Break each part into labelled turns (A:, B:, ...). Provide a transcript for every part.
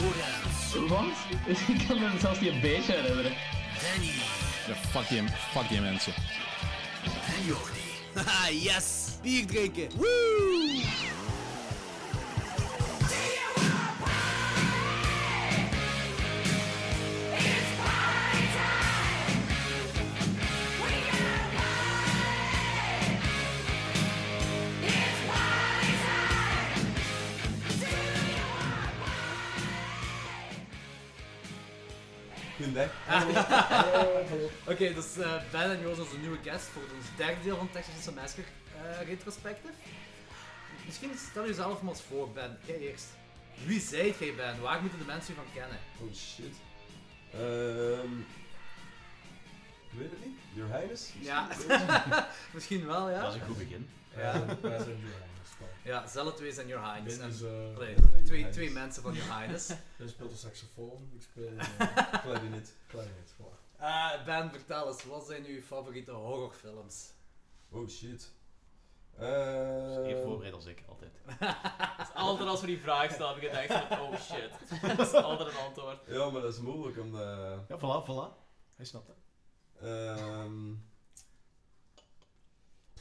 A: Oerens,
B: Wat? Dus Ik kan me zelfs niet een beetje herinneren.
A: Danny
C: Ja, fuck die, fuck die mensen.
A: en Jordi. Haha, yes! Bier drinken! Woo!
D: Goedendag.
E: Oké, dus eh, Ben en Joost, onze nieuwe guest voor ons derde deel van Texas Chainsaw Massacre eh, retrospective. Misschien stel jezelf maar eens voor, Ben. Jij eerst. Wie zijt jij, Ben? Waar moeten de mensen je van kennen?
D: Oh shit. Ehm. Ik weet het niet. Your Highness?
E: Ja. Misschien wel, ja?
F: Dat is een goed begin.
D: Ja.
G: Wij zijn Johannes.
E: Ja, Zelle 2 zijn Your
G: Ik
E: Highness.
G: ben dus...
E: En-
G: eh,
E: Allee,
D: Ben is
E: twee,
D: Your
E: twee
D: Highness.
E: mensen van Your Highness.
G: Jij speelt de saxofoon, ik speel eh
D: Clarinet.
G: clarinet. voilà.
E: Eh, ben, vertel eens, wat zijn uw favoriete horrorfilms?
D: Oh shit.
F: Dus
C: Eh.
F: even
D: Ehm.
F: voorbereid als ik, altijd.
H: Dus altijd als we die vraag stellen, heb ik gedacht van, oh shit. Dat is altijd een antwoord.
D: ja, maar dat is moeilijk eh, omdat.
C: Ja, voilà, voilà. Hij snapt dat.
D: Ehm.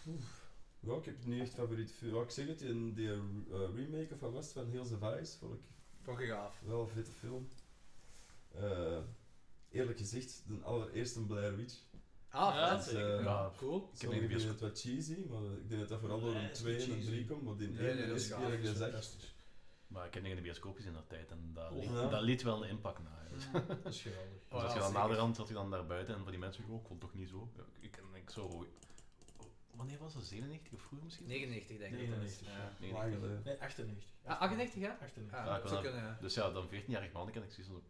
D: poef. Ja, ik heb niet echt favoriet film. Ja, ik zeg het, in die eh, remake of wat was het, van Hills of Ice vond ik
E: Vond je gaaf.
D: wel een vette film. Eh, eerlijk gezegd, de allereerste Blair Witch.
E: Ah,
H: Ja,
E: vet.
D: Dus, eh,
F: Ja.
E: Cool.
D: Ik denk dat het wat cheesy, maar ik denk dat dat vooral door een
G: Nee,
D: 2
G: het is
D: en een
G: niet
D: 3
G: cheesy.
D: komt. Maar die
E: Nee,
D: ene
E: nee, dat is
D: eerste
E: gaaf,
D: keer dat
G: Dat
D: ik
G: is
D: dat zag,
G: fantastisch.
F: Maar ik heb dingen in de bioscoop gezien in dat tijd en dat,
D: Oh,
F: liet,
D: ja.
F: dat liet wel een impact na. Dus
E: Mm.
G: Dat is geweldig.
E: Oh,
F: als
E: ja,
F: je dan
E: zeker.
F: naderhand zat je dan daar buiten en van die mensen, oh, ik vond het toch niet zo. Ja, Ik, ik, ik zo... Wanneer was dat? 97 of vroeger misschien?
E: 99 denk ik.
G: 99,
E: Ja.
F: Nee,
D: Lang
F: nee.
D: geleden.
G: Nee, 98.
E: Ah, 98, ja?
G: 98.
E: Ah,
F: Ja, ik
E: dat
F: wil
E: zou
F: dat-
E: kunnen, ja.
F: Dus ja, dan 14-jarig man en ik zie zo...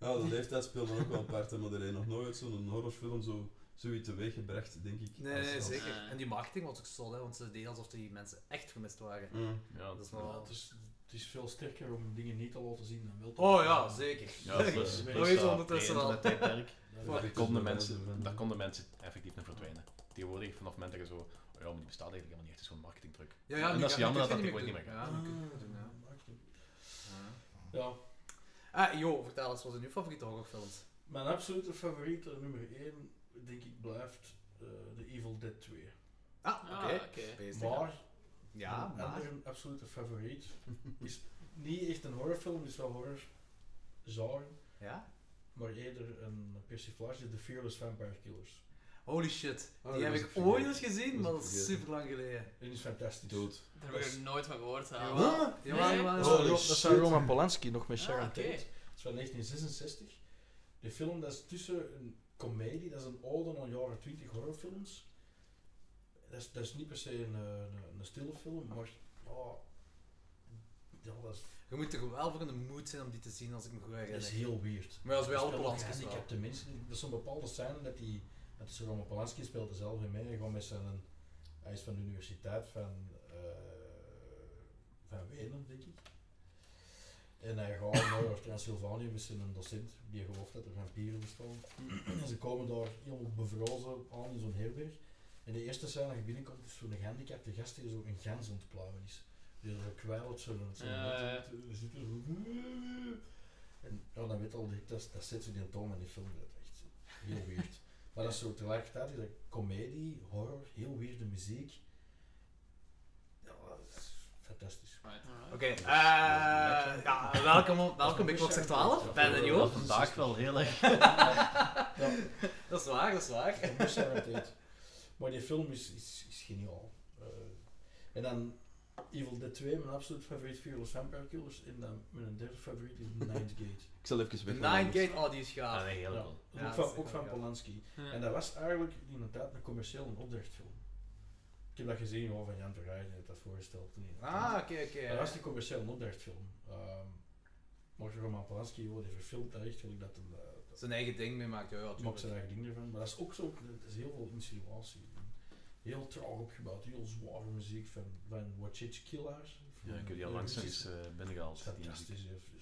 D: Ja, de leeftijd speelde ook wel een part, hè, maar er is nog nooit zo'n horrorfilm zo, zoiets teweeggebracht, denk ik.
E: Nee, nee,
D: Als- als-
E: zeker.
H: eh.
E: En die marketing was ook zot, hè, want ze deden alsof die mensen echt vermist waren.
D: Mm.
F: Ja,
E: Dat is
G: Ja,
E: wel...
G: het, is, het is veel sterker om dingen niet te laten zien dan wel te
E: Oh
G: laten
E: ja,
G: zien.
E: zeker.
F: ja dat was
G: weet
F: dat
E: je
F: was, eh,
E: ondertussen wel.
F: pre-internettijdperk.
G: Dat-
E: Fuck.
F: Daar
D: Dat is
F: konden,
D: wel
F: mensen,
D: wel.
F: daar konden mensen effectief in verdwijnen. Tegenwoordig, vanaf het moment dat je zo... Oh ja, maar die bestaat eigenlijk helemaal niet echt, het is gewoon marketingdruk.
E: Ja, ja,
F: En
E: nu
F: dat is
E: kan-
F: jammer
E: nu
F: dat
E: kun
F: dat
E: je
F: tegenwoordig niet meer
E: doen,
G: Ah,
E: Ja, nu kun je het doen, ja.
G: Ja,
E: Ah, joh, vertel eens, wat zijn uw favoriete horrorfilms?
G: mijn absolute favoriete nummer 1, denk ik, blijft eh The Evil Dead 2.
E: Ah, oké.
H: Ah, oké.
E: Beestig, hè.
G: Maar
E: Ja,
G: Een
E: maar...
G: andere absolute favoriet. is niet echt een horrorfilm, is wel horror. Genre,
E: Ja?
G: maar eerder een persiflage, The Fearless Vampire Killers.
E: Holy shit. Die
D: Oh, dat
E: heb
D: was
E: ik
D: ik
E: ooit
D: vergeten.
E: eens gezien,
D: Dat was
E: maar dat
D: ik
E: is
D: vergeten.
E: super lang geleden.
G: En die is fantastisch.
D: Dood.
H: Daar heb ik er nooit van gehoord, hè.
E: Jawel, jawel, jawel,
G: Dat
H: Nee?
E: jawel.
G: is-
D: Holy
G: dat zijn
D: shit.
G: Roman Polanski nog met
H: Ah,
G: Sharon
H: oké.
G: Tate. Dat is van 1966. De film dat is tussen een komedie, dat is een oude van jaren 20 horrorfilms. Dat is, dat is niet per se een, eh, een, een stille film, maar ja, ja, dat, is,
E: Je moet er wel voor in de moed zijn om die te zien, als ik me goed
G: dat is
E: herinner.
G: heel weird.
E: Maar als wij alle
G: Spelen
E: Polanski's wel.
G: gehandicapte mensen. die- Er zijn bepaalde scènes dat die, dat is Roman Polanski speelde zelf in mee, gewoon met zijn, hij is van de universiteit van, eh, van Wenen, denk ik. En hij gaat naar Transylvanië met zijn docent, die gelooft dat er vampieren bestaan. En ze komen daar heel bevrozen aan in zo'n herberg. En de eerste scène dat je binnenkomt is zo'n gehandicapte gast die zo een gans ontpluimen is. Die er zo kwijlt, zo'n zo'n
H: Ja,
G: net
H: ja.
G: zit- zit er zo... En ja, dan weet al direct, dat, dat zet ze die toon in die film. Dat is echt heel weird. Maar dat is zo tegelijkertijd is dat comedie, horror, heel weirde muziek. Ja, dat is fantastisch.
H: Alright.
E: Oké, eh, ja, welkom, welkom bij Klokzak 12, Ben en
F: Ja,
E: Joost.
F: vandaag wel heel erg.
E: Dat is waar, dat is waar.
G: Dat moest zijn tijd. Maar die film is, is, is geniaal. Eh, en dan Evil Dead 2, mijn absoluut favoriet, Fearless Vampire Killers. En dan mijn derde favoriet is Night Gate.
D: Ik zal even
E: De
D: weg.
E: Nine Gate, oh die is gaaf.
C: Ah,
F: Ja, nee, heel
G: Ja,
F: veel.
G: ook
E: Ja, dat
G: van,
E: is
G: ook
E: wel
G: van
E: gaaf.
G: Polanski.
H: Ja.
G: En dat was eigenlijk inderdaad een commercieel een opdrachtfilm. Ik heb dat gezien gewoon van Jan Terreij, die had dat voorgesteld.
E: Ah, oké,
G: Dat
E: oké.
G: was een commercieel een opdrachtfilm. Ehm maar Roman Polanski, joh, die verfilmt dat echt, wil ik dat hem... eh, dat-
E: Zijn eigen ding mee maakt, ja, ja,
G: dat maakt zijn
E: tuurlijk.
G: eigen ding ervan. Maar dat is ook zo, dat is heel veel insinuatie. Heel traag opgebouwd, heel zware muziek van, van Wachich Killers.
F: Ja, ik heb die al
G: Van-
F: langs eens eh, binnengehaald. die muziek.
G: Fantastisch, hè.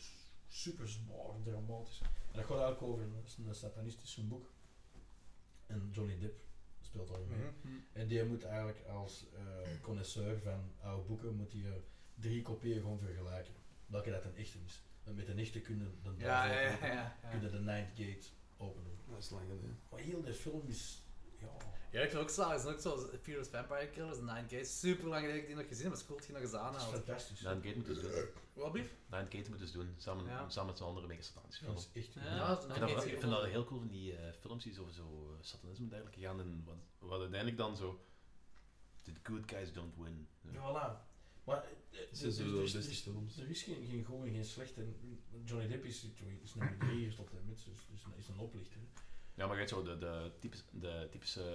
G: super zwaar, dramatisch. En dat gaat eigenlijk over een, een satanistisch boek. En Johnny Depp speelt daar mee.
E: Mhm.
G: En die moet eigenlijk als eh connoisseur van oude boeken moet die, eh, drie kopieën gewoon vergelijken. Welke dat een echte is. En met de nichten kunnen de, de,
E: Ja, ja, ja. ja,
G: Kunnen de Night Gate openen.
D: Dat is lang geleden.
G: Maar heel de film is. Ja,
E: Ja, ik wil ook zo, is ook zo Furious Vampire Killers, Nine Gates, super lang geleden dat ik die nog gezien heb, maar het is cool dat je nog eens
G: dat is
E: aanhaalt.
G: fantastisch.
C: Nine Gate moet dus doen.
E: Wat blieft?
C: Nine Gate moet dus doen, samen,
E: Ja.
C: samen met zijn andere megasatanische
G: dat
C: films.
G: is echt.
I: Ja.
E: Ja, dat
C: Ik
E: is
C: vind,
E: nog
C: dat,
E: niet
C: ik vind dat heel cool van die eh, films die over zo eh, satanisme en dergelijke gaan en wat, wat uiteindelijk dan zo the good guys don't win. Ja.
G: Ja, voilà. Maar eh, eh,
D: Dat
G: er-
D: zijn zo
G: er-
D: de
G: er-
D: beste
G: er-
D: films.
G: er is geen, geen goed en geen slecht. En Johnny Depp is, is nummer 3 gestopt hè, met, dus, dus is een oplichter.
C: Ja, maar je hebt zo de, de, types, de typische.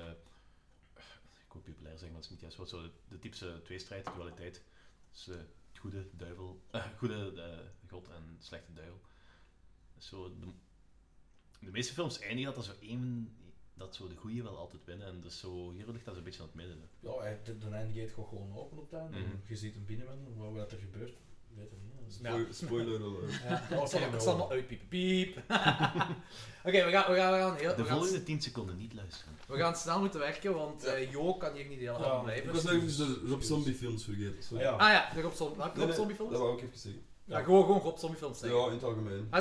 C: eh, Ik hoop populair zeggen, maar het is niet juist. Wat zo de, de typische tweestrijd, dualiteit. Dus het goede duivel. eh, goede eh, god en slechte duivel. Zo, de, de meeste films eindigen dat er zo één. dat zo de goede wel altijd winnen. En dus zo, hier ligt dat een beetje aan het midden. hè.
G: Ja, hij- de, de Nightgate gaat gewoon open op tuin.
C: Mhm.
G: Je ziet hem binnen, man. Wat, wat er gebeurt, weet ik niet. hè. Dat is-
D: Spoil- Spoiler alert.
G: Ja,
E: Het
G: van
E: zal-
G: hem
E: het zal
G: wel.
E: allemaal uitpiepen. Piep. Oké, we, gaan, we, gaan, we, gaan heel, we,
C: De
E: gaan,
C: volgende 10 seconden niet luisteren.
E: we gaan snel moeten werken, want eh Jo kan hier niet heel lang
G: Ja,
D: Ik
E: blijven.
D: was even de Rob Zombie films vergeten.
G: Ah,
D: sorry.
G: ja.
E: Ah ja, de Rob Zombie,
D: Nee,
E: Rob
D: nee,
E: Zombie films?
D: Dat wou ik even zeggen.
E: Ja, gewoon, gewoon Rob Zombie films zeggen.
D: Ja, in het algemeen.
G: Ja,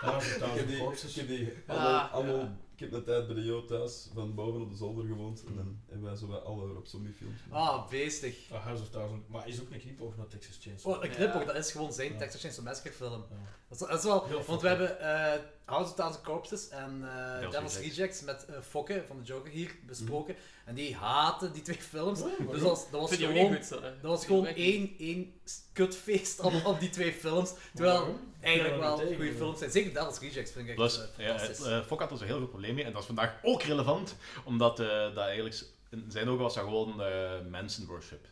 G: dat is
D: Ik heb die, ik heb die allemaal,
E: Ah,
D: allemaal-
E: ja.
D: ik heb een tijd bij de Jo thuis, van boven op de zolder gewoond, en dan hebben wij zo bij alle Rob Zombie films.
E: Ah, beestig.
G: Ah, House of Thousand. Maar is ook een knipoog naar Texas Chainsaw.
E: Oh, een knipoog,
I: Ja.
E: dat is gewoon zijn
G: Ja.
E: Texas Chainsaw Massacre film.
G: Ja.
E: Dat is, dat is wel,
G: Heel
E: want we
G: fucking.
E: hebben eh House of Thousand Corpses en eh
C: Devil's
E: Devil's
C: Rejects.
E: Rejects met eh Fokke van de Joker hier besproken. En die haten die twee films.
G: waarom?
E: dus dat was, dat was
I: Vind je ook niet
E: gewoon,
I: goed, zo, hè?
E: dat was gewoon
I: Echt.
E: één, één kutfeest op, op die twee films. Terwijl
G: Waarom?
E: eigenlijk
G: Ik ben
E: wel
G: er niet tegen,
E: goede
G: ja.
E: films zijn. Zeker Devil's Rejects vind ik echt
C: Plus,
E: eh,
C: ja,
E: fantastisch.
C: het, eh, Fok had er zo heel veel problemen mee. En dat is vandaag ook relevant, omdat eh, dat eigenlijk s- in zijn ogen was dat gewoon eh Manson worship,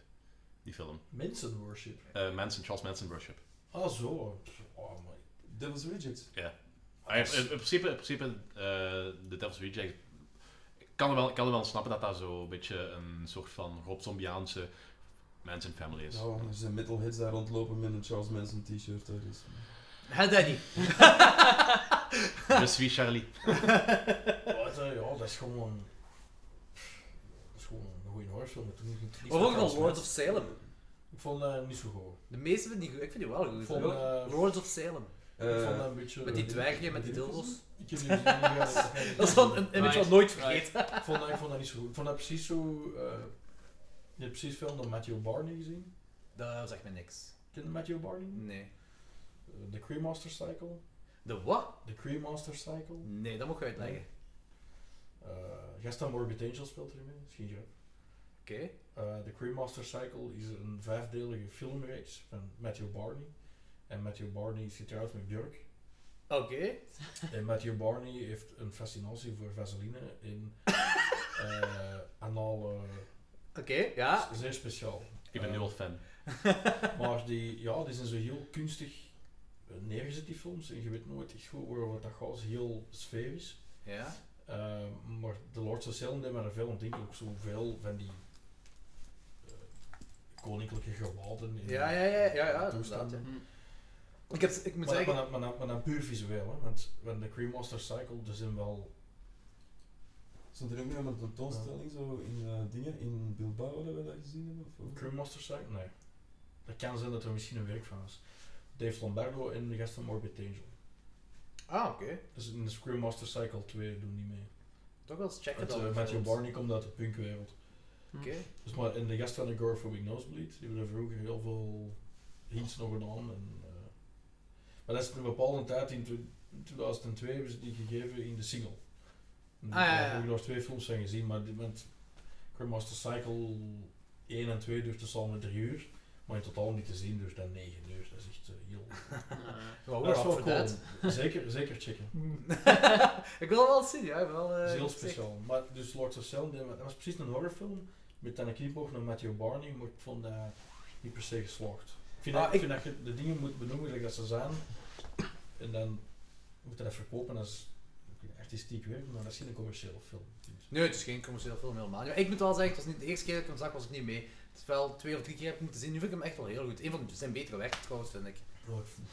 C: die film.
G: Mensen worship.
C: Eh, Manson, Charles Manson worship.
G: Ah, zo. Pff, Oh, my.
D: Devil's Rejects.
C: Ah, ja, in, in principe, in principe eh, de Devil's Reject. Ik kan er wel, ik kan er wel snappen dat dat zo een beetje een soort van Rob Zombiaanse Manson family is.
D: Nou, er zijn metalheads daar rondlopen met een Charles Manson t-shirt. daar dus, is-
E: Hè, Danny?
C: Dus wie Charlie?
G: Wat, eh, ja, dat is gewoon... Dat is gewoon een goede horrorfilm. Het is niet- niks
E: Of ook
G: met
E: nog
G: Charles
E: Lords of
G: Manson.
E: Salem.
G: Ik vond het niet zo goed.
E: De meeste vind ik niet goed. Ik vind die wel goed.
G: Ik vond, eh,
E: Lords of Salem.
G: ik
D: Eh,
G: vond dat een beetje...
E: Met die dwergen, met die dildos.
G: Ik heb die gezien, ja, dat is-
E: Dat is wel een image wat nooit vergeet.
G: Ik vond, dat, ik vond dat niet zo goed. Ik vond dat precies zo... eh je hebt precies film door Matthew Barney gezien.
E: Dat zegt me niks.
G: Ken je Matthew Barney?
E: Nee.
G: Eh, De Creemaster Cycle.
E: De wat?
G: De Creemaster Cycle.
E: Nee, dat moet ik uitleggen.
G: Eh Gaston Morbid Angel speelt erin mee, misschien je.
E: Oké.
G: Eh de Creemaster Cycle is een vijfdelige filmreeks van Matthew Barney. En Matthew Barney is getrouwd met Björk.
E: Oké.
G: en Eh, Matthew Barney heeft een fascinatie voor vaseline in eh anale...
E: Oké, ja.
G: is Zeer speciaal.
C: Ik ben nu
G: Eh,
C: al fan.
G: Maar die, ja, die zijn zo heel kunstig eh, neergezet, die films. En je weet nooit echt goed waarover dat gaat. Het is heel sferisch.
E: Ja.
G: Eh, maar de Lords of Salem deed me er veel aan denken. Ook zoveel van die eh, koninklijke gewaden. in
E: Ja, ja, ja, ja, ja,
G: toestanden.
E: inderdaad, Ik, heb, ik moet
G: Maar, dat- maar,
E: zeggen...
G: dat- maar, dat- maar dan puur visueel. Hè, want, want de Creemaster Cycle, er zijn wel...
D: Stond er ook nog een tentoonstelling zo in eh, dingen, in Bilbao, dat we dat gezien hebben? Of, wat?
G: Creemaster Cycle? Nee. Dat kan zijn dat er misschien een werk van is. Dave Lombardo en de gast van Morbid Angel.
E: Ah, oké.
G: Dus in de Screwmaster Cycle 2 doen die mee.
E: Toch wel eens checken
G: Met,
E: dan.
G: eh, Matthew Barney komt uit de punkwereld.
E: Oké.
G: Dus maar in de gast van de Agoraphobic Nosebleed, die hebben er vroeger heel veel hints nog gedaan. En, eh, maar dat is een bepaalde tijd, in twe- 2002 hebben ze die gegeven in de single. En
E: Ah, ja, ja.
G: Ik heb ook nog twee films zijn gezien, maar dit moment Grandmaster Cycle 1 en 2 duurt dus al met 3 uur. Maar in totaal niet te zien, dus dan 9 uur. Dat is echt eh, heel...
E: Wow,
G: Oh, dat is wel
E: for
G: cool.
E: that.
G: Zeker, zeker checken.
E: ik wil wel eens zien, ja. Ik wil, wel, eh,
G: Dat is heel
E: zeker.
G: speciaal. Maar dus Lords of Salem, dat was precies een horrorfilm met een knipoog naar Matthew Barney, maar ik vond dat niet per se geslaagd. Ik vind,
E: Ah,
G: dat,
E: ik-
G: ik vind dat je de dingen moet benoemen zoals dat ze zijn en dan moet je dat verkopen als artistiek werk, maar dat is geen commerciële film.
E: Nee, het is geen commercieel film helemaal. Maar ik moet wel zeggen, het was niet de eerste keer dat ik hem zag, was ik niet mee. Het is wel twee of drie keer heb ik moeten zien. Nu vind ik hem echt wel heel goed. Een van zijn betere werken trouwens, vind ik.
G: Oh, ik vond-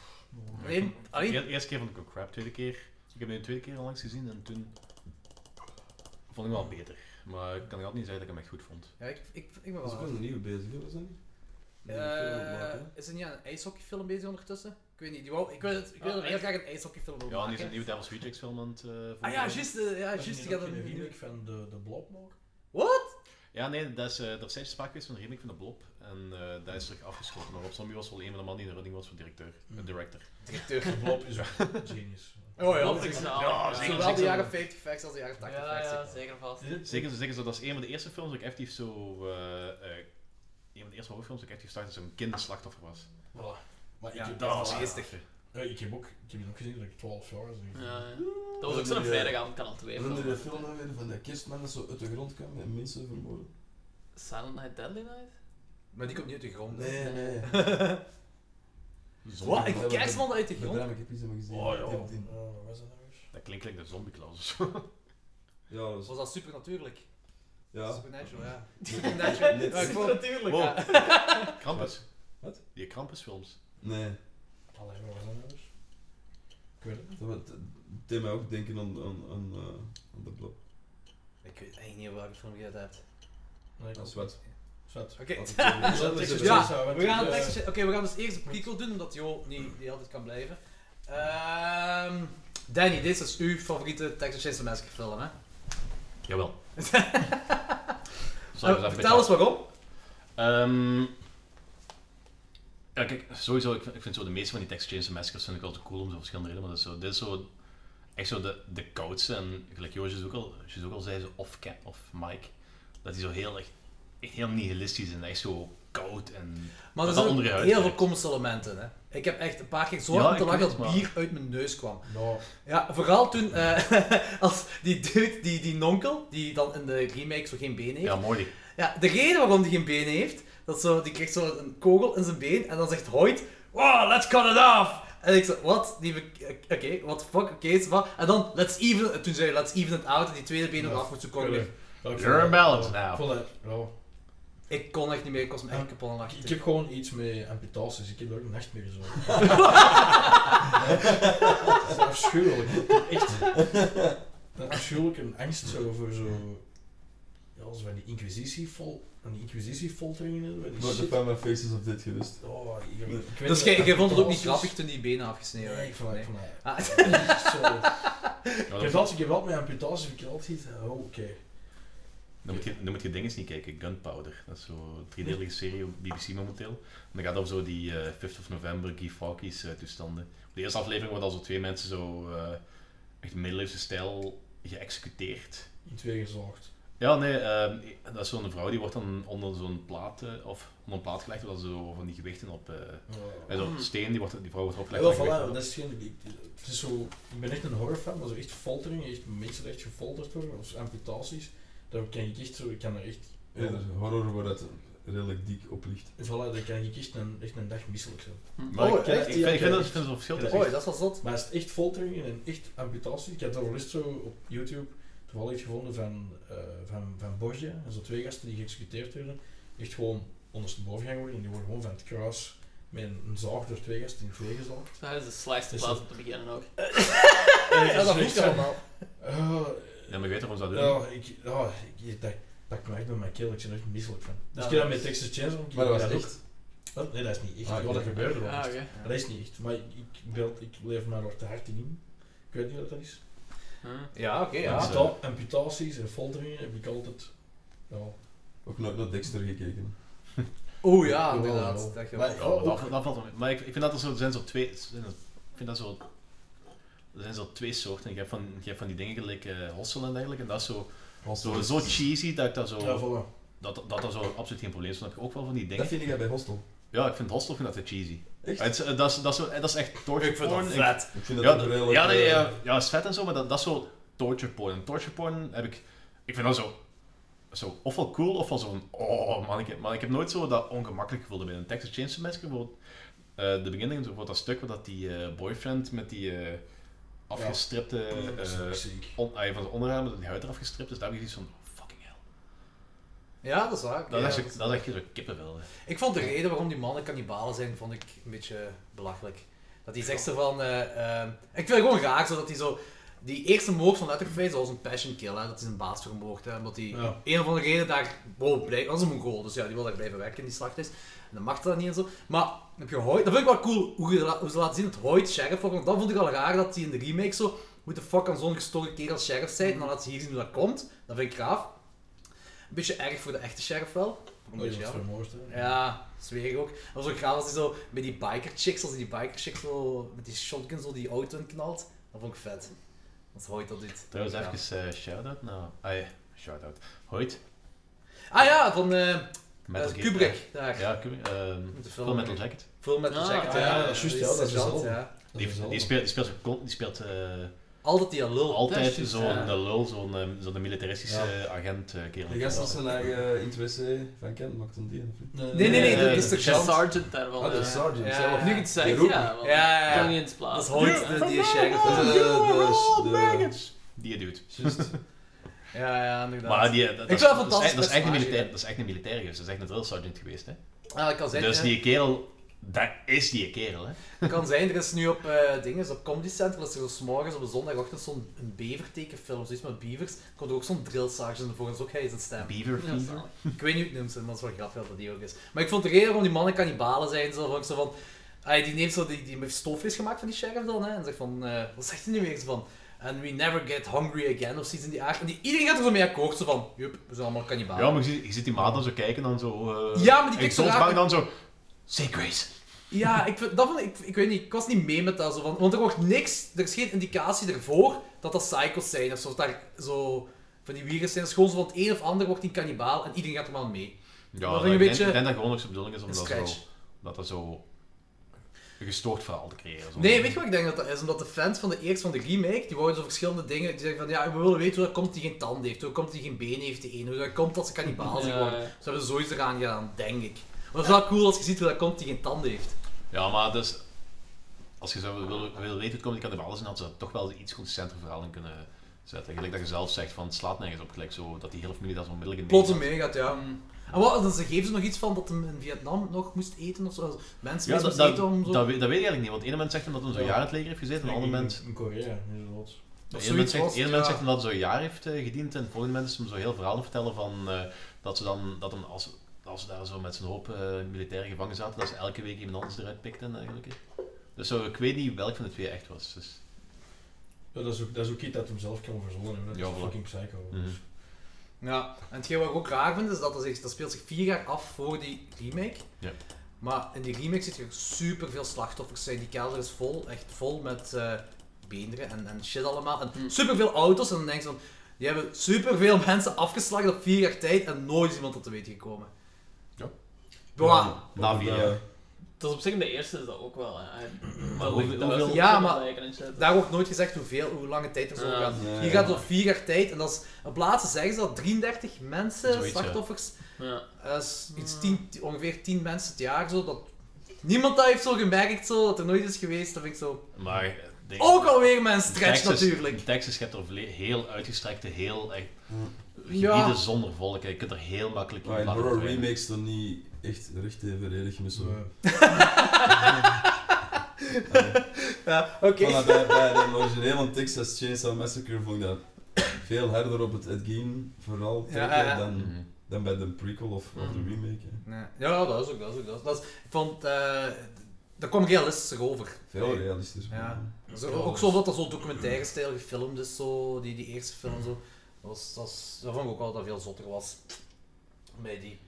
G: oh.
E: Alleen, alleen
C: De eerste keer vond ik ook crap, tweede keer. Ik heb nu een tweede keer al langs gezien en toen vond ik hem wel beter. Maar ik kan altijd niet zeggen dat ik hem echt goed vond.
E: Ja, ik, ik, ik ben
D: Dat is ook
E: wel...
D: wel nieuw bezig, hè, was dat niet?
E: Eh,
D: Die film opmaken, hè?
E: is er niet aan een ijshockeyfilm bezig ondertussen? weet niet, die wou, ik wil, het- ik wil
C: Ah,
E: heel
C: echt?
E: graag een ijshockeyfilm over
C: Ja, en die is
E: maken.
C: een nieuwe Devil's Rejects film aan het eh,
E: Ah ja,
C: verwerken.
E: juist, eh, ja, juist, die gaat
G: een
E: een
G: remake van de, de Blob nog.
E: What?
C: Ja, nee, dat is, eh er zijn sprake geweest van een remake van de Blob. En eh dat is terug afgeschoten. Maar Rob Zombie was wel een van de mannen die in de running was voor directeur. eh, director.
E: Directeur.
G: De Blob is een genius.
E: Oh ja,
J: Klopt,
E: dat
J: ik
E: is-
J: snap.
C: Ja, zeker,
E: Zowel de
C: zeker.
E: jaren 50 facts als de jaren 80
J: Ja,
E: facts.
J: ja,
E: zeker.
J: zeker vast.
C: Zeker, zeker zo, dat is een van de eerste films dat ik effectief zo... eh, eh, een van de eerste horrorfilms dat ik effectief zag dat zo'n kinderslachtoffer was. Ah.
G: Voilà. Maar
C: Ja,
G: ik, heb,
C: dat was
G: voilà.
C: geestig.
G: Ja, ik heb ook, ik heb die ook gezien dat ik 12 jaar was. denk ik.
J: Ja, ja. Dat was ook zo'n vrijdagavond, kan al twee.
D: Herinner je de
J: filmen.
D: film nou weer van de kerstman dat zo uit de grond kwam en mensen vermoorden?
J: Silent Night, Deadly Night?
E: Maar die komt niet uit de grond.
D: Nee, nee.
E: Wat?
D: Ja,
E: Een
D: maar-
E: kerstman uit de
D: Dat
E: grond?
D: raam, ik heb iets helemaal gezien.
C: Oh, ja.
D: Ik heb die-
G: Eh, wat was dat nou eens?
C: Dat klinkt like de zombie Klaus of zo.
D: Ja, dat was...
E: Was dat supernatuurlijk?
D: Ja.
E: Supernatural, ja. Supernatural.
D: Net.
E: Ja, ik vond-
J: Natuurlijk.
C: Wow. Krampus.
D: Wat?
C: Die Krampusfilms.
D: Nee.
G: Allee, wat was dat nou eens? Ik weet het niet.
D: Dat was- dat deed mij ook denken aan, aan, aan, eh, aan de blok.
E: Ik weet echt niet welke film je dat hebt.
G: Nee, ik
D: Dat is
G: ook
D: wat.
G: niet. Zat.
E: Oké,
G: Zat,
D: is dus
G: ik
D: het.
G: zat,
E: dus Ja,
G: zat,
E: we gaan
G: eh,
E: een tekstje... Oké, we gaan dus eerst een prequel doen, omdat Jo niet, niet altijd kan blijven. Ehm Danny, dit is uw favoriete Texas Chainsaw Massacre film, hè?
C: Jawel. Zal ik
E: Nou,
C: eens even
E: vertel eens waarom.
C: Ehm, ja, kijk, sowieso, ik vind, ik vind zo de meeste van die text Chainsaw Massacres vind ik altijd cool om zo verschillende redenen, maar dat is zo, dit is zo, echt zo de, de koudste, en gelijk Joosjes ook al, Joosjes ook al zei, zo, of Cat, of Mike, dat die zo heel, echt, echt heel nihilistisch en echt zo koud en...
E: Maar er
C: dat
E: zijn
C: onderuit
E: heel veel
C: trekt.
E: komische hè. Ik heb echt een paar keer zo
C: Ja,
E: hard
C: ik
E: moeten lachen
C: weet
E: dat
C: het,
E: bier uit mijn neus kwam.
G: Nou,
E: Ja, vooral toen eh, als die dude, die, die nonkel, die dan in de remake zo geen been heeft.
C: Ja,
E: Ja.
C: mooi.
E: de reden waarom die geen been heeft, dat zo, die krijgt zo een kogel in zijn been en dan zegt Hoyt, wow, let's cut it off! En ik zei, wat? Die be- eh, Oké, what the fuck, oké, is wat? En dan, let's even, en toen zei hij, let's even it out en die tweede been
G: Ja.
E: nog af moet zo kon weer.
G: ja, ik
C: You're
G: vond-
C: in balance
G: ja,
C: now.
G: ik vond dat- ja.
E: Ik kon echt niet meer, ik was me echt kapot aan het
G: Ik
E: lachen.
G: heb gewoon iets met amputaties. Ik heb er ook nacht meer zo. dat is afschuwelijk. Echt. Dat is afschuwelijk een angst zo voor zo. Ja, als we die inquisitievol. Een inquisitiefoltering in hebben.
D: Nooit de
G: shit.
D: Pama Faces of dit gerust.
G: Oh, ik, ik weet
E: Dus
G: niet,
E: jij jij vond het ook niet
G: amputaties-
E: grappig toen die benen afgesneden
G: Nee,
E: werden?
G: ik vond
E: Nee.
G: het. Ik vond het-
E: Ah,
G: echt zo.
C: Ja,
G: Ik heb
C: dan,
G: altijd- ik heb altijd mijn amputaties. Ik heb altijd iets. Oh, oké.
C: dan moet je, dan moet je dingen eens niet kijken, Gunpowder, dat is zo'n driedelige serie op BBC momenteel. En dan gaat het over zo die eh 5th of November, Guy Fawkes eh, toestanden. Op de eerste aflevering worden al zo twee mensen zo, eh, echt middeleeuwse stijl, geëxecuteerd.
G: In twee gezocht.
C: Ja, nee, ehm, dat is zo'n vrouw die wordt dan onder zo'n plaat, eh, of onder een plaat gelegd, waar ze zo van die gewichten op. eh en zo'n steen, die, wordt, die vrouw wordt
G: Hmm. Ja,
C: opgelegd.
G: wel,
C: met gewichten
G: voilà,
C: op.
G: dat is geen, ik, het is zo, ik ben echt een horrorfan, maar zo echt foltering, echt mensen die echt gefolterd worden, of amputaties, daar kan ik echt zo, ik kan er echt,
D: Ja, dat is een horror waar dat redelijk dik op ligt.
G: voilà, daar kan ik echt een, echt een dag misselijk zijn.
C: Maar
E: Oh,
C: ik, ik,
G: echt?
C: ik
G: Ja,
C: vind, ik vind
G: oké. Oh,
C: dat ik vind zo'n verschil tussen.
E: Oei, dat was zot.
G: Maar is het echt foltering en echt amputaties? Ik heb daar wel eens zo op YouTube toevallig iets gevonden van, eh van, van Borgia, en zo twee gasten die geëxecuteerd werden, echt gewoon ondersteboven gaan worden, en die worden gewoon van het kruis met een, een zaag door twee gasten in twee gezaagd.
J: Dat is de slijste
G: Is
J: plaats
G: dat-
J: om te beginnen ook.
G: En
E: Ja, dat
G: is
E: moest
G: echt
E: allemaal.
G: van, eh,
C: Ja, maar ik weet waarom ze dat doen.
G: Ja, ik, ja, ik, dat, dat krijg ik bij mijn keel, ik ben er echt misselijk van. Dus
E: Ja,
G: ik heb dat
E: dat
G: met
E: is-
G: Texas Chainsaw Massacre,
D: Maar dat
G: ik
D: was
G: heb
D: echt.
G: ook- Oh, nee, dat is niet echt.
D: Ah,
G: ja,
D: oké.
G: dat gebeurde wel.
J: Ah,
G: echt.
J: oké.
G: Dat is niet echt, maar ik, ik, wil- ik leef mij er te hard in. Ik weet niet wat dat is.
J: Hm.
E: Ja, oké,
C: Dat
E: ja.
C: is-
G: Amputa- amputaties en folteringen heb ik altijd... Ja,
D: Ook nooit naar Dexter gekeken.
E: Oeh ja,
G: jawel,
E: inderdaad.
G: jawel.
E: Dat je
C: Ja,
G: Maar- oh,
C: maar dat,
G: ook-
C: dat valt wel mee. Maar ik, ik vind dat er zo, er zijn zo twee. er zijn er- ik vind dat zo. Er zijn zo twee soorten. Je hebt van, je hebt van die dingen gelijk eh hossel en dergelijke. En dat is zo, zo, zo cheesy dat ik daar
G: ja,
C: zo,
G: voilà.
C: dat, dat, daar zo absoluut geen probleem is. Dan heb je ook wel van die dingen.
D: Dat vind ik bij Hostel.
C: Ja, ik vind hostel vind dat te cheesy.
D: Echt?
C: Ja, het is- eh, dat, is, dat, is, eh, dat is echt torture
E: Ik vind dat
C: porn. Ik-
E: vet.
D: Ik vind dat
C: ja,
D: ook
C: dat-
D: redelijk...
C: ja, nee,
D: eh,
C: ja, ja, is vet en zo, maar dat, dat is zo torture porn. En torture porn heb ik... Ik vind dat zo... Zo, ofwel cool, ofwel zo'n... Oh, man, ik heb, maar ik heb nooit zo dat ongemakkelijk gevoel bij een Texas Chainsaw Massacre. Bijvoorbeeld, eh, de beginning, bijvoorbeeld dat stuk waar dat die eh, boyfriend met die eh, afgestripte...
G: Dat is ook
C: eh
G: ziek.
C: on, ah, van zijn onderarm, dat die huid eraf gestript is, daar heb ik zoiets van... oh, Fucking hell.
E: Ja, dat is waar.
C: Dat,
E: Ja,
C: is,
E: dat
C: echt-
E: is-
C: dat is echt zo kippenvel. hè.
E: Ik vond de reden waarom die mannen kannibalen zijn, vond ik een beetje belachelijk. Dat hij zegt zo van, eh, ehm, ik vind het gewoon raar, zo dat hij zo Die eerste moord van Letterface, dat was een passion kill, hè. dat is een baas vermoord. Hè, omdat die
G: Ja.
E: een of andere reden daar, wow, blij, dat is een Mongool, dus ja, die wil daar blijven werken in die slachthuis. En dan mag dat niet en zo. Maar heb je Hoyt, dat vind ik wel cool hoe, je la- hoe ze laten zien dat Hoyt sheriff wordt, want dat vond ik al raar dat hij in de remake zo, hoe de fuck kan zo'n gestoren kerel sheriff zijn, en dan laat ze hier zien hoe dat komt. Dat vind ik gaaf. Een beetje erg voor de echte sheriff wel. Een
G: Omdat
E: beetje,
G: Oh, je
E: ja.
G: was vermoord, hè.
E: Ja, zweer ik ook. Dat was ook gaaf als hij zo met die biker chicks, als hij die biker chicks zo met die shotgun zo die auto in knalt. Dat vond ik vet. Dat hoort dat dit.
C: Trouwens,
E: Ja.
C: even eh, shout-out naar... Ah ja, shout-out. Hoyt.
E: Ah ja, van eh, eh,
C: Metal Gear-
E: Kubrick. daar.
C: Ja, Kubrick. ehm
E: Met de film.
C: Full Metal Jacket.
E: Full Metal
K: Ah,
E: Jacket,
G: ah,
E: ja.
G: ja, dat is juist, ja,
E: Die
G: dat is
E: sergeant,
G: wel.
E: ja.
G: Dat is
C: Die,
G: wel-
C: die speelt, die speelt, zo con- die speelt eh,
E: Altijd die lul.
C: altijd
K: dat is-
C: zo'n
E: ja.
C: eh, lul, zo'n ehm, zo'n militaristische
G: Ja.
C: eh, agent eh, kerel.
D: De gast als zijn eigen interesse van kent, maakt dan die. of niet?
E: Nee, nee, nee,
C: Eh,
E: dat is
C: de
E: toch
K: De
E: sergeant?
K: sergeant daar wel.
D: Ah, de
K: eh,
D: sergeant
E: ja.
D: zelf.
K: Of nu ik het
D: Die
K: zeg,
D: roept
K: ja.
D: hem.
K: wel.
E: Ja, ja,
K: Kan
E: ja.
K: niet eens
E: Dat is
K: plaatsen.
E: Hoyt, de- die sheriff.
C: Eh,
D: Dat is de- de- de-
C: Die dude.
D: Juist.
E: Ja, ja, inderdaad.
C: Maar die, eh, dat, dat,
E: vind
C: is-
E: het
C: dat, is,
E: fantastisch
C: echt- dat is echt een
E: personage,
C: militair,
E: ja.
C: dat is echt een militair geweest. Dat is echt een drill sergeant geweest, hè.
E: Ah, dat kan zijn,
C: Dus
E: ja.
C: die kerel, dat is die kerel, hè.
E: Het kan zijn, er is nu op eh dingen, op Comedy Central is er zo 's morgens op een zondagochtend zo'n een bevertekenfilm, zoiets met beavers. Komt er ook zo'n drill sergeant voor, dat is ook hij zijn stem.
C: Beaver
K: Ja,
C: Fever.
K: zalig.
E: Ik weet niet hoe het noemt, maar dat is wel grappig dat die ook is. Maar ik vond de reden waarom die mannen kannibalen zijn, zo vond ik zo van... Ay, die neemt zo die, die heeft stoofvlees gemaakt van die sheriff dan, hè. En zegt van, eh, wat zegt hij nu weer? Zo van, and we never get hungry again, of zoiets in die aard. En die, iedereen gaat er zo mee akkoord, zo van, jup, we zijn allemaal kannibalen.
C: Ja, maar je ziet, je ziet die maat dan zo kijken, dan zo... eh,
E: Ja, maar die
C: en
E: kijkt zo
C: soms
E: raar.
C: bang dan zo... Say grace.
E: Ja, ik, vind- dat vond, ik, ik weet niet, ik was niet mee met dat. Zo van, want er wordt niks, er is geen indicatie ervoor dat dat psychos zijn. Of zo, dat daar zo van die wieren zijn. Het is gewoon zo van het een of ander wordt een kannibaal en iedereen gaat er maar aan mee.
C: Ja,
E: Dat
C: dat
E: vind ik een
C: ik,
E: beetje-
C: denk, ik denk dat gewoon nog zijn bedoeling is om
E: Een
C: dat
E: scratch.
C: zo, dat dat zo een gestoord verhaal te creëren. Zo.
E: Nee, weet je wat ik denk dat dat is? Omdat de fans van de eerste van de remake, die wouden zo verschillende dingen. Die zeggen van ja, we willen weten hoe dat komt die geen tanden heeft, hoe dat komt die geen benen heeft, die een, hoe dat komt dat ze kannibaal zijn
K: Ja,
E: geworden.
K: ja.
E: Ze hebben zoiets eraan gedaan, denk ik. Maar het is wel cool als je ziet hoe dat komt die geen tanden heeft.
C: Ja, maar dus, als je zo wil, wil weten het komt, die kannibalen zijn, had ze daar toch wel iets consistenter verhaal in kunnen zetten. Gelijk dat je zelf zegt van, het slaat nergens op, gelijk zo, dat die hele familie daar zo onmiddellijk in
E: Plots
C: meegaat.
E: meegaat, ja. En wat, dan ze geven ze nog iets van dat hem in Vietnam nog moest eten of zo. Mensen
C: Ja,
E: moest
C: dat, dat,
E: eten om zo.
C: dat weet, dat weet ik eigenlijk niet, want één moment zegt hem dat hij zo'n
G: Ja.
C: jaar in het leger heeft gezeten, en een ander moment...
G: In- In Korea, inderdaad.
E: Of
C: Eén
E: zoiets
C: moment zegt,
E: was
C: één
E: het,
C: moment
E: ja.
C: zegt hem dat hij zo'n jaar heeft eh, gediend en het volgende moment is hem zo heel verhaal te vertellen van eh, dat ze dan, dat hem als, als ze daar zo met zijn hoop eh militaire gevangen zaten, dat ze elke week iemand anders eruit pikten eigenlijk. hè. Dus zo, ik weet niet welk van de twee echt was. Dus,
G: Ja, dat, is ook, dat is ook iets dat hem zelf kan verzonnen hebben. Dat
C: Ja,
G: is
C: voilà.
G: fucking psycho.
C: Mhm.
G: Dus-
E: Ja, en hetgeen wat ik ook raar vind, is dat dat, zich, dat speelt zich vier jaar af voor die remake.
C: Ja.
E: Maar in die remake zit er super veel slachtoffers zijn. Die kelder is vol, echt vol met eh beenderen en, en shit allemaal. En
K: Hm.
E: super veel auto's. En dan denk je van, die hebben super veel mensen afgeslacht op vier jaar tijd en nooit is iemand dat te weten gekomen.
C: Ja.
E: Boah.
C: na vier jaar.
D: eh,
K: Dat is op zich in de eerste is dat ook wel. hè.
C: Maar
K: Dat
C: hoeveel-
K: lijkt- dat lijkt
C: hoeveel-
K: ook
E: Ja,
K: zo
E: maar-
K: te lijken en shit.
E: Daar wordt nooit gezegd hoeveel, hoe lange tijd er zo
K: Ja.
E: gaat.
D: Ja,
E: Hier
D: ja,
E: gaat
D: ja.
E: het op vier jaar tijd en dat is, op laatste zeggen ze dat 33 mensen,
C: Zoiets, ja.
E: slachtoffers,
K: Ja.
E: Dat is iets tien, t- ongeveer 10 mensen het jaar zo. Dat niemand dat heeft zo gemerkt, zo, dat er nooit is geweest. Dat vind ik zo.
C: Maar eh, de-
E: Ook alweer mijn stretch
C: Texas-
E: natuurlijk.
C: Texas hebt er vle- heel uitgestrekte, heel echt gebieden
E: Ja.
C: zonder volk. hè. Je kunt er heel makkelijk
D: Maar in
C: laten
D: horror
C: verdwijnen.
D: remakes dan niet echt recht evenredig met
G: Dus,
D: zo'n...
G: eh,
E: Ja, oké.
D: Voilà, bij, bij de origineel van Texas Chainsaw Massacre vond ik dat veel harder op het, het game vooral
E: Ja,
D: trekken
E: ja, ja.
D: Dan,
C: Mhm.
D: dan bij de prequel of, of de
K: Mhm.
D: remake. hè.
E: Nee. Ja, dat is ook, dat is ook. Dat is, dat is- ik vond, eh, dat kwam realistischer over.
D: Veel realistischer.
E: Ja. Zo,
G: Ja,
E: ook
G: dat
E: zo
G: is-
E: dat dat zo documentaire stijl gefilmd is, zo, die, die eerste film. Zo. Dat, was, dat, was- dat vond ik ook wel dat dat veel zotter was. Bij die.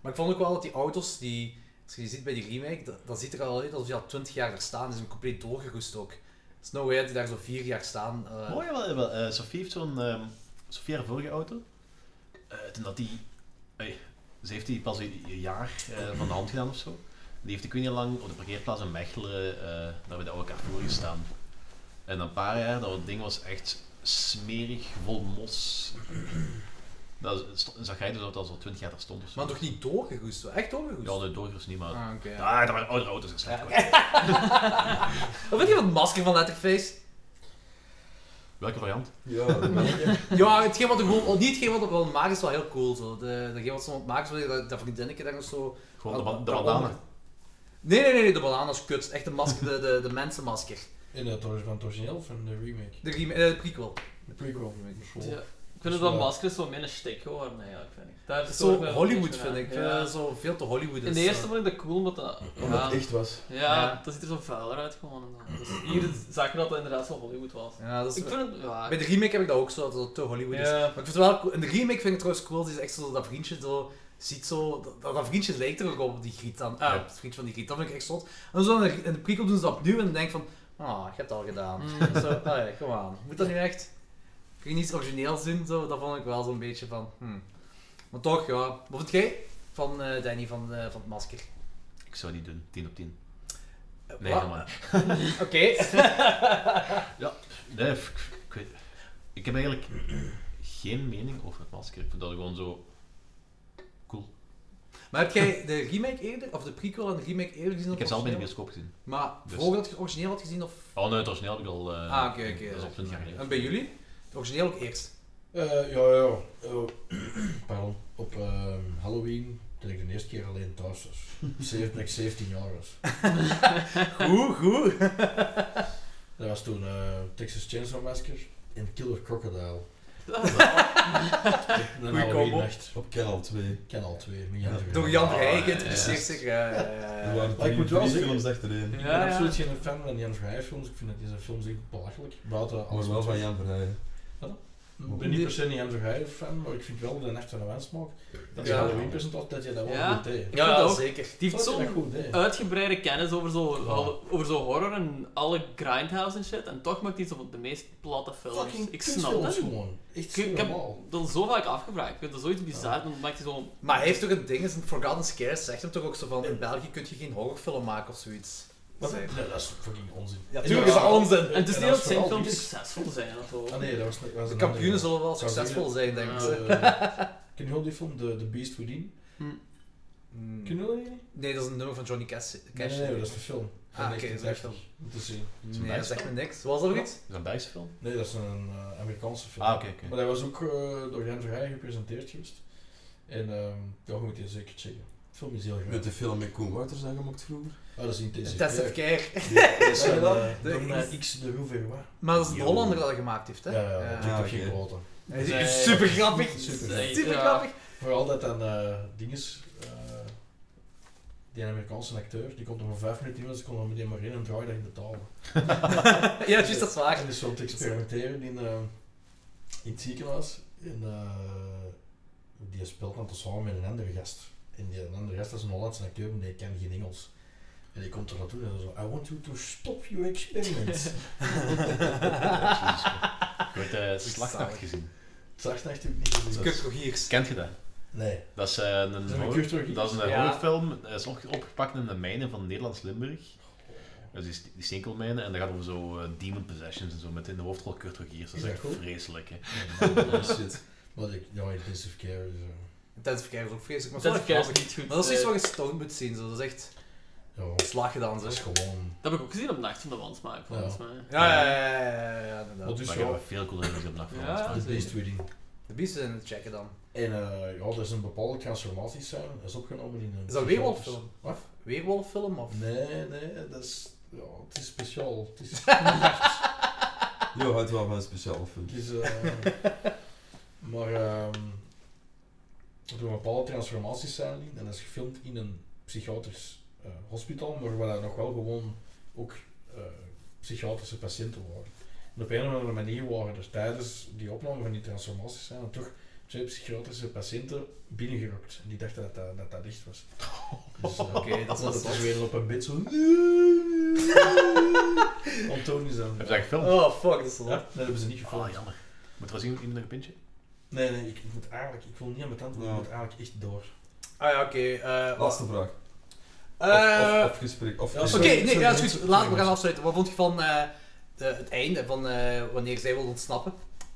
E: Maar ik vond ook wel dat die auto's, die, als je die ziet bij die remake, dat, dat ziet er al uit alsof die al 20 jaar er staan. Die zijn compleet doorgeroest ook. Het is no way dat die daar zo vier jaar staan. eh.
C: Mooi wel, wel. Eh, Sophie heeft zo'n... ehm Sophie haar vorige auto. eh, toen dat die... ey, ze heeft die pas een een jaar eh, van de hand gedaan of zo. Die heeft ik weet niet lang op de parkeerplaats in Mechelen, eh, daar bij de oude Carrefour gestaan. En na een paar jaar, dat ding was echt smerig, vol mos. Dat is- sto- zag jij dus dat dat al 20 jaar daar stond of zo.
E: maar toch niet doorgeroest, zo. echt doorgeroest.
C: Ja, de doorgers niet, maar...
E: Ah, oké. ja.
C: Ah, daar waren oudere auto's geslecht.
E: Wat vind je van het masker van Letterface?
C: Welke variant?
D: Ja, ja.
E: Ja, hetgeen wat er gewoon, niet hetgeen wat er wel maakt is wel heel cool. Zo. De, degene wat ze ontmaakt, dat, dat vriendinnetje daar nog zo.
C: Gewoon de, ba- de
E: Dat- dat
C: bandana.
E: onder- Nee, nee, nee, nee, de banaan is kut. Echt de masker, de, de, de mensenmasker.
G: In het ori- van het origineel of in de remake?
E: De, rem- eh, de prequel.
G: De prequel.
H: Ja. Ik vind het
G: Dus,
H: dat
G: eh,
H: maskers zo minder stik geworden eigenlijk, vind ik. Daar
E: Dat is
H: stoor ik
E: zo
H: me
E: Hollywood,
H: een beetje
E: vind ik. Ik
H: aan.
E: vind
H: Ja.
E: dat zo veel te Hollywood is.
H: In de eerste
E: zo.
H: vond ik dat cool, omdat dat...
D: Omdat
H: ja.
D: het echt was.
H: Ja,
E: Ja.
H: dat ziet er zo vuiler uit gewoon. en dan. Dus hier zag ik dat dat inderdaad zo Hollywood was.
E: Ja, dat is...
H: Ik vind het... Ja,
E: Bij de remake heb ik dat ook zo, dat het te Hollywood is.
H: ja.
E: Maar ik vind het wel cool. In de remake vind ik het trouwens cool, dat je echt zo dat vriendje zo ziet zo... Dat, dat vriendje lijkt er ook op, die griet dan. Ah,
F: Ja.
E: het vriendje van die griet, dat vind ik echt zot. En zo in de, in de prequel doen ze dat opnieuw en dan denk ik van... Ah, je hebt het al gedaan.
H: Mm.
E: zo, ah ja, kom aan. Moet dat nu echt... Kun je niets origineels doen, zo? Dat vond ik wel zo'n beetje van... hmm. Maar toch, ja. Wat vond jij van eh, Danny van, eh, van het masker?
F: Ik zou niet doen, 10 op 10.
E: Eh,
F: Nee,
E: wat?
F: helemaal niet.
E: Oké.
F: Nee, f- ik, ik weet- ik heb eigenlijk geen mening over het masker. Ik vind dat gewoon zo.
E: Maar heb jij de remake eerder, of de prequel en de remake eerder gezien? dan
F: Ik heb ze allebei in de
E: origineel?
F: bioscoop gezien.
E: Maar
F: Dus-
E: voordat je het origineel had gezien, of...
F: Oh nee, het origineel heb ik al. eh,
E: Ah, oké, oké.
F: Dat is al 20 jaar geleden.
E: En bij jullie? Het origineel ook eerst.
G: Eh, ja, ja. eh, pardon. Op ehm, Halloween toen ik de eerste keer alleen thuis was. Zeven- toen ik 17 jaar was.
E: Goed, goed.
G: Dat was toen eh, Texas Chainsaw Massacre en Killer Crocodile. Een
E: Goeie
G: Halloween
E: combo.
G: nacht.
D: Op Kanaal 2.
G: Ik ken al twee. met
D: Ja.
G: Jan
E: Door Jan
G: Verheyen.
E: Vrij
F: ja,
E: geïnteresseerd
F: ja.
E: zich. ja, ja, ja.
D: Er waren
G: Ah, Maar ik
D: drie,
G: moet wel
D: drie
G: zeggen-
D: films achtereen.
G: Ik
H: Ja,
G: ben
H: ja.
G: absoluut geen fan van Jan Verheyen films. Ik vind dat deze films echt belachelijk. Buiten alles
D: Maar
G: wat-
D: wel van Jan Verheyen.
G: Ik ben niet per se een Jan Verheyen fan, maar ik vind wel de Nacht van de Wensmaak. Dat is
E: Ja.
G: Halloween presentatie, dat je dat wel
H: Ja. Eh,
G: goed deed.
E: Ja,
H: dat
E: ja,
H: ook.
E: zeker.
H: Die
G: Dat
H: heeft
G: je
H: zo'n
G: dat goed deed.
H: uitgebreide kennis over zo,
G: Ja.
H: over zo horror en alle grindhouse en shit. En toch maakt hij zo de meest platte films.
G: Fucking
H: ik snap
G: kutfilms
H: het.
G: gewoon. Echt
H: Ik, ik heb
G: normaal.
H: dat zo vaak afgevraagd. Ik vind dat zoiets bizar, dan maakt hij zo'n...
E: Maar hij heeft toch een ding, is een Forgotten Scares zegt hem toch ook zo van, in België kun je geen horrorfilm maken of zoiets.
G: Wat?
E: Zei hij.
G: Nee, dat is fucking onzin.
E: Ja,
G: En
E: tuurlijk
G: dat
E: is dat onzin.
H: En het is
G: en
H: niet
G: dat
H: dat zijn
G: vooral
H: films
G: dit-
H: succesvol zijn of zo.
G: Ah nee, dat was, dat was
E: De
G: een
E: kampioenen
G: andere.
E: zullen wel succesvol zijn, denk ik.
H: Ja.
G: Eh, Ken je wel die film, The, The Beast Within?
E: Hmm.
G: Ken je dat niet?
E: Nee, dat is een nummer van Johnny Cash.
G: Nee,
E: Cash.
G: nee, nee, dat is een film. Van
E: Ah, oké, dat is een
G: 1930.
E: film.
G: Moet je zien.
E: Nee, dat zegt me niks. Was dat ook iets?
F: Is dat een Belgische film?
G: Nee, dat is een eh, Amerikaanse film.
F: Ah, oké, oké.
G: Maar dat was ook eh, door Jan Verheij gepresenteerd geweest. En ehm ja, je moet die zeker checken. De film is heel
D: Met
G: goed.
D: de film met Koen Wouters aangemaakt vroeger.
G: Ah, dat is intensief.
E: Intensive
G: Ja.
E: Care.
G: Dat is
D: Zeg je
G: een,
D: dat?
G: eh,
E: De-
G: Domna X de Rouverois.
E: Maar dat is een
D: Yo.
E: Hollander dat dat gemaakt heeft, hè?
G: Ja, ja, dat
D: Ja,
G: doet toch geen
D: oké.
G: kloten.
E: Hij is
H: Nee.
E: Super grappig.
G: Super
H: grappig.
E: Super
H: Ja.
E: grappig.
G: Vooral dat dan eh dinges, eh, die Amerikaanse acteur, die komt er maar vijf minuten in, dus ik kon er meteen maar in en draaide dat in de taal.
E: Ja, juist, dat is waar.
G: En dus zo te experimenteren in, eh, in het ziekenhuis. En eh, die speelt dan samen met een andere gast. En die andere gast is een Hollandse acteur, maar die kan geen Engels. En die komt er naartoe en zo, I want you to stop your experiment.
F: Ik weet eh Slagnacht gezien.
G: Zacht echt ook niet gezien.
E: Kurt Rogiers.
F: Kent je dat?
G: Nee.
F: Dat is eh, een,
G: is een
F: horror-
G: cultuur-
F: dat is een
E: Ja.
F: horrorfilm. Dat is opge- opgepakt in de mijnen van Nederlands Limburg. Dat is die- die steenkoolmijnen en dat gaat over zo eh, demon possessions en zo met in de hoofdrol Kurt Rogiers. Dat is
G: Is dat
F: echt
G: goed?
F: vreselijk. Hè.
D: Oh shit.
G: Maar ik, ja, intensive care is... eh,
E: Intensive Care is ook vreselijk, maar
H: Dat
E: dat
H: is
E: is grappig.
H: niet goed.
E: Maar dat is iets
H: eh,
E: wat je stoned moet zien, zo. dat is echt
G: ja,
E: slag gedaan. Zo.
G: dat is gewoon...
H: Dat heb ik ook gezien op Nacht van de Wand maken, volgens mij.
E: Ja, ja, ja, ja, ja, ja, inderdaad.
G: Wat is
F: Maar ik
G: zo?
F: heb veel coole dingen op nacht van
H: Ja,
F: Hans
G: The
F: gemaakt.
G: Beast Within.
E: De biesten zijn het checken dan.
G: En eh, ja, er is een bepaalde transformatiescène, dat is opgenomen in een...
E: Is dat een weerwolffilm?
G: Wat?
E: Weerwolffilm of?
G: Nee, nee, dat is... Ja, het is speciaal. Het is...
D: Jo, houdt wel van een speciale film.
G: het is eh, maar ehm er een bepaalde transformatiescène in en dat is gefilmd in een psychiatrisch eh, hospitaal, maar waar daar nog wel gewoon ook eh, psychiatrische patiënten waren. En op een of andere manier waren er tijdens die opname van die transformatiescène toch twee psychiatrische patiënten binnengerokt. En die dachten dat dat, dat, dat echt was. Dus, eh,
E: Oké, dat is wel zot.
G: dat was weer op een bed zo. Antonius dan.
F: Heb je dat gefilmd?
E: Oh fuck, dat is
G: Ja,
E: wel.
G: nee, dat hebben ze niet gefilmd.
F: Oh, jammer. Moet er wel zien iemand nog een pintje?
G: Nee, nee, ik moet eigenlijk, ik wil niet aan mijn tand, ik
D: Ja.
G: moet eigenlijk echt door.
E: Ah ja, oké. eh,
D: Laatste vraag.
E: eh,
D: Of, of, of gesprek. Of
G: Ja,
E: Oké,
G: sorry.
E: nee, ja, is goed.
G: sorry,
E: Laten we gaan
G: mensen.
E: afsluiten. Wat vond je van eh, de- het einde, van eh, wanneer zij wil ontsnappen?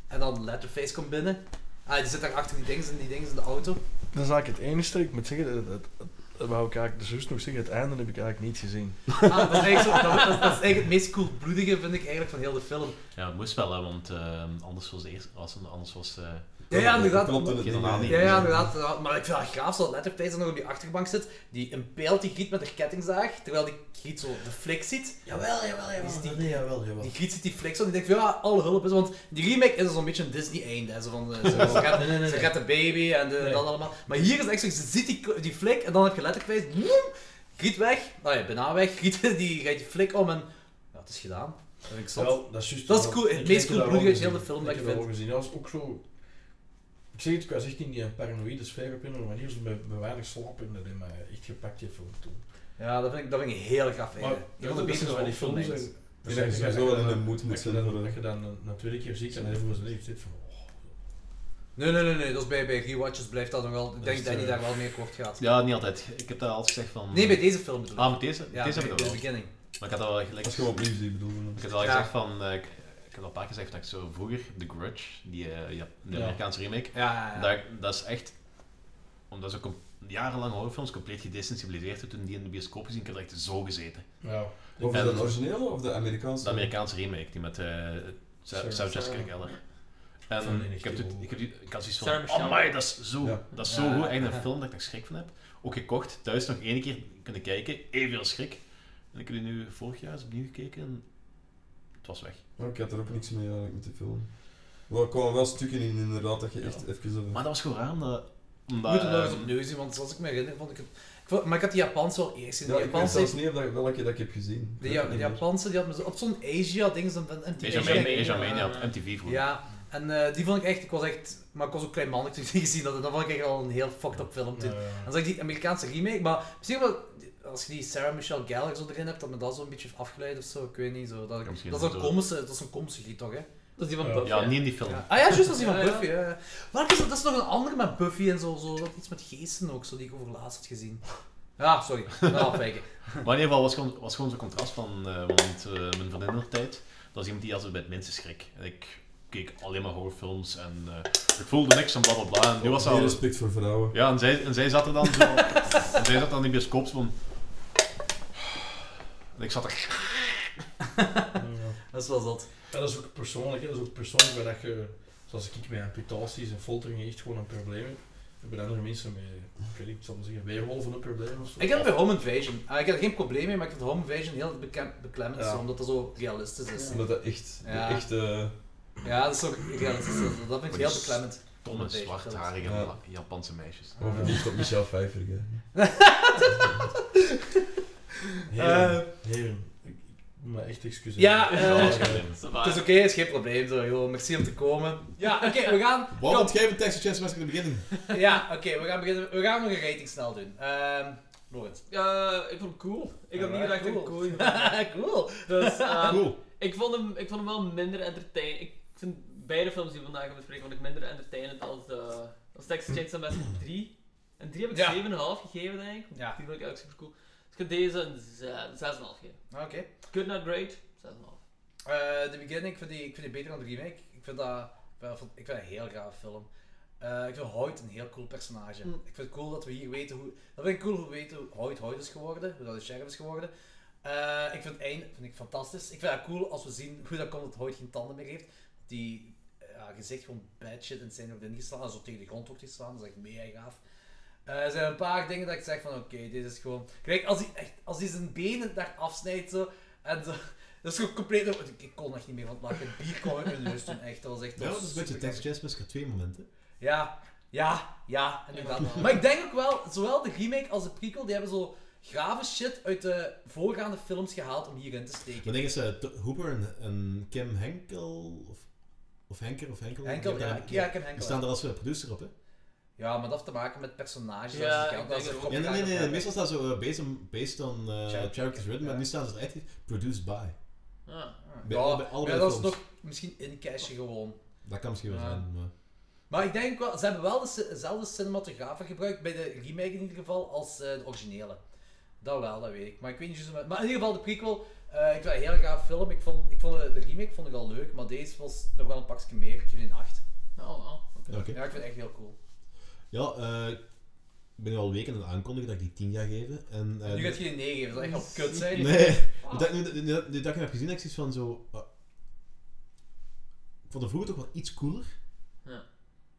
E: En dan Letterface komt binnen. Ah, die zit daar achter die dingen en die dingen in de auto.
G: Dat is eigenlijk het enige, ik moet zeggen, het, het, het
L: Dat wou ik eigenlijk de zus nog zeggen. Het einde heb ik eigenlijk niet gezien.
E: Ah, dat, is eigenlijk zo, dat, dat- dat is eigenlijk het meest koelbloedige, vind ik eigenlijk, van heel de film.
F: Ja, het moest wel, hè, want ehm, anders was de eerste... Als, anders was... eh,
E: Ja, ja, inderdaad.
D: Klopt in het ding,
F: Ja,
D: hè.
E: Ja, ja, inderdaad. inderdaad. Maar ik vind dat gaaf, zo lettertijd nog op die achterbank zit, die een pijl die Griet met haar kettingzaag, terwijl die Griet zo de flik ziet.
G: Jawel, jawel,
E: Is
G: jawel.
E: die-
G: Nee, jawel,
E: Die
G: jawel.
E: Griet ziet die flik zo en die denkt, ja, alle hulp is, want die remake is zo'n beetje een Disney-einde. hè, Zo van, eh, zo, ze gaat-
G: Nee, nee, nee,
E: ze
G: nee.
E: gaat de baby en de,
G: Nee.
E: dat allemaal. Maar hier is echt zo, ze ziet die, die flik en dan heb je letterlijk woem, Griet weg, nou ja, bijna weg, Griet die gaat die flik om en ja, het is gedaan. Dat vind ik zot.
G: Wel, dat is juist.
E: Dat is
G: wel-
E: cool. Het
G: ik
E: meest
G: heb
E: cool
G: dat wel
E: bloedige
G: gezien.
E: hele film dat ik
G: heb
E: vind.
G: wel gezien. Dat was ook zo... Ik zeg het, ik was echt in die paranoïde sfeer op een of andere manier. Ze bij, bij weinig slaap in dat heeft mij echt gepakt heeft film toen.
E: Ja, dat vind ik, dat vind ik heel gaaf.
G: Maar
E: eigenlijk.
G: ja,
E: Een van de
G: dat is
E: betere
G: wel die
E: film,
G: films.
E: denk
G: en-
E: ik.
D: Dus dat je sowieso wel in de moed moet
G: dat je
D: zijn
G: dan-
D: voor- eh,
G: Dat je dan een- na twee keer ziet en even voor zijn leven zit van... oh,
E: Nee, nee, nee, nee. Dat is bij, bij rewatches blijft dat nog wel. Ik
G: Dat
E: denk
G: is,
E: dat hij
G: eh,
E: daar wel mee kort gaat.
F: ja, niet altijd. Ik heb dat altijd gezegd van...
E: Nee, bij deze film bedoel ik.
F: Ah, met deze?
E: ja,
F: deze heb ik
E: bij, bij
F: al
E: de
F: wel.
E: beginning.
F: Maar ik had al gelijk...
D: Dat is gewoon opnieuw zie, ik bedoel.
F: Ik had al
E: Ja.
F: gezegd van... eh, ik, ik had al een paar keer gezegd dat ik zo vroeger The Grudge, die eh, ja, de
G: Ja.
F: Amerikaanse remake,
E: Ja, ja, ja.
F: dat, ik- dat is echt... Omdat ze com- jarenlang horrorfilms compleet gedesensibiliseerd hebben toen die in de bioscoop gezien, ik heb er echt zo gezeten.
G: Ja.
D: Of
F: En-
D: de originele of de Amerikaanse?
F: De Amerikaanse remake, die met eh Sarah,
G: Sarah-
F: Sarah Jessica
G: Sarah-
F: Gellar.
G: Van
F: En
G: Enig
F: ik, heb
G: Duo.
F: dit, ik, heb dit, ik had zoiets
H: Sarah
F: van,
H: Michelle.
F: oh my, dat is zo,
D: Ja.
F: dat is zo
E: Ja.
F: goed. Echt een film dat ik daar schrik van heb. Ook gekocht, thuis nog één keer kunnen kijken, evenveel schrik. En ik heb die nu vorig jaar eens opnieuw gekeken en het was weg.
D: Oh, ik had er ook niks mee eigenlijk met die film. Wel, er kwamen wel stukken in inderdaad dat je
F: Ja.
D: echt even... zo-
F: Maar dat was gewoon raar, omdat...
E: We
F: omdat
E: moeten nog
F: ehm,
E: eens opnieuw zien, want zoals ik me herinner, vond ik het... Ik vond- maar ik had die Japanse wel eerst gezien.
D: Ja,
E: Die
D: ik weet
E: Japanse,
D: zelfs niet of dat, welke dat ik heb gezien.
E: de, Ja-
D: Ik weet
E: de
D: het niet meer.
E: Japanse, die had me zo... Op zo'n Asia-ding, zo'n
F: Asia
E: MTV.
H: Asian
F: Mania
H: Mania,
F: Asian Mania
H: eh,
F: op MTV vroeger.
E: Ja. En eh, die vond ik echt... Ik was echt... Maar ik was ook klein man, ik heb die gezien. Dat, dat vond ik echt al een heel fucked up film toen.
G: eh,
E: Dan zag ik die Amerikaanse remake, maar misschien wel, als je die Sarah Michelle Gellar zo erin hebt, dat me dat zo'n beetje heeft afgeleid of zo, ik weet niet. Zo. Dat,
F: Ja, misschien
E: dat is een
F: zo.
E: komische, dat is een komische griet toch, hè?
H: Dat is die van
G: Ja.
H: Buffy.
F: Ja,
H: hè?
F: niet in die film.
E: Ja. Ah ja, juist, dat is die van
H: Ja, ja.
E: Buffy, ja. ja. Welke is dat? Dat is nog een andere met Buffy en zo, zo dat, iets met geesten ook, zo die ik over laatst had gezien. Ja, sorry, nou afwijken.
F: Maar in ieder geval was gewoon, was gewoon zo'n contrast van, eh, want eh, mijn vriendin in haar tijd, dat was iemand die altijd bij het minste schrik. En ik keek alleen maar horrorfilms en eh, ik voelde niks en bla bla bla. En nu was ze
C: Oh,
D: Meer
F: al...
D: respect voor vrouwen.
F: Ja, en zij, en zij zat er dan zo... en zij zat dan in de bioscoop zo van... En ik zat er...
G: ja.
E: Dat is wel zot.
G: Ja, dat is ook persoonlijk. Hè. Dat is ook persoonlijk waar dat je, zoals ik met amputaties en folteringen echt gewoon een probleem heb. Hebben andere mensen met, ik weet niet, ik zal maar zeggen, weerwolven een probleem of zo.
E: Ik heb het bij Home Invasion. Ah, ik heb er geen probleem mee, maar ik vind Home Invasion heel beke- beklemmend,
G: Ja.
E: zo, omdat dat zo realistisch is.
D: Omdat dat echt...
E: Ja.
D: echt eh,
E: Ja, dat is ook realistisch. Dat- Dat vind ik
F: Maar
E: heel
F: die
E: beklemmend.
F: Domme, zwartharige
D: Ja.
F: La- Japanse meisjes.
D: Gewoon verliefd op Michelle Pfeiffer. hè.
G: Heren,
E: Eh.
G: heren, ik ik moet me echt excuseren.
E: Ja, eh,
F: Ja, dat is
G: eh,
F: geen
H: Dat is waar.
E: Het is oké, het is geen probleem zo, joh. Merci om te komen. Ja, oké, we gaan...
C: Wat? Geef een tekst chance in het begin.
E: Ja, oké, we gaan beginnen. We gaan nog een rating snel doen. Ehm Lorenz.
H: Eh, ik vond hem cool. Ik had niet
E: Alright,
H: gedacht dat ik hem
E: cool.
H: cool ging vinden.
E: cool.
H: Dus, ehm,
C: Cool.
H: ik, vond hem, ik vond hem wel minder entertainend. Ik vind beide films die we vandaag gaan bespreken, vond ik minder entertainend als, de, als Texas Chainsaw Massacre 3. En 3 heb ik
E: Ja.
H: 7,5 gegeven, denk ik.
E: Ja.
H: Die vond ik eigenlijk super cool. Dus ik heb deze een ze- 6,5 gegeven.
E: Oké.
H: Good Not Great, 6,5.
E: Eh, de beginning, ik vind, die, ik vind die beter dan de remake. Ik vind dat... Ik vind, ik vind dat een heel gaaf film. Eh, ik vind Hoyt een heel cool personage.
H: Mm.
E: Ik vind het cool dat we hier weten hoe... Dat vind ik cool hoe we weten hoe Hoyt Hoyt is geworden. Hoe dat de sheriff is geworden. Eh, ik vind het einde vind ik fantastisch. Ik vind het cool als we zien hoe dat komt dat Hoyt geen tanden meer heeft. Die ja, gezicht gewoon bad shit in zijn wordt ingeslaan. En zo tegen de grond wordt geslaan. Dat is echt mega gaaf. Eh, er zijn een paar dingen dat ik zeg van oké, dit is gewoon... Kijk, als hij, echt, als hij zijn benen daar afsnijdt zo... En zo... Dat is gewoon compleet... Ik, ik kon echt niet meer van het lachen. Bier kwam uit mijn neus toen echt. Dat was echt...
C: Ja, dat is een beetje
E: supergaaf.
C: Texas Chainsaw Massacre 2 momenten.
E: Ja, ja, ja, inderdaad. Maar ik denk ook wel, zowel de remake als de prequel, die hebben zo grave shit uit de voorgaande films gehaald om hierin te steken.
C: Maar denk eens, eh, To- Hooper en, en Kim Henkel, of, of Henker, of Henkel.
E: Henkel,
C: Die
E: ja,
C: hebben
E: ik,
C: daar-
E: ja, ik heb
C: Die
E: Henkel.
C: staan er als eh, producer op, hè?
E: Ja, maar dat heeft te maken met personages.
H: Ja,
E: dat is niet geld,
H: ik denk
E: dat is
H: het
E: een
H: ook.
C: Ja, nee, nee, nee.
E: kopje-
C: Meestal staan ze eh, based on, based on eh,
E: Characters.
C: characters written, maar
E: Ja.
C: nu staan ze echt produced by.
H: Ah.
C: Bij
E: ja,
C: alle- bij allebei
E: ja, dat is
C: films.
E: nog misschien in cashje gewoon.
C: Dat kan misschien wel
E: Ja.
C: zijn, maar...
E: Maar ik denk wel, ze hebben wel de ci- dezelfde cinematografen gebruikt, bij de remake in ieder geval, als eh, de originele. Dat wel, dat weet ik. Maar ik weet niet juist hoe- Maar in ieder geval, de prequel, eh, ik vind het een heel gaaf film. Ik vond, ik vond de, de remake vond ik al leuk, maar deze was nog wel een pakje meer. Ik geef die een 8.
H: Oh, wow.
C: Oké.
E: Ja, ik vind het echt heel cool.
C: Ja, eh, ben nu al weken aan het aankondigen dat ik die 10 ga geven. En, eh,
E: Nu gaat Ah. je die 9 geven, dat zou echt al kut zijn.
C: Nee, nu dat, nu, nu, nu dat- nu dat ik hem heb gezien, heb ik zoiets van zo... eh, ik vond hem vroeger toch wel iets cooler.
H: Ja.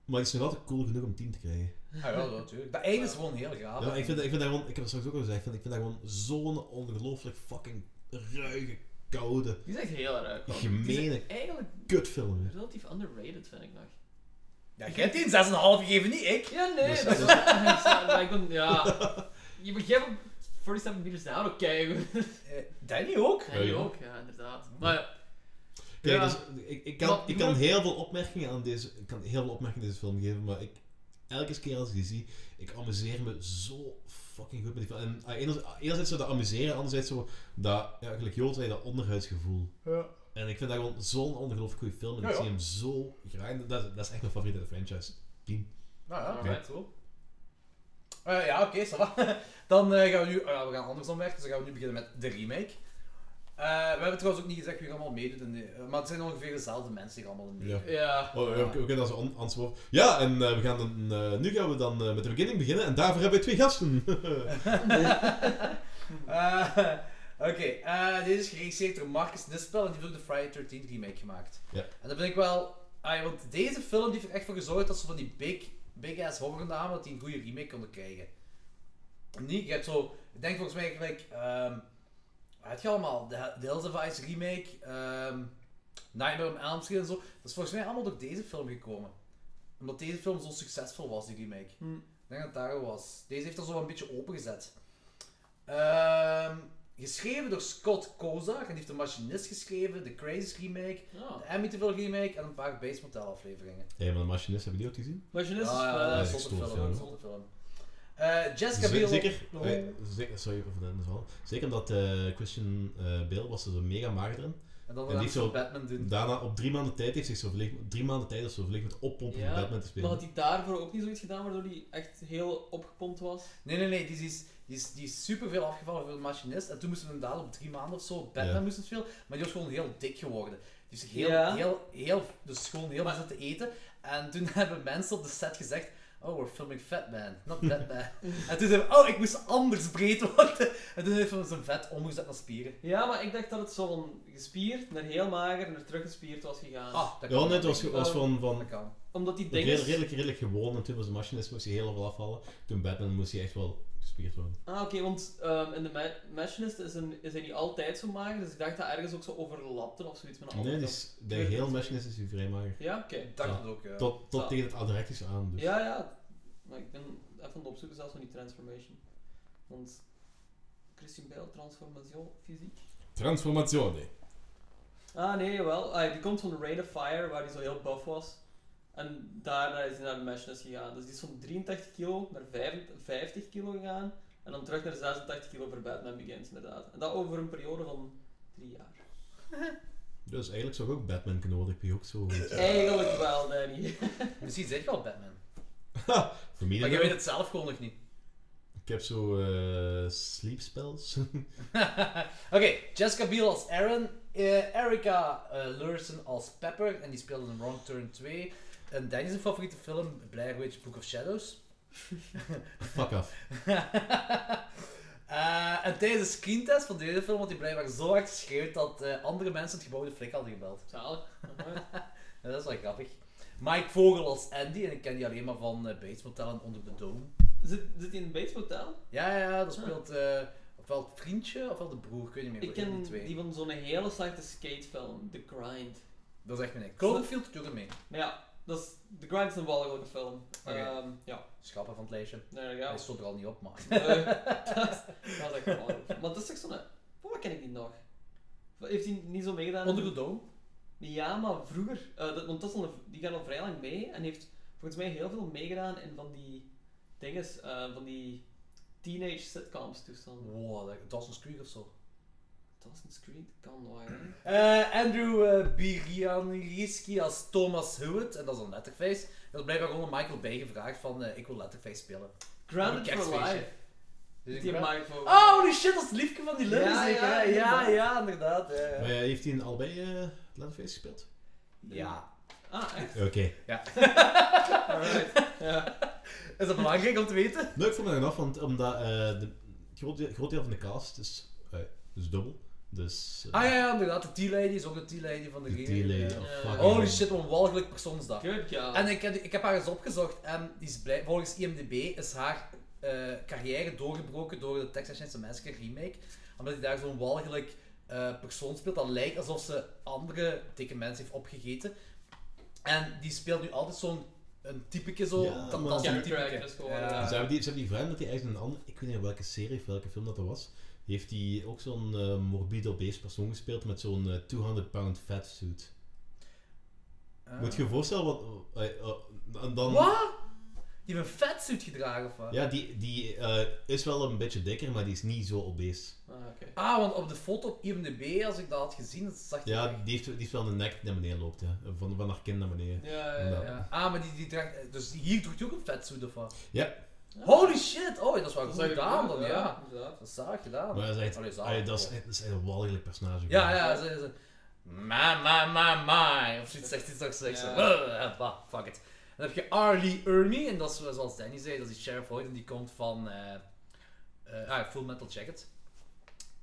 C: Maar het is nog altijd cool genoeg om 10 te krijgen.
E: Ah ja, dat natuurlijk. Dat einde is gewoon heel gaaf.
C: Ja, maar ik vind, ik vind dat gewoon... Ik heb het straks ook al gezegd, ik vind, ik vind dat gewoon zo'n ongelooflijk fucking ruige, koude,
H: Die is echt heel raar. Die
C: gemene
H: is eigenlijk
C: kutfilm. hè.
H: relatief underrated, vind ik nog.
E: Ja, jij hebt die een 6,5 gegeven, niet ik.
H: Ja, nee,
C: Dus-
H: dat is waar. Ik ben- Ja. Je begrijpt ook 47 meters down ook keigoed.
E: Eh, Danny ook.
H: Ja, je
C: ja.
H: ook, ja, inderdaad. Maar
C: Kijk,
H: Ja.
C: dus, ik, ik kan,
H: Maar-
C: ik kan heel veel opmerkingen aan deze, ik kan heel veel opmerkingen aan deze film geven, maar ik, elke keer als ik die zie, ik amuseer me zo fucking goed met die film. En ah, enerzijds, enerzijds zo dat amuseren, anderzijds zo dat, ja, gelijk Jood zei, dat onderhuidsgevoel. En ik vind dat gewoon zo'n ongelooflijk goede film en
G: Ja,
C: ik
G: ja.
C: zie hem zo graag. Dat, dat is echt mijn favoriete uit de franchise.
E: Nou ja,
H: Alright.
E: goed, cool. Eh, ja, oké, ça va. Dan eh, gaan we nu, ah ja, we gaan andersom werken, dus dan gaan we nu beginnen met de remake. Eh, we hebben trouwens ook niet gezegd wie er allemaal meedoet, in de- eh, maar het zijn ongeveer dezelfde mensen die er allemaal in meedoen.
C: Ja.
H: ja.
C: Oh, eh, oké, oké, dat is een an- antwoord. Ja, en eh, we gaan dan, eh, nu gaan we dan eh, met de beginning beginnen en daarvoor hebben we twee gasten.
E: Eh, Oké, eh, deze is geregisseerd door Marcus Dispel en die heeft ook de Friday 13 remake gemaakt.
C: Ja.
E: En dat vind ik wel... ah, want deze film die heeft er echt voor gezorgd dat ze van die big, big ass horrornamen dat die een goede remake konden krijgen. Niet, je hebt zo... Ik denk volgens mij gelijk... ehm wat heb je allemaal? De, de Hills of Ice remake, ehm, Nightmare on Elm Street en zo. Dat is volgens mij allemaal door deze film gekomen. Omdat deze film zo succesvol was, die remake.
H: Hm.
E: Ik denk dat het daarom was. Deze heeft dat zo wel een beetje opengezet. Ehm, geschreven door Scott Kozak. En die heeft de Machinist geschreven, de Crazy remake,
H: Ja.
E: de Amityville remake en een paar Bates Motel afleveringen.
C: Hé, maar de machinist, hebben jullie ook gezien?
H: Maar je is...
E: Ah,
H: eh,
E: ja,
C: dat is
E: zotte
C: een stomme
E: film.
C: film.
E: zotte film. Eh, Jessica
C: Ze-
E: Biel.
C: Zeker,
E: Oh.
C: eh, zeker, sorry voor de inval. Zeker omdat eh, Christian eh Bale was er zo mega mager in.
E: En dan
C: en
E: gaan
C: die
E: ze
C: zo-
E: Batman doen.
C: Daarna op drie maanden tijd heeft zich zo verlegd, drie maanden tijd of zo verlegd met oppompen
H: Ja,
C: van Batman te
H: maar
C: spelen.
H: had hij daarvoor ook niet zoiets gedaan waardoor hij echt heel opgepompt was?
E: Nee, nee, nee. Die is, die is, die is superveel afgevallen voor de machinist. En toen moesten we inderdaad op drie maanden of zo. Batman
C: Ja.
E: moest het veel. Maar die was gewoon heel dik geworden. Die is zich heel,
H: Ja.
E: heel, heel, dus gewoon heel veel zitten eten. En toen hebben mensen op de set gezegd... Oh, we're filming Fat Man, not Batman. en toen zei hij, oh, ik moest anders breed worden. En toen heeft hij zijn vet omgezet naar spieren.
H: Ja, maar ik dacht dat het zo van gespierd naar heel mager naar teruggespierd was gegaan.
E: Ah, dat kan.
C: Ja, net was, was
E: Dat
C: van, van
E: kan.
H: Omdat die dingen...
C: redelijk, redelijk, redelijk gewoon en toen was de machinist moest hij heel veel afvallen. Toen Batman moest hij echt wel gespierd worden.
H: Ah, oké, want ehm, in de Ma- Machinist is, een, is hij niet altijd zo mager, dus ik dacht dat ergens ook zo overlapte of zoiets met een
C: Nee,
H: andere
C: die
H: film.
C: is, de hele machinist is hij vrij mager.
H: Ja, oké.
E: Ik dacht
C: Ja.
E: het ook, ja.
C: Tot,
H: Ja.
C: tot tegen het adrectisch aan. Dus.
H: Ja, ja. Maar ik ben even aan het opzoeken zelfs van die transformation. Want Christian Bale, transformation, fysiek.
C: Transformazione.
H: Ah nee, wel. Ah, die komt van de Rain of Fire, waar hij zo heel buff was. En daarna is hij naar de Machinist gegaan. Dus die is van 83 kilo naar 55 kilo gegaan. En dan terug naar 86 kilo voor Batman Begins, inderdaad. En dat over een periode van drie jaar.
C: Dus eigenlijk zou ik ook Batman kunnen worden, ik ben ook zo goed.
E: Eh.
H: Eigenlijk wel, Danny.
E: Misschien zit je al Batman.
C: Voor mij
E: Maar je
C: dan-
E: weet het zelf gewoon nog niet.
C: Ik heb zo eh sleep spells.
E: Oké, Jessica Biel als Aaron, eh, Erica eh Lursen als Pepper, en die speelde in Wrong Turn 2. En Danny's een favoriete film, Blair Witch Book of Shadows.
C: Fuck af.
E: Eh, en tijdens de screentest van deze film had hij blijkbaar zo hard geschreeuwd dat eh, andere mensen het gebouw de flik hadden gebeld.
H: Zalig. Alright.
E: Ja, dat is wel grappig. Mike Vogel als Andy, en ik ken die alleen maar van eh, Bates Motel en Onder de Dome.
H: Zit, zit hij in een Bates Motel?
E: Ja, ja, dat speelt eh, ofwel het vriendje ofwel de broer, ik weet niet meer.
H: Ah. Ik
E: één van
H: ken
E: de twee.
H: die van zo'n hele slechte skatefilm, The Grind.
E: Dat is echt mijn Cloverfield doet er mee.
H: Maar ja, dat is, The Grind is een walgelijke film.
E: Oké.
H: Ehm, ja,
E: Schappen van het lijstje.
H: there you
E: Hij
H: go.
E: stond er al niet op, maar...
H: Eh, dat is- dat is echt wel. Maar dat is toch zo'n. Wat ken ik die nog? Heeft hij niet zo meegedaan?
E: Onder de Dome?
H: Ja, maar vroeger. eh, dat, want dat is al een- die gaat al vrij lang mee en heeft volgens mij heel veel meegedaan in van die dinges, eh, van die teenage sitcoms toestanden.
E: Wow, dat- Dawson's Creek of zo.
H: Dawson's Creek kan nog. hè.
E: Eh, Andrew eh Birianski als Thomas Hewitt, en dat is een letterface. Dat is blijkbaar gewoon aan Michael Bay gevraagd van, eh, ik wil letterface spelen.
H: Grounded
E: Een
H: for
E: kerstfeestje.
H: Life.
E: Dus ik
H: Die
E: ben-
H: maakt voor.
E: Oh, die shit, dat is het liefje van die Lily
H: Ja,
E: zeker,
H: ja,
E: hè? ja, ja,
H: inderdaad.
E: inderdaad. Ja, ja.
C: Maar eh, heeft hij in allebei eh Leatherface gespeeld?
E: Ja.
H: Ah, echt?
C: Oké.
E: Ja.
H: Alright. Ja.
E: Het Is dat belangrijk om te weten?
C: Nee, Nou, ik vond het af, want omdat eh de groot deel, groot deel van de cast is, eh, is dubbel. Dus. eh,
E: Ah ja, ja inderdaad. De T-lady is ook de T-lady van de
C: De oh,
E: game.
C: delay.
E: Ja.
C: of fucking-
E: Holy shit, wat een walgelijk persoonsdag.
H: Good god.
E: En ik heb, ik heb haar eens opgezocht en die is blij, volgens IMDb is haar eh, carrière doorgebroken door de Texas Chainsaw Massacre remake. Omdat hij daar zo'n walgelijk eh, persoon speelt dat lijkt alsof ze andere dikke mensen heeft opgegeten. En die speelt nu altijd zo'n een typeke zo.
C: Ja,
E: dat,
C: maar-
E: dat is een
H: Character
E: typeke.
H: actress gewoon,
E: Ja.
C: Ze hebben die, ze hebben die vrouw dat die eigenlijk in een andere, ik weet niet welke serie of welke film dat dat was, heeft die ook zo'n eh, morbide obese persoon gespeeld met zo'n eh, 200 pound fatsuit.
E: Ah.
C: Moet je je voorstellen wat... eh, eh, en dan,
E: Wat? Die heeft een vetsuit gedragen of wat?
C: Ja, die, die eh, is wel een beetje dikker, maar die is niet zo obese.
H: Ah, oké.
E: Ah, want op de foto op IMDb, als ik dat had gezien, dat zag je
C: Ja, die heeft, die heeft wel een nek die naar beneden loopt, ja. van, van haar kin naar beneden.
H: Ja, ja, ja.
E: Ja. Ah, maar die, die draagt... Dus hier doet hij ook een vetsuit of wat?
C: Ja,
E: Holy shit! Oh, dat is wel
H: Dat
E: goed
H: is eigenlijk
E: gedaan
H: goed,
E: dan, ja.
H: inderdaad.
E: Dat is zalig gedaan.
C: maar dat is echt,
E: Allee, zalig.
C: allee, dat is, dat is echt een walgelijk personage.
E: Ja, ja, ze... ze ma, ma, ma, ma. Of zoiets zegt hij toch zo. ik zo,
H: Ja.
E: "Ugh, ah, bah, fuck it. Dan heb je Arlie Ermy, en dat is zoals Danny zei, dat is die Sheriff Hoyt, en die komt van... eh eh, ah, Full Metal Jacket.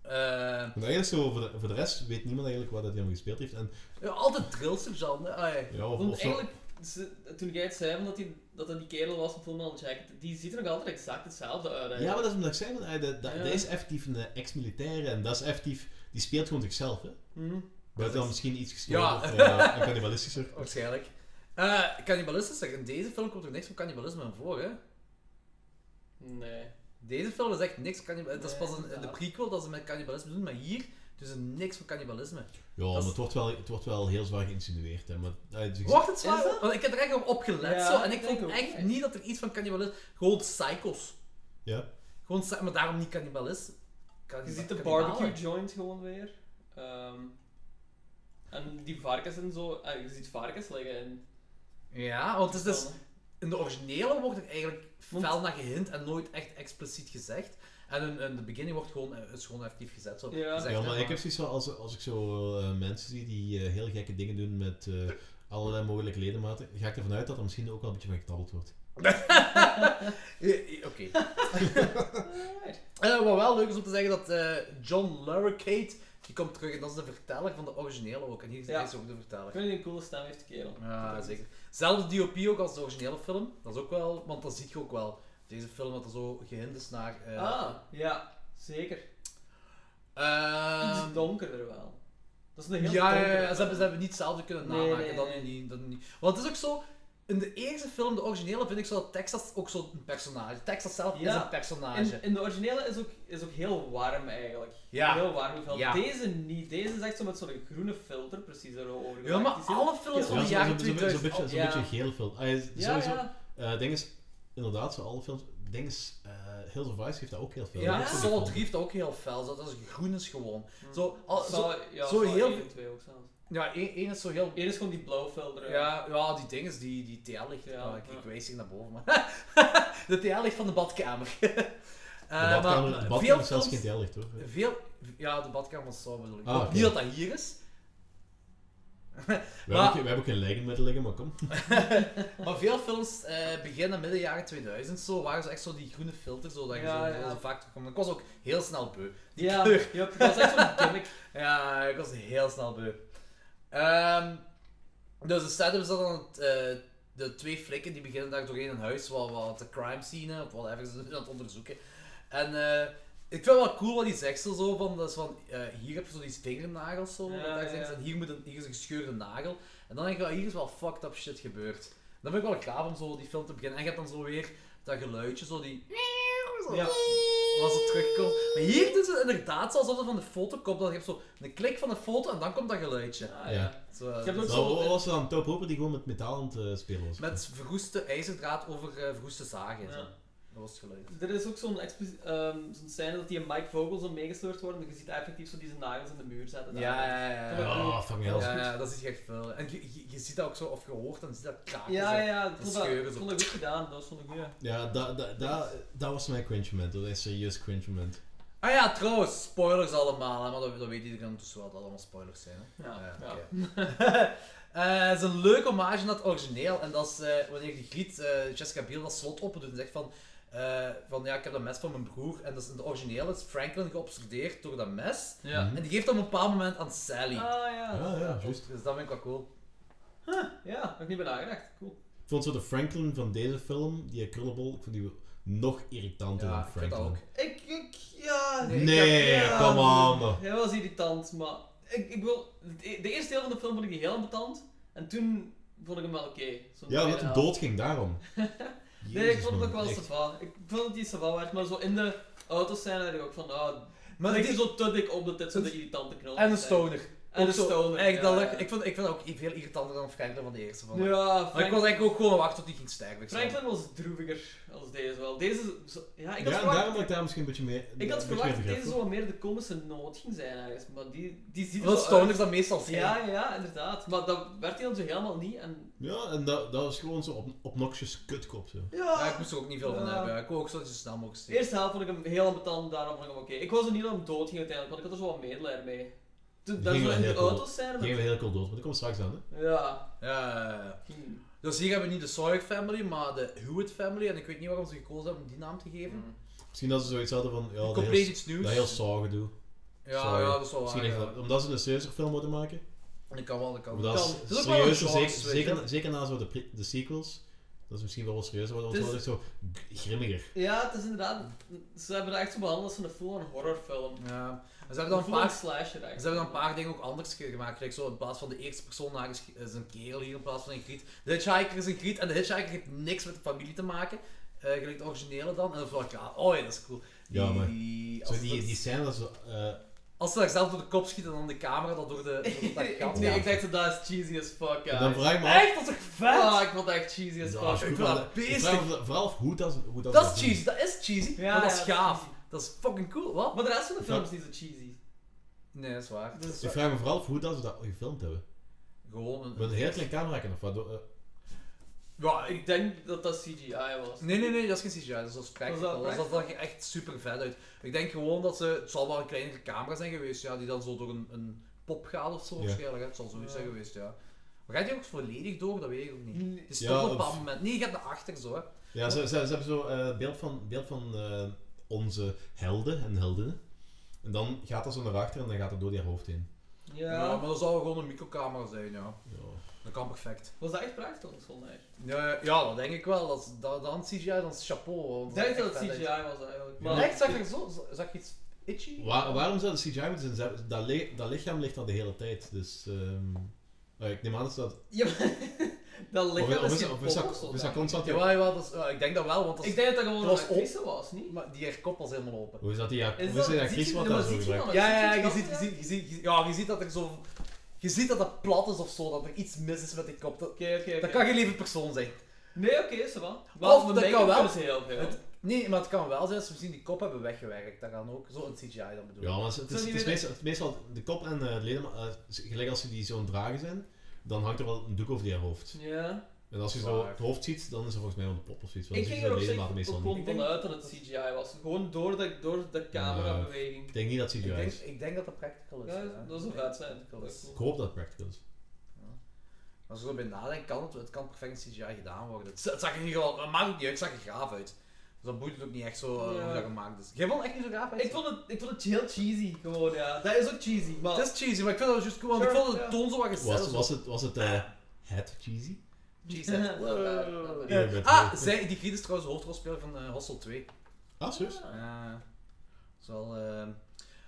E: Eh,
C: Want eigenlijk zo, voor de, voor de rest weet niemand eigenlijk wat dat hij hem gespeeld heeft. En,
E: ja, altijd drills en zo. hè. Ah, ja.
C: ja, of,
H: Want
C: of zo,
H: eigenlijk, ze- toen jij het zei van dat, die, dat dat die kerel was van Fullmetal Jacket, die ziet er nog altijd exact hetzelfde uit. eigenlijk.
C: Ja, maar dat is omdat ik zei, want hij, dat, dat,
H: Ja.
C: dat is effectief een eh, ex-militaire en dat is effectief, die speelt gewoon zichzelf, hè.
H: Mhm.
C: Buiten
E: is-
C: dan misschien iets gestoord
E: Ja.
C: of eh, een cannibalistischer.
E: Waarschijnlijk. Eh cannibalisme, zeg, in deze film komt er niks van cannibalisme aan voor, hè.
H: Nee.
E: Deze film is echt niks cannibalisme. Dat is
H: Nee,
E: pas een, de
H: inderdaad.
E: prequel dat ze met cannibalisme doen, maar hier doen ze niks van cannibalisme.
C: Ja,
E: is-
C: maar het wordt, wel, het wordt wel heel zwaar geïnsinueerd, hè. Maar, eh, dus-
E: Wordt het
H: Is
E: zwaar?
H: dat?
E: Want ik heb er echt op opgelet
H: Ja,
E: zo, en
H: ik
E: ik vond
H: denk ook,
E: echt
H: echt.
E: niet dat er iets van cannibalisme... Gewoon psychos.
C: Ja.
E: Gewoon, psy- maar daarom niet cannibalisme.
H: Je ziet de barbecue joint gewoon weer. Ehm, en die varkens en zo, eh, je ziet varkens liggen in.
E: Ja, want het is dus...
H: Van, hè.
E: In de originele wordt er eigenlijk
H: Want-
E: fel naar gehint en nooit echt expliciet gezegd. En in, in de beginning wordt gewoon, eh, is gewoon effectief gezet. Zo.
H: Ja.
E: gezegd,
C: Ja,
E: hè,
C: maar ik heb zoiets van, als, als ik zo eh, mensen zie die eh, heel gekke dingen doen met eh, allerlei mogelijke ledematen, ga ik ervan uit dat er misschien ook wel een beetje van geknabbeld wordt.
E: Eh, eh, Oké.
H: Alright.
E: Eh, wat wel leuk is om te zeggen dat eh, John Larroquette, die komt terug en dat is de verteller van de originele ook. En hier is
H: Ja.
E: hij ook de
H: Ik
E: verteller.
H: vind die een coole stem heeft, die kerel.
E: Ja, zeker. Zelfde DOP ook als de originele film. Dat is ook wel, want dat zie je ook wel. Deze film dat er zo gehind is naar... eh,
H: Ah, ja, zeker.
E: ehm,
H: Iets donkerder wel. Dat is een heel
E: ja, ja,
H: donkere
E: ja, ze hebben,
H: film.
E: ze hebben niet hetzelfde kunnen
H: Nee,
E: namaken.
H: nee,
E: dat,
H: nee.
E: Nu niet, dat nu niet. Want het is ook zo, in de eerste film, de originele, vind ik zo dat Texas ook zo'n personage. Texas zelf
H: Ja.
E: is een personage.
H: In, in de originele is ook, is ook heel warm eigenlijk.
E: Ja.
H: Heel warm vel.
E: Ja.
H: Deze niet. Deze is echt zo met zo'n groene filter precies erover.
E: Ja, maar alle films van
C: Ja,
E: de
C: zo-
E: jaren
C: zo- zo- Zo'n
E: 2000.
C: beetje, zo
H: ja.
C: beetje geel film. Ah, ja,
H: Ja,
C: sowieso,
H: ja.
C: eh ding is, inderdaad, zo alle films, ding is, eh, Hills of Ice heeft dat ook heel veel.
E: Ja,
C: Dat
E: ja.
C: is ook
E: Solid
C: een-
E: 3 heeft dat ook heel fel. Dat is groen is gewoon.
H: Hmm.
E: Zo, al, zo,
H: Zou- ja,
E: zo
H: zou
E: heel
H: één
E: veel-
H: en twee ook zelfs.
E: ja, één, één is zo heel...
H: Eén is gewoon die blauw filter.
E: Ja, ja, die ding is die, die TL ligt.
H: Ja,
E: Ah, ik,
H: ja.
E: ik wijs hier naar boven, maar... de TL ligt van de badkamer. Eh,
C: De badkamer,
E: maar
C: de
E: veel
C: badkamer is zelfs geen
E: films-
C: tellicht hoor.
E: Veel... Ja, de badkamer van Saw bedoel ik.
C: Ah, oké.
E: Niet dat dat hier is,
C: We, hebben ook, we hebben ook geen lijken met liggen, maar kom.
E: maar veel films eh, begin en midden jaren 2000 zo, waren ze echt zo die groene filter, zo, dat je
H: Ja,
E: zo,
H: ja.
E: zo vaak terugkomt. Ik was ook heel snel beu.
H: Ja,
E: kleur.
H: ja, dat is echt zo'n gimmick.
E: Ja, ik was heel snel beu. Ehm, dus de setup is dat dan eh, de twee flikken die beginnen daar doorheen een huis, wat, wat de crime scene of whatever ze zijn aan het onderzoeken. En eh, ik vind het wel cool wat hij zegt zo, zo van, dat is van eh, hier heb je zo die vingernagels zo,
H: Ja,
E: dat daar
H: ja,
E: zijn,
H: ja.
E: en hier, moet een, hier is een gescheurde nagel. En dan denk ik wel, hier is wel fucked up shit gebeurd. Dan ben ik wel klaar om zo die film te beginnen. En je hebt dan zo weer dat geluidje, zo die... Zo,
H: Ja.
E: als het terugkomt. Maar hier is het inderdaad zo alsof het van de foto komt. Dan heb je zo een klik van de foto en dan komt dat geluidje.
H: Ah, ja.
C: Ja.
E: Zo,
H: Ik heb
E: dus
H: ook
C: Nou,
H: zo...
C: wat was dan Top Hopper die gewoon met metaal aan het eh, spelen was?
E: met verroeste ijzerdraad over eh, verroeste zagen. en zo.
H: Ja.
E: Dat was het geluid.
H: Er is ook zo'n explici- ehm, zo'n scène dat die en Mike Vogel zo meegesleurd worden. en Je ziet effectief zo die nagels in de muur zetten. daar.
E: Ja, ja, ja. ja.
C: Oh, fucking hell.
E: Ja, ja, dat is echt veel. En je, je, je ziet dat ook zo, of je hoort en je ziet dat kraken.
H: Ja,
E: zo.
H: ja, ik vond dat,
E: scheuren
H: ik
E: zo.
H: vond dat goed gedaan. Dat vond ik goed.
C: Ja, dat dat dat- dat was mijn cringe moment. Dat is serieus cringe moment.
E: Ah ja, trouwens, spoilers allemaal. Hè, maar dat, dat weet iedereen dus wel dat allemaal spoilers zijn. Hè.
H: Ja,
E: Ja,
H: ja.
E: oké. Eh, Het is een leuke hommage aan het origineel. En dat is eh, wanneer die griet eh, Jessica Biel dat slot opendoet en zegt van... eh, van ja, ik heb dat mes van mijn broer. En dat is in het origineel is Franklin geobsedeerd door dat mes.
H: Ja.
E: En die geeft dat op een bepaald moment aan Sally.
H: Ah ja.
C: Ja, ja, juist.
E: Dus dat vind ik wel cool.
H: Ja, heb ik niet bij nagedacht. Cool.
C: Ik vond zo de Franklin van deze film, die Krullebol, ik vond die nog irritanter
E: Ja,
C: dan
E: ik vind dat
C: Franklin.
E: ook.
H: Ik, ik, ja.
E: Nee,
C: Nee,
H: ja.
C: come on. man.
H: Hij was irritant, maar ik, ik wil. De, de eerste deel van de film vond ik die heel irritant. En toen vond ik hem wel oké. Zo'n
C: Ja,
H: tweede
C: dat hij
H: helft.
C: dood ging, daarom.
H: Nee, ik
C: Jezus,
H: vond het
C: man,
H: ook wel
C: echt.
H: safa. Ik vond het niet safa werd, maar zo in de auto's zijn er ook van. ah
E: Maar
H: maar ik
E: die-
H: is zo te dik op dat dit zo'n irritante knal.
E: En een stoner.
H: En een
E: Ook zo.
H: stoner.
E: Echt, dat
H: ja.
E: lag- ik, vond, ik vind dat ook veel irritanter dan Franklin van de eerste. Van.
H: Ja,
E: Maar ik
H: Franklin,
E: was eigenlijk ook gewoon wachten tot hij ging sterven. ik snap het.
H: Franklin was droeviger als deze wel. Deze. zo- Ja,
C: ja,
H: ik had
C: en
H: verwacht.
C: daarom dat ik daar misschien een beetje meer.
H: Ik had
C: een beetje meer
H: verwacht dat
C: begrip
H: deze
C: voor.
H: zo wat meer de komische noot ging zijn ergens, maar die, die ziet er
E: Omdat
H: zo
E: stoners dat meestal
H: uit.
E: zijn.
H: Ja, ja, ja, inderdaad. Maar dat werd hij dan zo helemaal niet en...
C: Ja, en dat, dat was gewoon zo'n op, obnoxious kutkop. Zo.
E: Ja, ik moest er ook niet veel van
H: Ja.
E: hebben. Ik wou ook zo snel mogelijk
H: De
E: steken.
H: eerste helft vond ik hem heel ambetant, daarom vond ik hem oké. Ik was er niet aan het dood ging uiteindelijk, want ik had er zo wat medelijden mee. Toen
C: Die
H: dat
C: ging
H: zo
C: wel
H: in de
C: heel cool.
H: auto's zijn
C: Die
H: met...
C: gingen heel cool dood, maar dat komt straks aan. Hè?
H: Ja,
E: Ja, ja, ja.
H: ging...
E: Dus hier hebben we niet de Sawyer family, maar de Hewitt family. En ik weet niet waarom ze gekozen hebben om die naam te geven.
C: Misschien dat ze zoiets hadden van. Ja, dat
E: Compleet
C: heel,
E: iets nieuws.
C: dat heel saw gedoe.
E: ja,
C: Sorry.
E: ja, dat is wel waar.
C: Misschien echt
E: Oh, Ja.
C: dat- omdat ze een serieuze film moeten maken.
E: Dat kan wel, dat kan
C: Maar
E: wel.
C: dat
H: kan.
C: is
H: Het
E: is ook wel
C: serieuzer,
E: een genre,
C: zeker,
E: weet je
C: zeker,
E: wel.
C: zeker na zo de, pre- de sequels. Dat is misschien wel wat serieuzer, want
H: Het
C: het
H: is-
C: wordt echt zo g- grimmiger.
H: Ja, het is inderdaad... Ze hebben dat echt zo behandeld als een full-on horrorfilm.
E: Ja. En ze hebben dan
H: Een
E: een
H: full-on
E: paar
H: slasher echt.
E: Ze hebben dan een paar dingen ook anders ge- gemaakt. Gelijk zo in plaats van de eerste persoon naar is is een kerel hier in plaats van een griet. De hitchhiker is een griet en de hitchhiker heeft niks met de familie te maken. Eh, gelijk de originele dan. En dan vond ik, ja, oh ja, dat is cool. Die,
C: Ja, maar-
E: die- als,
C: Zo
E: ze
C: die,
E: dat-
C: die scène dat ze. eh,
E: als ze zichzelf door de kop schieten en dan de camera dat door de... Door dat gat
H: Nee,
E: gaat.
H: ik dacht dat dat is cheesy as fuck, ja.
C: dan vraag ik me af.
E: Echt, dat is toch vet?
H: Ah, ik vond dat echt cheesy as
C: Ja, is
H: fuck.
C: goed,
E: ik vind dat
C: maar ik
E: beestelijk.
C: vraag me af- Vooral af hoe dat. Hoe dat,
E: dat is
C: doen.
E: cheesy, dat is cheesy.
H: Ja,
E: maar dat
H: ja,
E: is
H: dat is
E: gaaf.
H: cheesy.
E: Dat is fucking cool. Wat?
H: Maar de rest van de film is niet zo cheesy.
E: Nee, dat is waar.
H: Dus
C: Ik vraag me vooral af hoe dat ze dat gefilmd hebben.
E: Gewoon een...
C: Met een heel klein camera of wat. eh,
E: Ja, ik-
H: ik denk dat dat CGI was.
E: Nee, nee, nee, dat is geen CGI, dat is als
H: Dat
E: practical.
H: is
E: Dat
H: wel
E: zag er echt super vet uit. Ik denk gewoon dat ze, het zal wel een kleinere camera zijn geweest, ja, die dan zo door een, een pop gaat of zo
C: Ja.
E: waarschijnlijk. hè. Het zal zoiets
H: Ja.
E: zijn geweest, ja. Maar gaat die ook volledig door? Dat weet ik ook niet.
H: Nee.
E: Het is
C: Ja,
E: toch op een
C: of-
E: bepaald moment. Nee, je gaat naar achter zo, hè.
C: Ja, ze, ze, ze hebben zo eh, het beeld van, beeld van eh, onze helden en heldinnen. En dan gaat dat zo naar achter en dan gaat het door die hoofd heen.
E: Ja.
H: Ja.
E: maar dat zou gewoon een microcamera zijn, ja.
C: Ja.
E: Dat kan perfect.
H: Was dat echt practical volgens mij?
E: Ja, ja, dat denk ik wel. Dat, is- dat, dan CGI, dan is het chapeau. want
H: Ik
E: dat
H: denk
E: is
H: dat
E: echt
H: het
E: vet
H: CGI
E: uit.
H: was eigenlijk.
E: Maar
H: Maar
E: echt, zag ik zo, zag je iets itchy?
C: Waar- waarom zou de CGI moeten zijn? Ze- Dat, li- dat lichaam ligt al de hele tijd. Dus ehm, eh, ik neem aan dat ze dat.
H: ja, dat
C: Of, of
H: lichaam is
C: is
H: geen
C: dat- of is dat-
H: pop of zo,
C: of is dat
H: denk ik.
C: constant.
E: Ja, ja, dat is- ja, ik denk dat wel, want dat
H: Ik
E: is,
H: denk dat dat gewoon
E: Dat
H: een
E: was op-
H: actrice was, niet?
E: maar die haar koppels helemaal open.
C: Hoe is dat die, hoe is
H: dat-
C: die
H: ziet
C: actrice
H: je-
C: wat
H: maar
C: daar zo
H: ziet je
C: gebruikt?
H: dan?
E: Ja,
H: Ziet
E: ja,
H: je
E: je
H: dat?
E: ziet, je, ziet, je, ziet, je, ziet- ja, je ziet dat er zo. Je ziet dat dat plat is of zo, dat er iets mis is met die kop. Dat,
H: Oké, oké,
E: dat
H: oké.
E: kan geen lieve persoon zijn.
H: Nee, oké, zo wel.
E: dat
H: Maar
E: kan
H: make-up
E: wel.
H: kunnen ze heel veel.
E: Het- nee, maar het kan wel zijn dat ze misschien die kop hebben weggewerkt. Dat kan ook. Zo'n CGI dan bedoel ik.
C: Ja, maar het is, het is,
H: Zou die
C: het is
H: weten-
C: meestal, het is meestal de kop en eh, de leden, maar, eh, gelijk als ze die zo'n dragen zijn, dan hangt er wel een doek over die hoofd.
H: Ja.
C: En als je zo
E: Waar.
C: het hoofd ziet, dan is er volgens mij wel de pop of zoiets. want
H: Ik
C: dan
H: ging
C: zie
H: er
C: je
H: op
C: de
H: zich
C: ledematen
H: ook
C: meestal
H: gewoon
C: niet.
H: vanuit dat het CGI was. Gewoon door de, door de camerabeweging.
C: Ik denk niet dat CGI
E: Ik, denk,
C: is.
E: ik denk dat dat practical is.
H: Ja,
E: ja.
H: dat zou
E: Ik
H: vet
E: denk
H: zijn.
E: practical is.
C: Ik hoop dat het practical is.
E: Als je erbij nadenkt, kan het, het kan perfect in CGI gedaan worden. Het, het zag er niet gewoon, het maakt niet uit, het zag er gaaf uit. Dus dat boeit het ook niet echt zo eh,
H: Ja.
E: hoe dat gemaakt is. Jij vond het echt niet zo gaaf uit?
H: Ik vond, het, ik vond het heel cheesy, gewoon, ja. Dat is ook cheesy, maar...
E: het is cheesy, maar ik vind dat juist cool, want ik
H: Sure,
E: vond de
H: ja.
E: toon zo wat gezellig.
C: Was, was het, was het eh, het cheesy?
E: Jesus.
H: Wow.
C: Ja, met-
E: Ah, zij, die Griet is trouwens de hoofdrolspeler van eh Hostel 2.
C: Ah, serieus?
E: Eh, is wel, eh,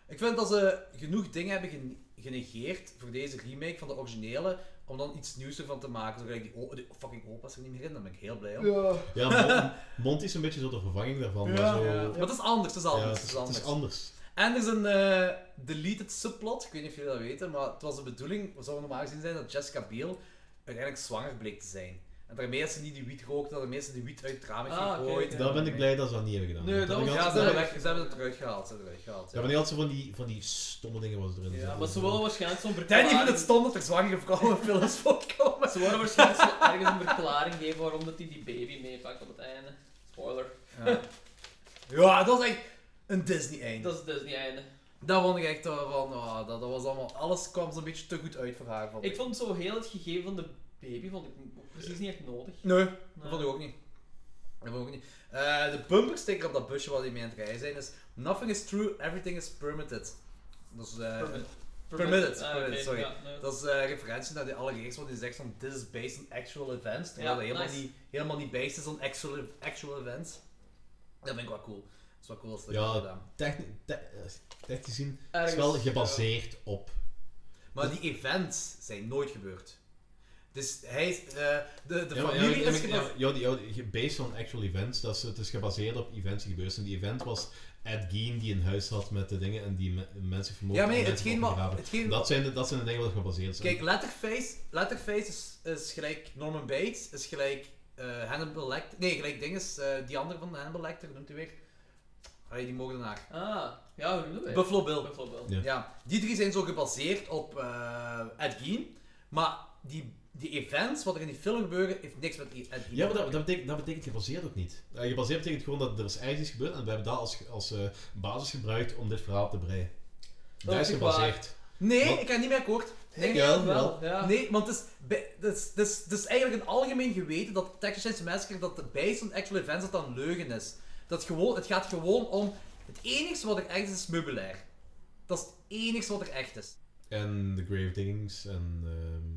E: ik vind dat ze genoeg dingen hebben gene- genegeerd voor deze remake van de originele, om dan iets nieuws ervan te maken. Zo gelijk die, o- die fucking opa is er niet meer in, daar ben ik heel blij om.
C: Ja, Mon- Monty is een beetje zo de vervanging daarvan. maar zo,
E: Maar het is anders, het is anders.
C: Ja,
E: het
C: het, is,
E: is
C: het
E: anders.
C: is anders.
E: En er is een eh, deleted subplot, ik weet niet of jullie dat weten, maar het was de bedoeling, het zou normaal gezien zijn, dat Jessica Biel uiteindelijk zwanger bleek te zijn. En daarmee dat ze niet die wiet rookte, daarmee dat ze die wiet uit het raam heeft
H: Ah, oké,
E: gegooid.
H: oké.
C: Daar ben ik blij dat ze dat niet hebben gedaan.
H: Nee,
C: Want
H: dat
C: ik
H: was-
E: Ja,
C: had-
E: ze
H: Ja,
E: hebben,
H: ja.
E: weg, ze hebben het eruit gehaald. Ze hebben het eruit gehaald.
C: Ja, maar die had zo van die, van die stomme dingen was erin.
H: Ja,
C: zitten.
H: maar ze willen waarschijnlijk zo'n
E: Danny
H: verklaring...
E: vindt het stom dat er zwangere vrouwen in films voorkomen.
H: Ze willen waarschijnlijk zo ergens een verklaring geven waarom dat hij die baby meepakt op het einde. Spoiler.
E: Ja. ja, dat is echt een Disney-eind.
H: Dat is dus die einde.
E: Dat vond ik echt eh, van, ah, dat, dat was allemaal, alles kwam zo'n beetje te goed uit voor haar. Vond ik.
H: Ik vond zo heel het gegeven van de baby vond ik ook precies niet echt nodig.
E: Nee,
H: Nee.
E: dat vond ik ook niet. Dat vond ik ook niet. Eh, de bumpersticker op dat busje waar die mee aan het rijden zijn is Nothing is true, everything is permitted. Dus, eh,
H: Permitted.
E: Permitted,
H: Ah,
E: permitted,
H: oké,
E: sorry.
H: ja, nee.
E: dat is eh, referentie naar de allereerste, want die zegt van this is based on actual events. Terwijl
H: Ja,
E: dat helemaal,
H: nice.
E: niet, helemaal niet based is on actual, actual events. Dat vind ik wel cool. Dat is wel cool als dat
C: Ja.
E: hebben gedaan.
C: Techni- te- eh, Technisch gezien, het is
H: Ergens,
C: wel
H: ja.
C: gebaseerd op.
E: Maar die events zijn nooit gebeurd. Dus hij is, eh, de, de
C: Ja, maar- ja,
E: familie
C: ja,
E: is
C: maar- ja,
E: gebaseerd.
C: ja, die- ja, die- based on actual events, dat is, het is gebaseerd op events die gebeurd zijn. Die event was Ed Gein die een huis had met de dingen en die me- mensen vermoord
E: Ja, maar nee,
C: en
E: hetgeen
C: mensen
E: wat-
C: opgegraven.
E: hetgeen-
C: Dat, zijn de, dat zijn de dingen wat gebaseerd zijn.
E: Kijk, Letterface, Letterface is, is gelijk Norman Bates, is gelijk eh, Hannibal Lecter. Nee, gelijk dinges, eh die andere van de Hannibal Lecter, hoe noemt hij weer? Allee, die moordenaar.
H: Ah, ja, hoe noemen we
E: Buffalo Bill.
H: Bijvoorbeeld.
C: Ja.
E: Ja, die drie zijn zo gebaseerd op eh, Ed Gein, maar die, die events wat er in die film gebeuren, heeft niks met Ed Gein.
C: Ja, maar
E: te
C: dat,
E: maken.
C: dat, betekent, dat betekent gebaseerd ook niet. Eh, gebaseerd betekent gewoon dat er is ergens iets gebeurd en we hebben dat als, als eh, basis gebruikt om dit verhaal te breien. Dat,
H: Dat
C: is
H: is
C: gebaseerd.
E: Nee,
C: Wat?
E: ik ga niet meer akkoord. Nee,
H: Ik
C: Ja,
H: wel, ja.
E: Nee, want het is, bij- het is, het is, het is eigenlijk een algemeen geweten dat Texas Chainsaw Massacre, dat de based on actual events, dat dat een leugen is. Dat gewoon, het gaat gewoon om, het enigste wat er echt is, is meubilair. Dat is het enigste wat er echt is.
C: En de grave diggings en... ehm,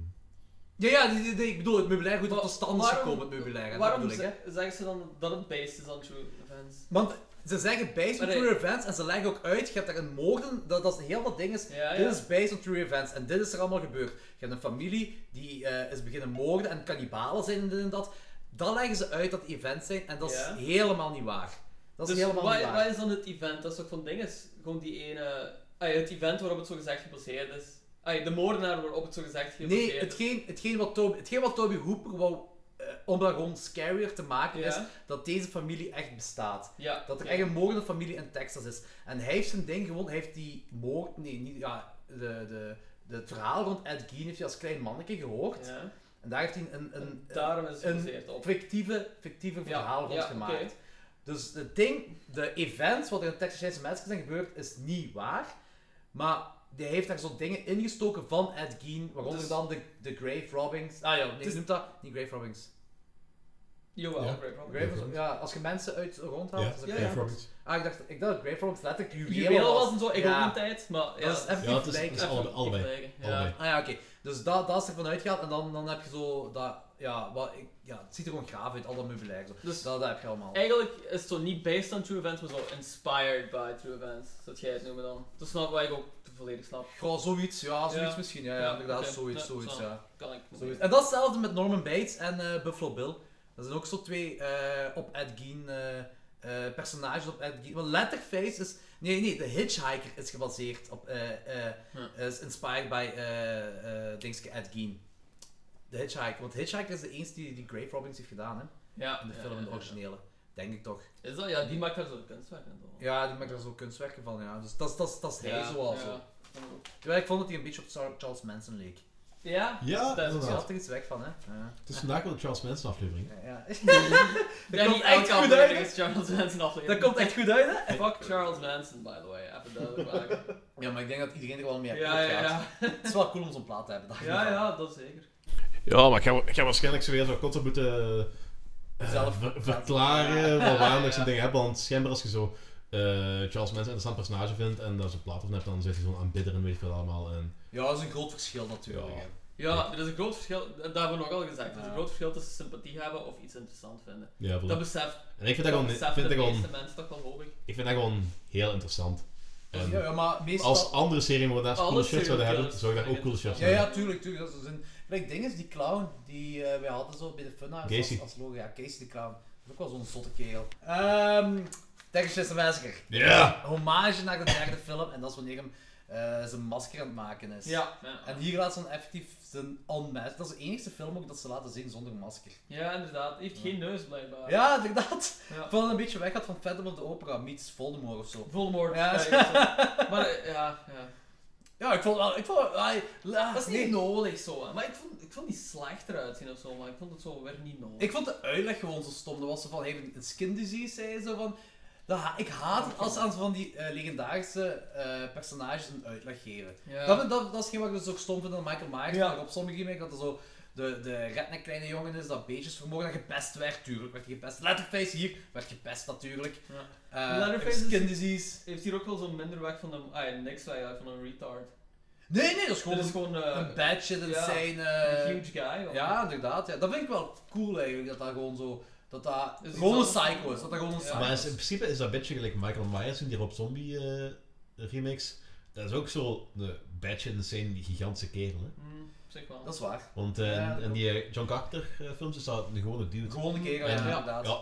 E: Ja, ja, die- die- die- ik bedoel, het meubilair goed
H: Maar
E: tot stand is
H: waarom-
E: gekomen, het meubilair. hè,
H: Waarom
E: dat bedoel ik, hè.
H: ze- zeggen ze dan dat het based is on true events?
E: Want ze zeggen based on
H: Maar nee.
E: true events en ze leggen ook uit, je hebt daar een moorden, dat, dat is heel wat dingen.
H: Ja, ja.
E: Dit is based on true events en dit is er allemaal gebeurd. Je hebt een familie die eh, is beginnen moorden en kannibalen zijn en dit en dat. Dat leggen ze uit dat die events zijn en dat
H: Ja.
E: is helemaal niet waar. Dat is
H: Dus
E: helemaal
H: wat,
E: niet waar.
H: wat is dan het event? Dat is toch van dinges? Gewoon die ene... Ah, het event waarop het zo gezegd gebaseerd is. Ah, de moordenaar waarop het zo gezegd gebaseerd
E: Nee,
H: is.
E: hetgeen, hetgeen, wat Toby, hetgeen wat Toby Hooper wou, eh, om dat gewoon scarier te maken, is
H: Ja.
E: dat deze familie echt bestaat.
H: Ja,
E: Dat er
H: oké.
E: echt een moordende familie in Texas is. En hij heeft zijn ding gewoon, hij heeft die moord, nee, niet, ja, de, de, de, het verhaal rond Ed Gein heeft hij als klein manneke gehoord.
H: Ja.
E: En daar heeft hij een, een, een,
H: Daarom is het
E: een
H: gebaseerd op.
E: fictieve, fictieve verhaal rond
H: ja,
E: gemaakt.
H: oké.
E: Dus het ding, de events wat er in Texas Chainsaw Massacre zijn gebeurd, is niet waar. Maar hij heeft daar zo dingen ingestoken van Ed Gein, waaronder
H: Dus-
E: dan de, de grave robbings. Ah ja, nee, je noemt dat niet grave robbings.
H: Jawel,
C: Ja.
H: Grave Robin.
E: Grave,
C: robbings.
E: ja, als je mensen uit rondhaalt,
C: Ja,
E: is dat
C: ja,
E: grave
C: ja.
E: robbings. Ah, ik dacht, ik dacht dat grave robbings letterlijk juwelen,
H: Juwelen
E: was.
H: was en zo, ik
E: Ja.
H: ook een tijd, maar ja.
E: Dat is even
C: Ja,
E: niet
C: het is, het is
E: vergelijken.
C: allebei. allebei.
H: Ja.
C: allebei.
E: Ah ja, oké. Dus dat, dat is ervan uitgehaald en dan, dan heb je zo dat, ja, wat, ik, ja, het ziet er gewoon graaf uit, al dat meubilair. Zo. Dus
H: Dus-
E: dat, dat heb je allemaal.
H: Eigenlijk is het zo niet based on true events, maar zo inspired by true events. Dat jij het noemen dan. Dat snap wat ik ook volledig snap.
E: Gewoon zoiets, ja, zoiets
H: Ja.
E: misschien. Ja, ja,
H: Ja,
E: inderdaad,
H: oké.
E: zoiets,
H: Ja,
E: zoiets,
H: zo.
E: ja.
H: Kan ik nog
E: Zoiets.
H: niet.
E: En datzelfde met Norman Bates en eh, Buffalo Bill. Dat zijn ook zo twee eh, op Ed Gein eh, eh, personages op Ed Gein. Want Letterface is... Nee, nee, The Hitchhiker is gebaseerd op... eh, eh,
H: Ja.
E: Is inspired by, eh eh dingske Ed Gein. The Hitchhiker. Want Hitchhiker is de enige die, die Grave Robbins heeft gedaan, hè.
H: Ja,
E: In de
H: ja,
E: film,
H: ja,
E: in de
H: ja, ja.
E: originele. Denk ik toch.
H: Is dat? Ja, die maakt daar zo kunstwerk en zo.
E: Ja, die maakt daar zo kunstwerken van, ja. Dus dat, is- dat, is- dat is hij
H: Ja,
E: zoal
H: ja.
E: zo. Terwijl ik vond dat hij een beetje op Sar- Charles Manson leek.
H: Ja?
C: Ja,
H: dat
E: Dus je
C: inderdaad.
E: had er iets weg van, hè. Ja.
C: Het is vandaag wel de Charles Manson aflevering.
E: Ja.
H: Ja,
E: komt echt
H: die elke
E: goed
H: aflevering
E: uit, hè?
H: is Charles Manson
E: Dat
H: aflevering.
E: komt echt goed uit, hè?
H: Fuck Charles Manson, by the way. Even duidelijk maken.
E: Ja, maar ik denk dat iedereen er wel mee
H: Ja, ja, ja.
E: Het is wel cool om zo'n plaat te hebben.
H: Ja, ja, dat zeker.
C: Ja, maar ik ga, ik ga waarschijnlijk zo weer zo constant moeten eh,
E: Zelf
C: ver- verklaren van waarom dat ik zo'n
H: Ja.
C: ding heb. Want schijnbaar als je zo eh, Charles Manson een interessant personage vindt en daar zo'n plaat van hebt, dan zit je zo'n aanbidder en weet ik veel allemaal. En,
E: Ja, dat is een groot verschil natuurlijk.
C: Ja.
E: hè.
H: Ja, er is een groot verschil, dat hebben we nog al gezegd, er is een groot verschil tussen sympathie hebben of iets interessant vinden.
C: ja, voilà.
H: Dat beseft,
C: en ik vind dat
H: dat
C: gewoon,
H: beseft
C: vind
H: de
C: dat gewoon,
H: meeste mensen toch wel, hoop ik.
C: ik vind dat gewoon heel interessant. En
E: Ja, ja, maar meestal...
C: als andere seriemoordenaars
H: Alle
C: coole shit zouden hebben,
H: serial
C: zou ik daar ook coole shit
H: killers
E: Ja,
C: hebben.
E: ja, tuurlijk, tuurlijk. Dat is een... Gelijk ding is die clown die eh, wij hadden zo bij de Funhouse als,
C: Casey.
E: als logo. Ja, Casey de clown. Dat is ook wel zo'n zotte kerel. Ehm... Texas Massacre.
C: Ja!
E: Hommage naar de derde film en dat is wanneer hem eh, zijn masker aan het maken is.
H: Ja. Ja,
E: En hier laat ze dan effectief zijn onmask. Dat is de enige film ook dat ze laten zien zonder masker.
H: ja inderdaad. Hij heeft geen neus, blijkbaar.
E: Ja, inderdaad.
H: Ja.
E: Ik vond dat een beetje weg had van Phantom of the Opera meets Voldemort of zo.
H: Voldemort.
E: Ja.
H: eh, zo. maar eh, ja, ja.
E: Ja, ik vond wel... Ik vond, ai, la-
H: Dat is
E: nee.
H: niet nodig zo, hè. maar ik vond, ik vond die slecht eruit zien of zo, maar ik vond het zo weer niet nodig.
E: Ik vond de uitleg gewoon zo stom. Dat was zo van, hij heeft een skin disease, zei ze van... Dat ha- ik haat het als ze aan van die eh, legendarische eh, personages een uitleg geven.
H: Ja.
E: Dat, vind- dat, dat is geen wat ik dus ook stom vind aan Michael Myers,
H: Ja.
E: maar op sommige remake dat er zo de, de redneck kleine jongen is, dat beetjes vermogen dat gepest werd, tuurlijk werd hij gepest. Letterface hier werd gepest natuurlijk.
H: Ja.
E: Eh,
H: Letterface is-
E: skin disease.
H: Heeft hier ook wel zo'n minder weg van een... Ah, niks weg uit van een retard.
E: Nee, nee, dat is gewoon
H: Dit is
E: een,
H: gewoon
E: een
H: eh,
E: bad shit
H: ja.
E: insane. eh,
H: een huge guy. hoor.
E: ja, inderdaad. Ja. Dat vind ik wel cool eigenlijk, dat dat gewoon zo... Dat dat
H: Dus
E: gewoon een
H: dat-
E: psycho is, dat dat gewoon een
H: Ja.
E: psycho
C: Maar
E: is.
C: is- in principe is dat beetje gelijk Michael Myers in die Rob Zombie eh, remix. Dat is ook zo een badge insane, die gigantische kerel. Hè?
H: Mm, zeg wel.
E: Dat is waar.
C: Want eh,
E: Ja,
C: in- in die eh, John Carpenter eh, films is dat een gewone dude.
E: Gewoon een kerel,
C: En-
E: ja, inderdaad.
C: Ja.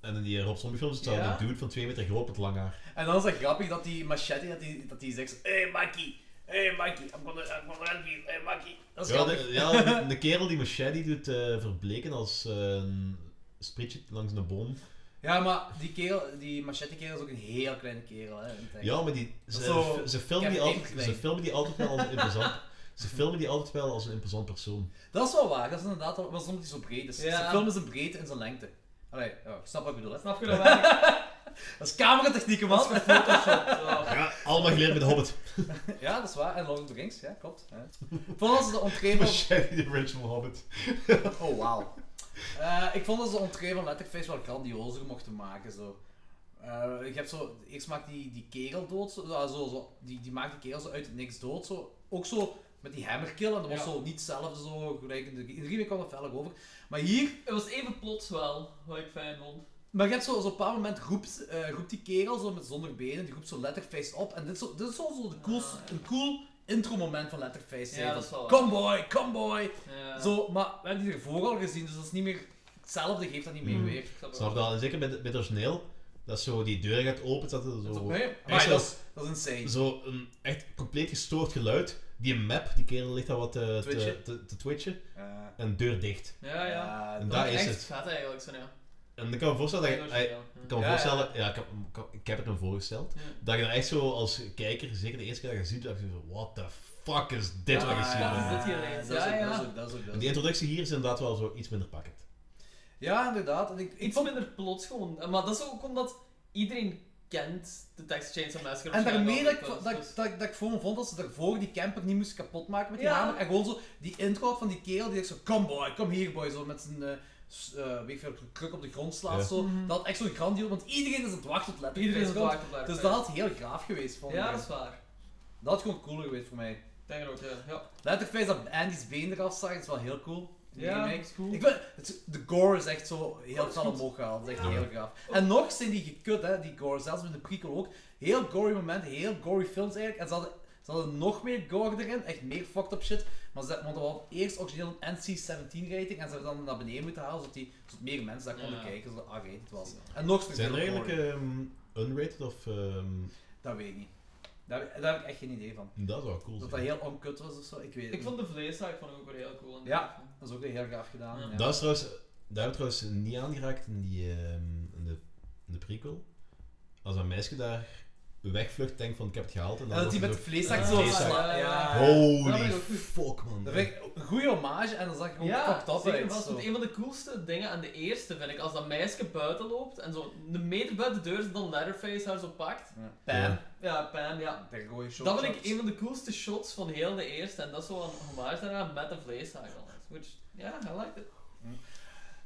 C: En in die Rob Zombie films is dat
E: Ja?
C: een dude van 2 meter groot met lang haar.
E: En dan is dat grappig dat die machete, dat die, dat die zegt zo, Hey Maki, hey Maki, I'm gonna, I'm gonna help you, hey Maki. Dat is
C: Ja,
E: grappig.
C: de, ja, de kerel die machete doet eh, verbleken als eh, een sprietje langs een boom.
E: Ja, maar die kerel, die machete kerel is ook een heel klein kerel, hè. in het echt.
C: Ja, maar die, ze,
E: Zo,
C: ze, filmen die
E: Kevin
C: altijd, ze
E: Klein.
C: filmen die altijd wel als een imposant... Ze filmen die altijd wel als een imposant persoon.
E: Dat is wel waar, dat is inderdaad wel, want soms is hij zo breed. Dus
H: Ja.
E: Zijn film is een breedte en zijn lengte. Allee, ja, ik snap wat ik bedoel, hè.
H: Snap je dat wel?
E: Dat is cameratechnieken, man.
H: Photoshop.
C: Ja, allemaal geleerd met de Hobbit.
E: ja, dat is waar. En Lord of the Rings, ja, klopt. Ja. Vooral als ze de entree van...
C: Machete, de original Hobbit.
E: Oh, wauw. Eh, ik vond dat ze de entree van Letterface wel grandiozer mochten maken. Zo. Eh, ik heb zo, eerst maakt die, die kerel dood, zo, ja, zo, zo, die, die maakt die kerel zo uit het niks dood. Zo. Ook zo met die hammerkill, en dat was
H: Ja.
E: zo niet hetzelfde. Zo, gelijk in, de, in de remake kwam dat feller over. Maar hier,
H: Het was even plots wel, wat ik fijn vond.
E: maar je hebt zo, zo op een bepaald moment roept, eh, roept die kerel zo met zonder benen, die roept zo Letterface op. En dit is, zo, dit is zo, zo de coolste,
H: Ah, ja.
E: een cool intro moment van Letterface.
H: Ja,
E: hè,
H: dat
E: van,
H: is wel waar.
E: Come boy, come boy.
H: Ja.
E: Zo, maar we hebben die ervoor al gezien, dus dat is niet meer hetzelfde, geeft dat niet meer
C: Mm.
E: weer.
H: Ik snap het wel.
C: Snap je wel? En zeker bij, de- bij het origineel, dat zo die deur gaat open, dat er
E: Zo,
C: zo,
E: nee,
C: Echt
E: maar
C: zo.
E: dat is, dat is insane.
C: zo een echt compleet gestoord geluid. Die map, die kerel ligt daar wat eh, te, te,
E: Twitchen.
C: te, te twitchen.
E: Eh,
C: En deur dicht.
H: Ja,
E: eh,
H: ja.
C: En
E: dat-
C: daar is
H: echt
C: het.
H: vet eigenlijk, zo ja.
C: En ik kan me voorstellen dat je... ah,
H: Origineel,
C: Ik
H: ja.
C: kan me
E: Ja, ja.
C: voorstellen... Ja, ik, heb, ik- ik heb het me voorgesteld.
H: Ja.
C: Dat je dan echt zo als kijker, zeker de eerste keer dat je ziet, dat je zo... What the fuck is dit wat
E: ah,
C: je ziet?
H: dat is
C: man?"
H: dit hier ineens.
E: dat is
H: Ja,
E: ook-
H: ja.
E: dat is ook- dat is ook- dat is
C: En die
E: ook-
C: introductie hier is inderdaad wel zo iets minder pakkend.
E: Ja, inderdaad. En ik, ik
H: Iets
E: vond-
H: minder plots gewoon. Eh, Maar dat is ook omdat iedereen kent de Texas Chainsaw Massacre.
E: En daarmee dat ik,
H: waarschijnlijk
E: dat,
H: wel,
E: dat,
H: dus-
E: dat, dat ik gewoon vond dat ze daarvoor die camper niet moesten kapotmaken met die
H: Ja.
E: hamer. En gewoon zo die intro had van die kerel die echt zo, come boy, kom hier boy, zo met zijn, eh, s- eh, weet ik veel, kruk op de grond slaat.
C: Ja.
E: Zo.
H: Mhm.
E: Dat had echt zo'n grandioos, want iedereen is aan het wachten tot letterlijk
H: Iedereen is
E: komt.
H: wakker blijven.
E: Dus dat had heel graaf geweest, vond ik.
H: Ja, dat is waar. Ik
E: Dat had gewoon cooler geweest voor mij.
H: Denk er ook, ja. Ja,
E: Letterface dat Andy's been eraf zag, is wel heel cool. Die
H: ja
E: remake.
H: dat is cool.
E: Ik vind, het- de gore is echt zo
H: Dat
E: heel
H: is
E: fel
H: goed.
E: omhoog gehaald. Dat is echt
C: Ja.
E: heel gaaf. En nog zijn die gekut, hè, die gore. Zelfs met de prequel ook. Heel gory momenten, heel gory films eigenlijk. En ze hadden, ze hadden nog meer gore erin. Echt meer fucked up shit. Maar ze, want we hadden eerst origineel een NC-17 rating. En ze hebben dan naar beneden moeten halen, zodat, die, zodat meer mensen daar konden
H: Ja.
E: kijken. Zodat ah, rated was. En nog steeds
C: Zijn er
E: heel
C: eigenlijk
E: gory.
C: ehm, unrated of... ehm,
E: Dat weet ik niet. Daar, daar heb ik echt geen idee van.
C: dat zou cool
E: Dat
C: zijn.
E: dat heel onkut was of zo, ik weet het
H: Ik
E: niet.
H: vond de vleeszaak vond ik ook wel heel cool.
E: Ja. Dat is ook weer heel gaaf gedaan.
H: Ja.
E: Ja.
C: Dat is trouwens, daar hebben we trouwens niet aangeraakt in, die, ehm, in, de, in de prequel. Als dat meisje daar wegvlucht, denkt van ik heb het gehaald. En
E: En
C: dan
E: dat die met
C: wordt
E: de
C: het
E: vleeszak
C: Ah,
E: zo
C: vleeszak.
E: slaat.
C: zo-
E: Ja.
H: Ja, dat
C: Holy
H: vind ik ook goed.
C: fuck man.
E: Dat vind ik een goede hommage en dan zag ik gewoon
H: Ja,
E: fucked up
H: zeker
E: uit,
H: vast.
E: zo.
H: Want een van de coolste dingen aan de eerste vind ik, als dat meisje buiten loopt en zo een meter buiten de deur is, dan Leatherface haar zo pakt.
E: Ja.
C: Ja.
H: Ja, Pam, ja.
E: Dat gooi je
H: Dat vind ik een van de coolste shots van heel de eerste en dat is wel een hommage daaraan met de vleeshaak al. Which, ja, I liked it.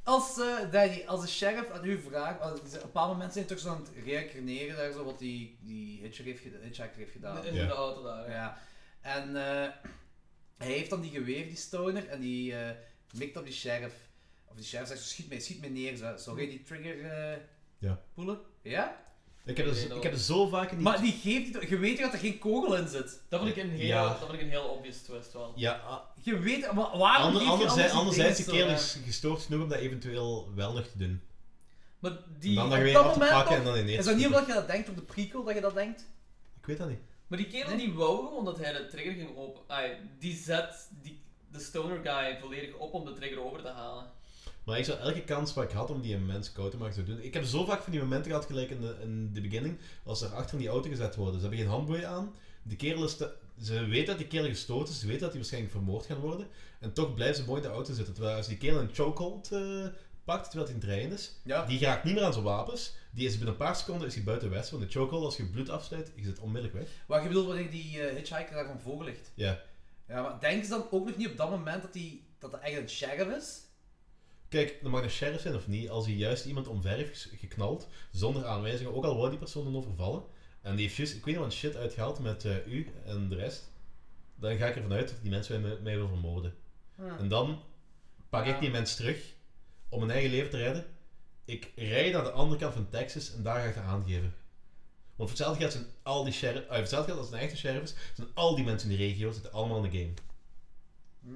E: Als, eh, Daddy, als de sheriff aan u vraagt, als- op een bepaald moment zijn toch zo aan het reïncarneren daar zo wat die, die hitcher heeft geda- hitchhiker heeft gedaan.
H: In
C: Ja.
H: de auto daar. Ja.
E: Ja. En eh, hij heeft dan die geweer, die stoner, en die eh mikt op die sheriff. Of die sheriff zegt zo, schiet mij, schiet mij neer. Zo. Zou
H: Hm.
E: jij die trigger eh
C: Ja.
E: poelen? Ja?
C: Ik heb, dus, ik heb zo vaak in die...
E: Maar die geeft, die- je weet dat er geen kogel in zit.
H: Dat vond ik een heel,
C: Ja.
H: dat vond ik een heel obvious twist wel.
C: ja, ah,
E: Je weet, maar waarom
C: ander,
E: geef je anders
C: anderzijds,
E: die
C: anderzijds de
E: dingen
C: kerel
E: zo, eh,
C: is gestoord genoeg om dat eventueel wel nog te doen.
H: Maar
C: En
H: die,
C: dan dat
E: op
C: weer
E: dat
C: af te
E: moment
C: pakken
E: nog-
C: en dan in
E: eh?
C: neer
E: Is
C: te
E: dat niet
C: schieten.
E: omdat je dat denkt op de prequel, dat je dat denkt?
C: Ik weet dat niet.
H: Maar die kerel die wou gewoon dat hij de trigger ging open. ai, die zet die, de stoner guy volledig op om de trigger over te halen.
C: Maar ik zou elke kans waar ik had om die mens koud te maken zou doen. Ik heb zo vaak van die momenten gehad, gelijk in de, in de beginning, als er achter in die auto gezet worden. Ze hebben geen handboeien aan. De kerel is te- ze weet dat die kerel gestoord is, ze weet dat hij waarschijnlijk vermoord gaat worden. En toch blijft ze mooi in de auto zitten. Terwijl als die kerel een chokehold eh, pakt terwijl hij in trainen is.
E: Ja.
C: Die raakt niet meer aan zijn wapens. Die is binnen een paar seconden is hij buiten West. Want de chokehold, als je bloed afsnijdt, is het onmiddellijk weg.
E: Wat je bedoelt, wat ik die eh, hitchhiker daarvan voorgelegd.
C: Ja.
E: Ja, maar denken ze dan ook nog niet op dat moment dat die, dat dat echt een sheriff is?
C: Kijk, dan mag een sheriff zijn of niet. Als hij juist iemand omver heeft ges- geknald, zonder aanwijzingen, ook al wou die persoon dan overvallen. En die heeft juist, ik weet niet wat shit uitgehaald met eh, u en de rest. Dan ga ik ervan uit dat die mensen mij, mij wil vermoorden.
E: Hm.
C: En dan pak ik
E: Ja.
C: die mens terug om mijn eigen leven te redden. Ik rij naar de andere kant van Texas en daar ga ik haar aangeven. Want voor hetzelfde geld zijn al die sheriff, eh, voor hetzelfde geld als het een echte sheriff is, zijn al die mensen in de regio zitten allemaal in de game.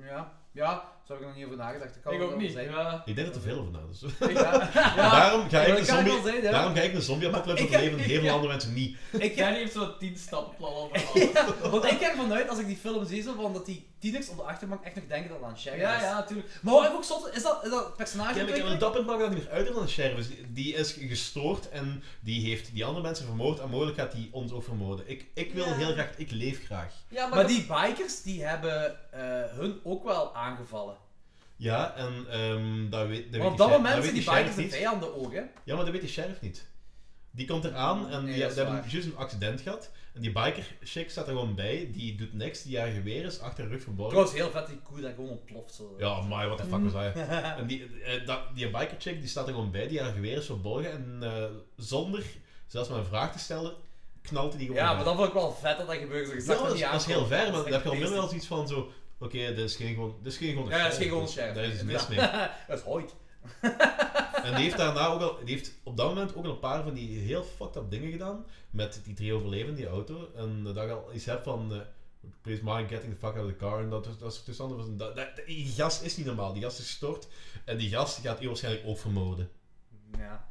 E: Ja, ja, zo heb ik nog niet over nagedacht. Dat kan
H: Ik
E: wel
H: ook
E: wel
H: niet.
E: zijn.
H: Ja.
C: Ik denk dat er veel over na is.
E: Ja, ja.
C: daarom ga
E: Ja,
C: ik
E: dat
C: de
E: kan
C: zombie,
E: wel zijn, ja.
C: daarom ga ik de zombie-apocalypse
E: Maar ik-
C: overleven en heel veel
E: ja.
C: andere mensen niet.
E: Ik heb,
H: Jij heeft zo'n tien stappen plan al verhaal.
E: want ik ga ervan uit, als ik die film zie, zo, van dat die tieners op de achterbank echt nog denken dat dat een sheriff
H: Ja,
E: is.
H: ja, natuurlijk.
E: Maar wat ik ook zot, is dat, is dat personage
C: Ja, maar ik heb een
E: ontwikkeling?
C: dapper maken dat hij meer uit is dan een sheriff. is. Die- Die is gestoord en die heeft die andere mensen vermoord en mogelijk gaat die ons ook vermoorden. Ik, ik wil
E: Ja.
C: heel graag, ik leef graag.
H: Ja, maar,
E: Maar die bikers, die hebben eh, hun ook wel aangevallen.
C: Ja, en ehm dat
E: Maar op
C: weet, dat weet
E: dat
C: sheriff-
E: moment
C: weet
E: zijn die
C: sheriff
E: bikers de
C: niet. Oh.
E: vijanden ook, hè.
C: Ja, maar dat weet de sheriff niet. Die komt eraan en
E: Nee,
C: die,
E: dat is
C: die hebben
E: waar.
C: juist een accident gehad. En die biker chick staat er gewoon bij, die doet niks, die haar geweer is achter haar rug verborgen.
E: Trouwens, heel vet die koe daar gewoon ontploft. Zo.
C: Ja, maar what the fuck was hij? En die, eh, dat- die biker chick die staat er gewoon bij, die haar geweer is verborgen en eh, zonder zelfs maar een vraag te stellen, knalt hij die gewoon.
E: Ja,
C: weg.
E: maar dat vond ik wel vet dat dat gebeurde. Ik
C: Ja,
E: zag
C: dat, is,
E: niet
C: dat is heel
E: aankomen.
C: ver, maar
E: Dat is
C: dan heb
E: echt
C: je al
E: beest.
C: wel iets van zo. Oké, dit is geen gewoon, dit is geen gewoon. een
E: Ja, dat is geen
C: sheriff,
E: gewoon
C: dus
E: sheriff.
C: Daar is iets mis mee.
E: Ja. Dat is hoi.
C: En die heeft daarna ook al, die heeft op dat moment ook al een paar van die heel fucked up dingen gedaan. Met die drie overlevenden, die auto. En eh, dat ik al iets heb van. eh, Please mind getting the fuck out of the car. En dat, dat is tussen andere. Dat, dat- die gast is niet normaal. Die gast is gestort. En die gast gaat u waarschijnlijk ook vermoorden.
E: Ja.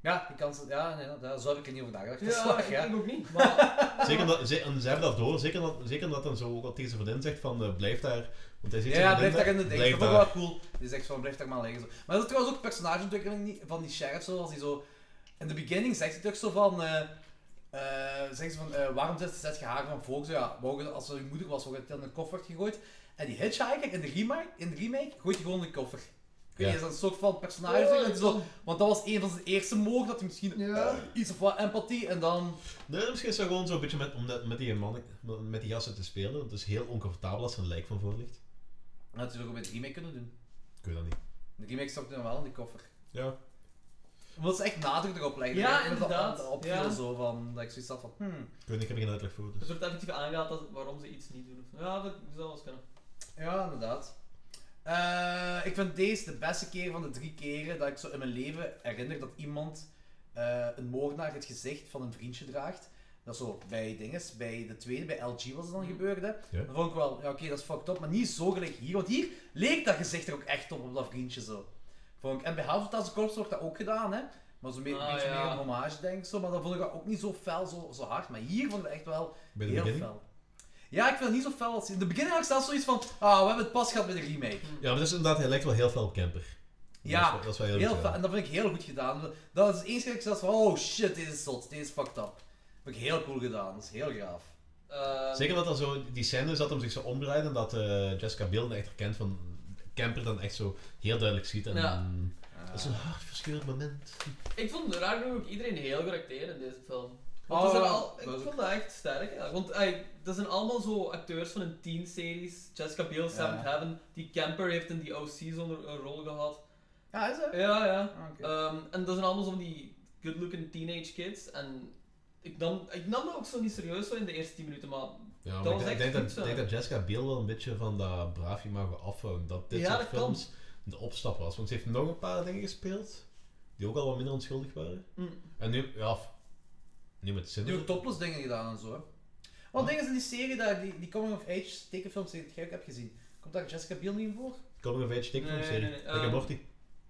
E: Ja, die kans, ja, nee, dat- daar zou ik er niet over nagedacht. Dat is
H: Ja,
E: waar,
H: ik,
E: ja.
H: ik ook niet. Maar
C: Zeker omdat, ze, en ze hebben dat door. Zeker dat, zeker dat dan zo ook al tegen zijn vriendin zegt van. eh, blijf daar. Want hij zit
E: Ja, blijf daar in de ding. Dat
C: Blijf
E: vond ik
C: daar.
E: wel cool. Die zegt van, blijf daar maar liggen. Zo. Maar dat is trouwens ook personageontwikkeling niet- van die sheriff, zo, als hij zo... In de beginning zegt hij toch zo van... eh eh, zegt ze van, eh, waarom zet, zet je haar van volk? Zo, ja, wou je- als ze je moeder was, wordt het in een koffer gegooid. En die hitchhiker in de remake, in de remake gooit hij gewoon in een koffer. Ik weet
C: Ja.
E: niet, is dat een soort van personage? zo, want dat was een van zijn eerste mogen, dat hij misschien eh, iets of wat empathie en dan...
C: Nee, misschien is dat gewoon zo'n beetje met, om dat- met die man, met die gasten te spelen. want Het is heel oncomfortabel als er een lijk van voor ligt.
E: Dat had hij ook bij de remake kunnen doen.
C: Ik weet dat niet.
E: In de remake stopte hij hem wel in die koffer.
C: Ja.
E: Omdat ze echt nadruk erop leggen.
H: Ja,
E: Ik weet dat dat
H: inderdaad,
E: opviel
H: ja.
E: zo van, dat ik zoiets had van, hmm.
C: Ik weet niet, ik heb er geen uitleg voor.
H: er
C: Dus.
H: wordt effectief aangehaald dat- waarom ze iets niet doen. Ja, dat zou wel eens kunnen.
E: Ja, inderdaad. Eh, ik vind deze de beste keer van de drie keren dat ik zo in mijn leven herinner dat iemand eh, een moordenaar het gezicht van een vriendje draagt. Dat is zo bij dinges, bij de tweede, bij LG was het dan
H: Mhm.
E: gebeurde.
C: Ja.
E: Dan vond ik wel, ja oké, dat is fucked up, maar niet zo gelijk hier. Want hier leek dat gezicht er ook echt op, op dat vriendje zo. Vond ik, en bij House of Thousand Corps wordt dat ook gedaan, hè. Maar zo'n
H: Ah,
E: beetje
H: ja.
E: meer een hommage, denk ik zo. Maar dan vond ik dat ook niet zo fel, zo, zo hard. Maar hier vond ik het echt wel
C: Bij de
E: Heel
C: beginning?
E: fel. Ja, ik vind het niet zo fel als... In de begin had ik zelfs zoiets van... Ah, we hebben het pas gehad bij de remake.
C: Ja, maar dat is inderdaad, hij lijkt wel heel veel op Camper.
E: Ja,
C: dat is, wel- dat is wel heel,
E: Heel
C: veel.
E: fel. En dat vind ik heel goed gedaan. Dat is eens keer dat ik zelfs van... Oh shit, dit is zot. Dit is fucked up. Vind ik heel cool gedaan. Dat is heel gaaf.
H: Eh,
C: Zeker dat dan zo, die scène is dat hem zich zo omdraait en dat eh, Jessica Biel echt herkent van Camper dan echt zo heel duidelijk ziet. En
H: Ja.
E: Ah.
C: Dat is een hartverscheurend moment.
H: Ik vond raar genoeg ook iedereen heel goed acteren in deze film.
E: Oh,
H: Want dat zijn
E: ja,
H: al, ik
E: dat is
H: vond dat echt sterk. Ja. Want ey, dat zijn allemaal zo acteurs van een teen-series. Jessica Biel, Seventh Heaven. Die Camper heeft in die OC zo'n een rol gehad.
E: Ja, is dat?
H: Ja, ja.
E: Ah, oké.
H: Ehm, en dat zijn allemaal zo van die good-looking teenage kids. En ik nam, ik nam dat ook zo niet serieus zo in de eerste 10 minuten, maar...
C: Ja, maar ik,
H: Dat was
C: denk- ik
H: echt
C: denk dat,
H: goed, eh.
C: ik denk
H: ja.
C: dat Jessica Biel wel een beetje van dat braaf imago afhoudt. Dat dit
H: Ja,
C: soort
H: dat kan.
C: films de opstap was. Want ze heeft nog een paar dingen gespeeld die ook al wat minder onschuldig waren.
H: Mm.
C: En nu, ja, f- nu met
E: Die
C: Sinner.
E: ook topless dingen gedaan en zo. hè. Want dingen in die serie, daar, die, die Coming of Age tekenfilms die ik heb gezien. Komt daar Jessica Biel niet in voor?
C: Coming of Age tekenfilm
H: Nee,
C: serie.
H: nee, nee,
C: Rick en
H: ehm,
C: Morty.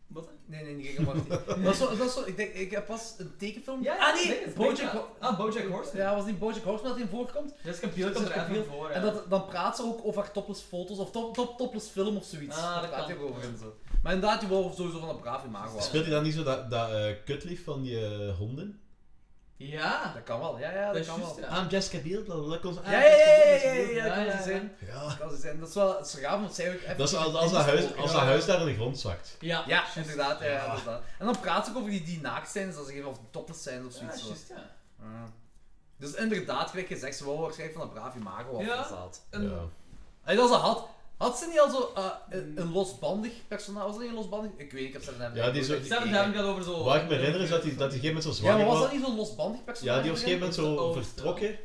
H: Wat?
E: Nee, nee, niet gemocht. dat is zo, dat is zo, ik denk, ik heb pas een tekenfilm...
H: Ja,
E: ah
H: ik
E: nee,
H: denk het.
E: Bojack...
H: Ja.
E: Ho-
H: Ah, Bojack Horseman.
E: Ja, was niet Bojack Horseman dat hij in voorkomt?
H: Jessica Biel komt er
E: Jessica
H: even
E: Biel.
H: voor, ja.
E: En dat, dan praat ze ook over topless foto's of top, top, topless film of zoiets.
H: Ah, dat
E: Daar praat
H: kan.
E: je ook over en zo. Maar inderdaad, die wou sowieso van een braaf imago af.
C: Speelt hij dan niet zo dat, dat eh, kutlief van die eh, honden?
H: Ja,
E: Dat kan wel, ja, ja,
H: dat
E: dat
H: is
E: kan wel.
H: juist, ja.
C: I'm Ah, Jessica Biel, bla bla bla. kon ze-
E: Ja, ja, ja, ja, ja,
C: Jessica
E: ja, dat
C: Biel.
H: Ja,
E: kan
H: ja,
E: zo zijn.
C: Ja.
E: Dat kan zo zijn. Dat is wel, dat is zo gaaf, want zij ook even...
C: Dat is als, als, dat huis, als dat
E: Ja.
C: huis daar in de grond zakt.
H: ja.
E: Ja, inderdaad, ja, ja, inderdaad. En dan praat ze ook over die, die naakt zijn, dat ze geven of topless zijn of
H: Ja,
E: zoiets. zo.
H: juist, ja.
E: Ja. Dus inderdaad, gelijk gezegd, ze wou waarschijnlijk van een braaf imago
H: Ja.
E: afgezet.
H: En-
C: Ja.
E: Hey, dat ze had. Had ze niet al zo eh, een,
H: Mm.
E: een losbandig personage? Was dat niet een losbandig? Ik weet niet, ik heb ze net
C: Ja, die is ook-
H: Sam, daar heb ik dat over zo.
C: Waar ik me herinner is dat die, dat die gegeven moment zo
E: Ja,
C: zwanger
E: maar was
C: was.
E: dat niet zo'n losbandig personage?
C: Ja, die was op een gegeven
H: de
C: moment zo
H: oudste.
C: vertrokken.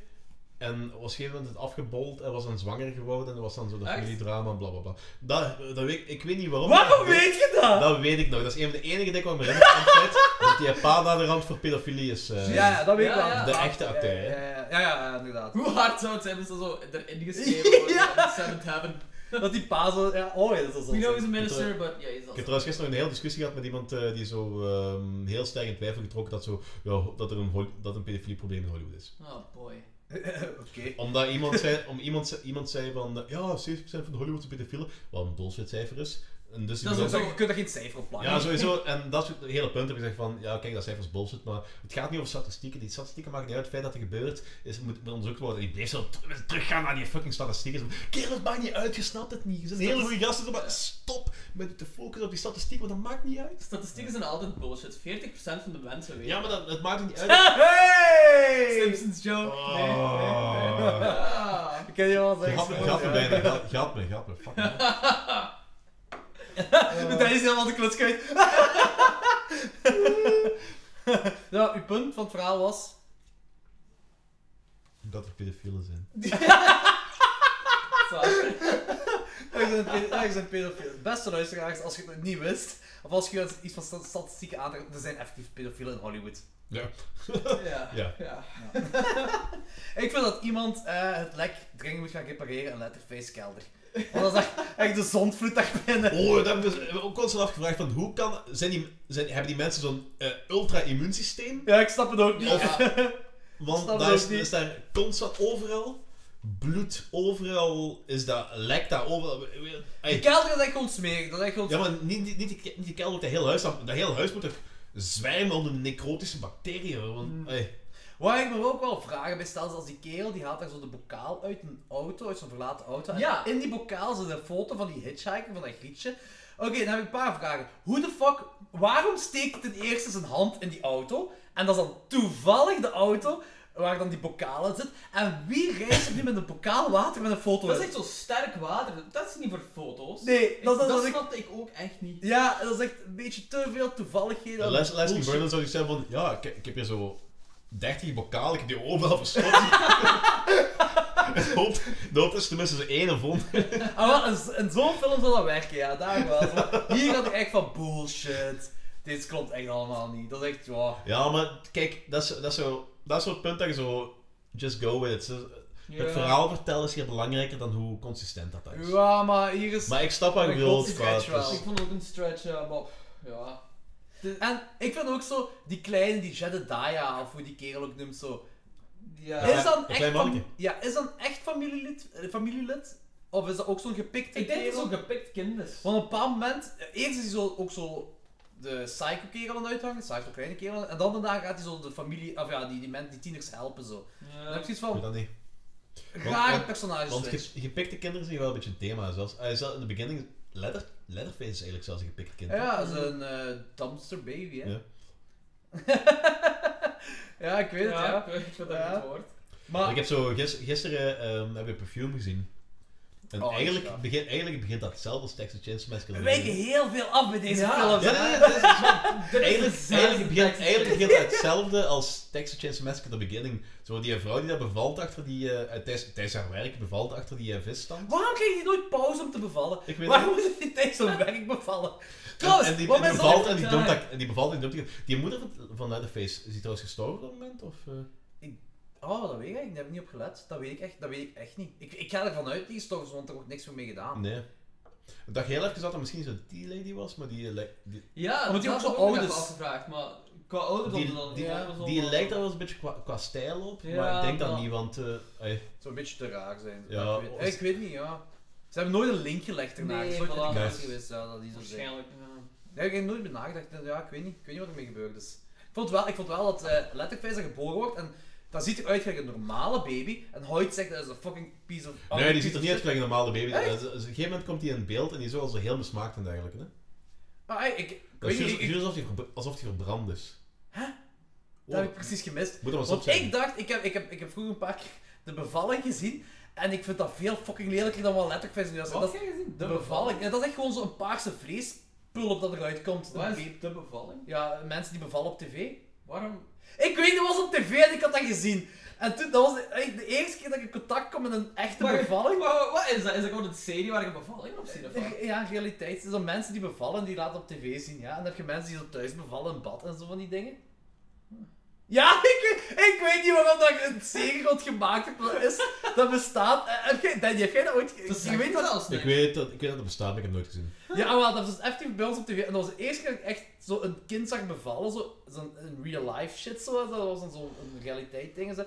C: En was op een gegeven moment afgebold en was dan zwanger geworden. En was dan zo dat
H: Echt?
C: familiedrama, bla bla bla. Dat, dat weet, ik- ik weet niet waarom.
E: Waarom
C: maar-
E: weet je dat?
C: Dat weet ik nog. Dat is een van de enige dingen ik me herinner van de tijd, Dat die pa aan de rand voor pedofilie is. eh,
E: Ja, ja, dat weet ik
H: Ja,
E: wel.
H: ja.
C: De echte acteur,
E: Ja,
C: hè?
E: ja, ja, ja, ja, inderdaad.
H: Hoe hard zou het zijn als dat zo erin geschreven wordt?
E: Ja.
H: ja. Seventh Heaven.
E: Dat die pa zo... Ja, oh ja, dat is
H: We know he's a
E: zo.
H: minister, but yeah,
C: Ik
H: he's
C: heb
H: also...
C: trouwens gisteren nog een hele discussie gehad met iemand eh, die zo ehm, heel sterk in twijfel getrokken dat, zo, ja, dat er een, Hol- dat een pedofilie probleem in Hollywood is.
H: Oh boy.
E: Oké.
C: Omdat iemand zei, om iemand, ze- iemand zei van, eh, ja, 70% van de Hollywood is pedofielen, wat een bullshitcijfer is. En dus die
E: Dat is ook
C: begon-
E: zo, je kunt er geen cijfer op plakken.
C: Ja, sowieso. En dat soort hele punten heb ik gezegd van, ja, kijk, dat cijfers bullshit, maar het gaat niet over statistieken. Die statistieken maken niet uit. Het feit dat er gebeurt, is, moet, moet onderzoekt worden. En die bleef zo ter- teruggaan naar die fucking statistieken. Zo, Kerel, het maakt niet uit, je snapt het niet. Je bent een hele goede gasten, maar stop met te focussen op die statistiek, want dat maakt niet uit.
H: Statistieken zijn altijd bullshit. 40% van de mensen weten.
C: Ja, maar dat, het maakt niet uit.
E: Hey!
H: Simpsons joke.
C: Oh.
H: Nee, nee, nee. Ah.
E: Ik ken je wel zeggen.
C: Gaat Oh. me, gaat me bijna, gaat- gaat me, gaat me. Fuck man.
E: Dat is helemaal de kluts kwijt. Nou, uw punt van het verhaal was...
C: Dat er pedofielen zijn.
H: Zalig.
E: Ergens een pedofiel. Beste luisteraars, als je het niet wist, of als je iets van sta- statistieken aantrekt, er zijn effectief pedofielen in Hollywood.
H: Ja.
C: Ja.
H: ja.
E: Ik vind dat iemand eh, het lek dringend moet gaan repareren in Letterface kelder. Want dat is echt, echt de zondvloed daar binnen.
C: Oh, daar hebben we ook constant afgevraagd van, hoe kan, zijn die, zijn, hebben die mensen zo'n eh, ultra-immuunsysteem?
E: Ja, ik snap het ook niet.
C: Of- Want
E: Snap
C: daar
E: ik
C: is,
E: niet.
C: is daar constant overal bloed, overal is dat lek daar overal.
E: Die
C: Ey,
E: kelder is echt gewoon smerig. Dat is echt gewoon
C: Ja, maar niet, niet, niet, die ke- niet die kelder, dat hele huis. Dat, dat hele huis moet er zwijmen onder necrotische bacteriën. hoor, Want,
E: Hmm.
C: ey,
E: Waar ik me ook wel vragen bij stel, is als die kerel die haalt daar zo de bokaal uit een auto, uit zo'n verlaten auto. En
H: Ja.
E: in die bokaal zit een foto van die hitchhiker, van dat grietje. Oké, dan heb ik een paar vragen. Hoe de fuck, waarom steekt ten eerste zijn hand in die auto? En dat is dan toevallig de auto waar dan die bokaal in zit. En wie reist er nu met een bokaal water met een foto
H: Dat is
E: in?
H: echt zo sterk water. Dat is niet voor foto's.
E: Nee, dat, dat, dat is echt...
H: snapte ik ook echt niet.
E: Ja, dat is echt een beetje te veel toevalligheden.
C: Les, Leslie
E: Bullshit.
C: Vernon zou zeggen van, ja, ik, ik heb hier zo 30 bokalen, ik heb die overal verstopt. Het hoopt, dat is tenminste zo één of ander.
E: Ah, wel, in z- in zo'n film zal dat werken, ja, daar wel. Zo, Hier had ik echt van bullshit. Dit klopt echt allemaal niet. Dat is echt, ja.
C: Ja, maar kijk, dat is, dat is zo... Dat is zo'n punt dat je zo... Just go with it. Zo-
H: Ja.
C: Het verhaal vertellen is hier belangrijker dan hoe consistent dat is.
E: Ja, maar hier is.
C: Maar ik snap wat je
E: Ik
C: bedoelt.
E: vond die stretch
C: qua- dus-
E: wel.
H: Ik vond het ook een stretch, ja, maar ja.
E: En ik vind ook zo, die kleine, die Jedediah, of hoe die kerel ook noemt zo.
H: ja.
E: Is dan
C: een
E: echt.
C: klein
E: fam-
C: mannetje.
E: ja, is dan echt familielid, eh, familielid? Of is dat ook zo'n gepikte
H: Ik denk dat
E: kerel?
H: het zo'n gepikt kind is.
E: Want op een bepaald moment, eh, eerst is hij zo, ook zo de psycho kerel aan het uithangen, psycho kleine kerel. En dan daarna gaat hij zo de familie, of ja, die, die, men, die tieners helpen zo. Dan heb
H: Ja.
E: je iets
C: Ik weet
E: van
C: dat niet.
E: rare
C: want-
E: personages.
C: Want
E: switch.
C: ge- gepikte kinderen zijn wel een beetje een thema. Zelfs, eh, zelfs in de beginning, letter, Letterface is eigenlijk zelfs een gepikt kind.
E: Ja, dat is een eh, dumpster baby, hè?
C: Ja.
E: Ja, ik weet het, ja.
H: ik weet ik weet dat
E: Ja.
H: het woord.
C: Ik
E: Maar,
C: heb zo gis- gisteren ehm, heb ik Perfume gezien. En
E: Oh,
C: eigenlijk,
E: ja.
C: begin, eigenlijk begint dat hetzelfde als Texas Chainsaw Massacre.
E: we wijken heel veel af bij deze
H: Ja.
E: films.
C: Ja,
E: hè.
C: nee, nee, dat is-
H: Eigenlijk,
C: eigenlijk, eigenlijk, begint, eigenlijk begint het hetzelfde als Texas Chainsaw Massacre The Beginning. Zo die vrouw die daar bevalt achter die... eh, eh, tijdens, tijdens haar werk bevalt achter die eh, visstand.
E: Waarom krijg je nooit pauze om te bevallen?
C: Ik weet
E: Waarom moet het niet tijdens zo'n werk bevallen? Trouwens,
C: en, en die,
E: wat
C: en die
E: mensen
C: bevalt en die
H: altijd
C: dumpt dat- en die bevalt en die dumpt dat- Die moeder van, van Leatherface, is die trouwens gestorven op dat moment? Of, eh?
E: Oh, dat weet ik eigenlijk, daar heb ik niet op gelet. Dat weet ik echt, dat weet ik echt niet. Ik, ik ga ervan uit, die gestorven, want er wordt niks meer mee gedaan.
C: Nee. Ik dacht heel even dat dat misschien zo die lady was, maar die, eh, lijkt- die,
H: Ja,
E: Omdat die
H: dat
E: ook
H: heb
E: zo
H: ik
E: oud
H: me
E: is.
H: even afgevraagd, maar qua ouderdom
C: die,
H: dan.
C: die,
H: ja, zo-
C: die lijkt daar wel eens een beetje qua, qua stijl op, maar
H: Ja,
C: ik denk dat
H: maar-
C: niet, want... eh, ey,
E: Het zou een beetje te raar zijn.
C: Ja,
E: ik, weet, ik weet niet, ja. Ze hebben nooit een link gelegd ernaar.
H: Nee,
E: het is nooit in de
H: voilà.
E: kast
C: Nee.
E: geweest, ja, dat die zo zijn.
H: Waarschijnlijk. ja.
E: Daar heb ik nooit bij nagedacht. Ja, ik weet niet. Ik weet niet wat ermee gebeurd is. vond wel, ik vond wel dat eh Letterface geboren wordt en dat ziet eruit gelijk een normale baby. En Hoyt zegt dat is een fucking piece of...
C: Nee, die ziet er niet uit als een normale baby.
E: Ah, Echt?
C: Eh, ze- ze- Op een gegeven moment komt hij in beeld en die is wel zo heel mismaakt en dergelijke. Hè?
E: Maar Ah, ik, ik, ik
C: Dat is
E: weet niet,
C: juist-
E: ik- ik-
C: juist alsof hij verbr- alsof hij verbrand is.
E: dat heb ik precies gemist.
C: Moet er wel eens
E: Want
C: opzetten.
E: ik dacht, ik heb, ik, heb, ik heb vroeger een paar keer de bevalling gezien. En ik vind dat veel fucking lelijker dan wat Letterface nu is. En
H: Wat
E: dat-
H: heb jij gezien?
E: De bevalling. Ja, dat is echt gewoon zo'n paarse vleespulp dat eruit komt. De
H: Wat
E: baby-
H: is de bevalling?
E: Ja, mensen die bevallen op tv.
H: Waarom?
E: Ik weet, dat was op tv en ik had dat gezien. En toen, dat was de, echt de eerste keer dat ik in contact kwam met een echte
H: Maar-
E: bevalling.
H: Wat, wat- wat is dat? Is dat gewoon een serie waar je bevalling op ziet? of wat?
E: Ja, realiteit. Het is dat mensen die bevallen, die laten op tv zien, ja. En dan heb je mensen die zo thuis bevallen in bad en zo van die dingen. Ja, ik, ik weet niet waarom dat je een serie rond gemaakt hebt, maar dat is, dat bestaat. Eh, Heb jij, Danny, heb jij dat ooit...
H: Dat
E: je weet dat...
H: als
C: Ik weet, dat, ik weet dat het bestaat, maar ik heb het nooit gezien.
E: Ja, maar dat was effectief bij ons op tv. En dat was de eerste keer dat ik echt zo een kind zag bevallen. Zo'n zo een real life shit. Zo. Dat was dan zo'n een realiteit ding. en Zo.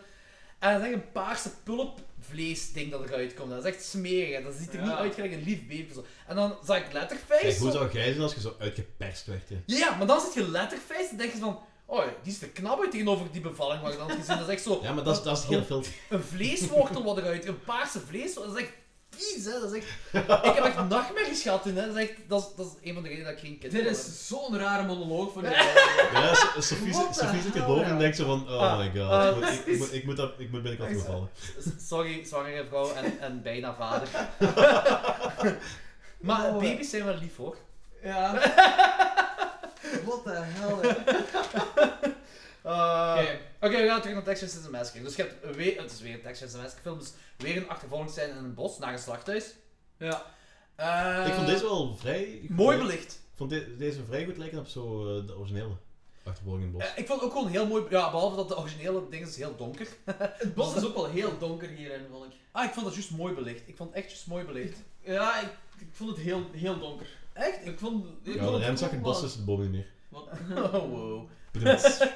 E: En dat is echt een paarse pulpvlees ding dat eruit komt. Dat is echt smerig. en Dat ziet er
H: Ja.
E: niet uit gelijk een lief baby. Zo. En dan zag ik
C: Kijk,
E: letterface.
C: hoe
E: zo.
C: zou jij zijn als je zo uitgeperst werd? Hè?
E: Ja, ja, maar dan zit je letterface en denk je van... Oh, die is te knap uit tegenover die bevalling wat ik dan had gezien. Dat is echt zo...
C: Ja, maar dat is, dat is heel veel.
E: Een vleeswortel wat eruit, een paarse vleeswortel. Dat is echt vies, hè. Dat is echt... Ik heb echt nachtmerries gehad toen, hè. Dat is, echt... dat is, dat is een van de redenen dat ik geen kind
H: Dit
E: wil
H: is zo'n rare monoloog van jou.
C: Ja, So- Sophie,
H: What the
C: Sophie zit
H: hell,
C: hierboven
H: ja.
C: en denkt zo van, oh
E: Ah,
C: my god,
E: ah,
C: ik, moet, ik, ik moet, ik, moet dat, ik moet binnenkort
E: Is-
C: bevallen.
E: Sorry, zwangere vrouw en, en bijna vader. maar
H: Oh,
E: baby's zijn wel lief hoor.
H: Ja. What the hell. hè.
C: Eh,
E: Oké, oké, we gaan terug naar Texas Chainsaw Massacre. Dus je hebt weer, het is weer een Texas Chainsaw Massacre film, dus weer een achtervolging zijn in een bos, naar een slachthuis.
H: Ja.
E: Eh,
C: ik vond deze wel vrij... goed
E: Mooi
C: lijken.
E: belicht.
C: Ik vond de- deze vrij goed lijken op zo eh, de originele achtervolging in het bos.
E: Eh, ik vond het ook gewoon heel mooi, ja, behalve dat de originele ding is heel donker.
H: Het bos is ook wel heel donker hierin, vond ik.
E: Ah, ik vond dat juist mooi belicht. Ik vond het echt juist mooi belicht.
H: Ja, ik, ik vond het heel, heel donker.
E: Echt?
H: Ik vond... Ik
C: Ja,
H: vond
C: de
H: het
C: rem
H: ook
C: zag het bos
H: wel-
C: tussen de bomen niet meer.
H: Wat?
E: Oh, wow.
C: Bedoeld.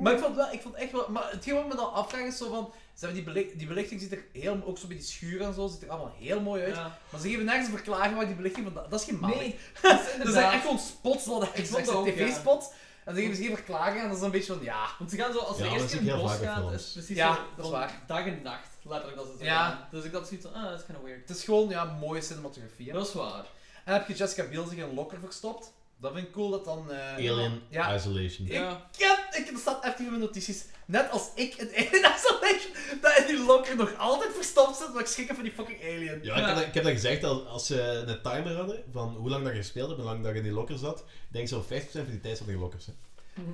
E: Maar ik vond, wel, ik vond echt wel... Maar hetgeen wat me dan afvraag is zo van... Ze hebben die, belicht, die belichting ziet er heel... Ook zo bij die schuren en zo, ziet er allemaal heel mooi uit.
H: Ja.
E: Maar ze geven nergens een verklaring waar die belichting van... Dat is geen maling.
H: Nee, Dus
E: dat zijn echt gewoon spots wat ik
H: vond
E: zeg,
H: dat ook, ja.
E: tv-spots. En ze geven ze geen verklaring en dat is een beetje van, ja...
H: Want ze gaan zo, als ze
C: Ja,
H: eerst
C: dat zie
H: in
C: ik
H: het
C: heel
H: bos
C: vaak bij
H: gaat,
C: films.
H: is precies
E: Ja,
H: zo
E: dat is
H: van
E: waar.
H: dag en nacht. Letterlijk, dat is het.
E: Ja.
H: gedaan. Dus ik dat zoiets van, ah, dat is kind of weird.
E: Het is gewoon, ja, mooie cinematografie. hè.
H: Dat is waar.
E: En heb je Jessica Biel zich in Locker verstopt. Dat vind ik cool dat dan... eh,
C: Alien
E: Ja.
C: Isolation.
E: Ik-
H: Ja.
E: Ja, ik, dat staat echt in mijn notities. Net als ik in Alien Isolation, dat in die locker nog altijd verstopt zit, maar ik schrik van die fucking alien.
C: Ja, ik heb, dat, ik heb dat gezegd, als, als ze een timer hadden, van hoe lang dat je gespeeld hebt en hoe lang dat je in die locker zat, denk zo 50% van die tijd zat in die lockers. Hè.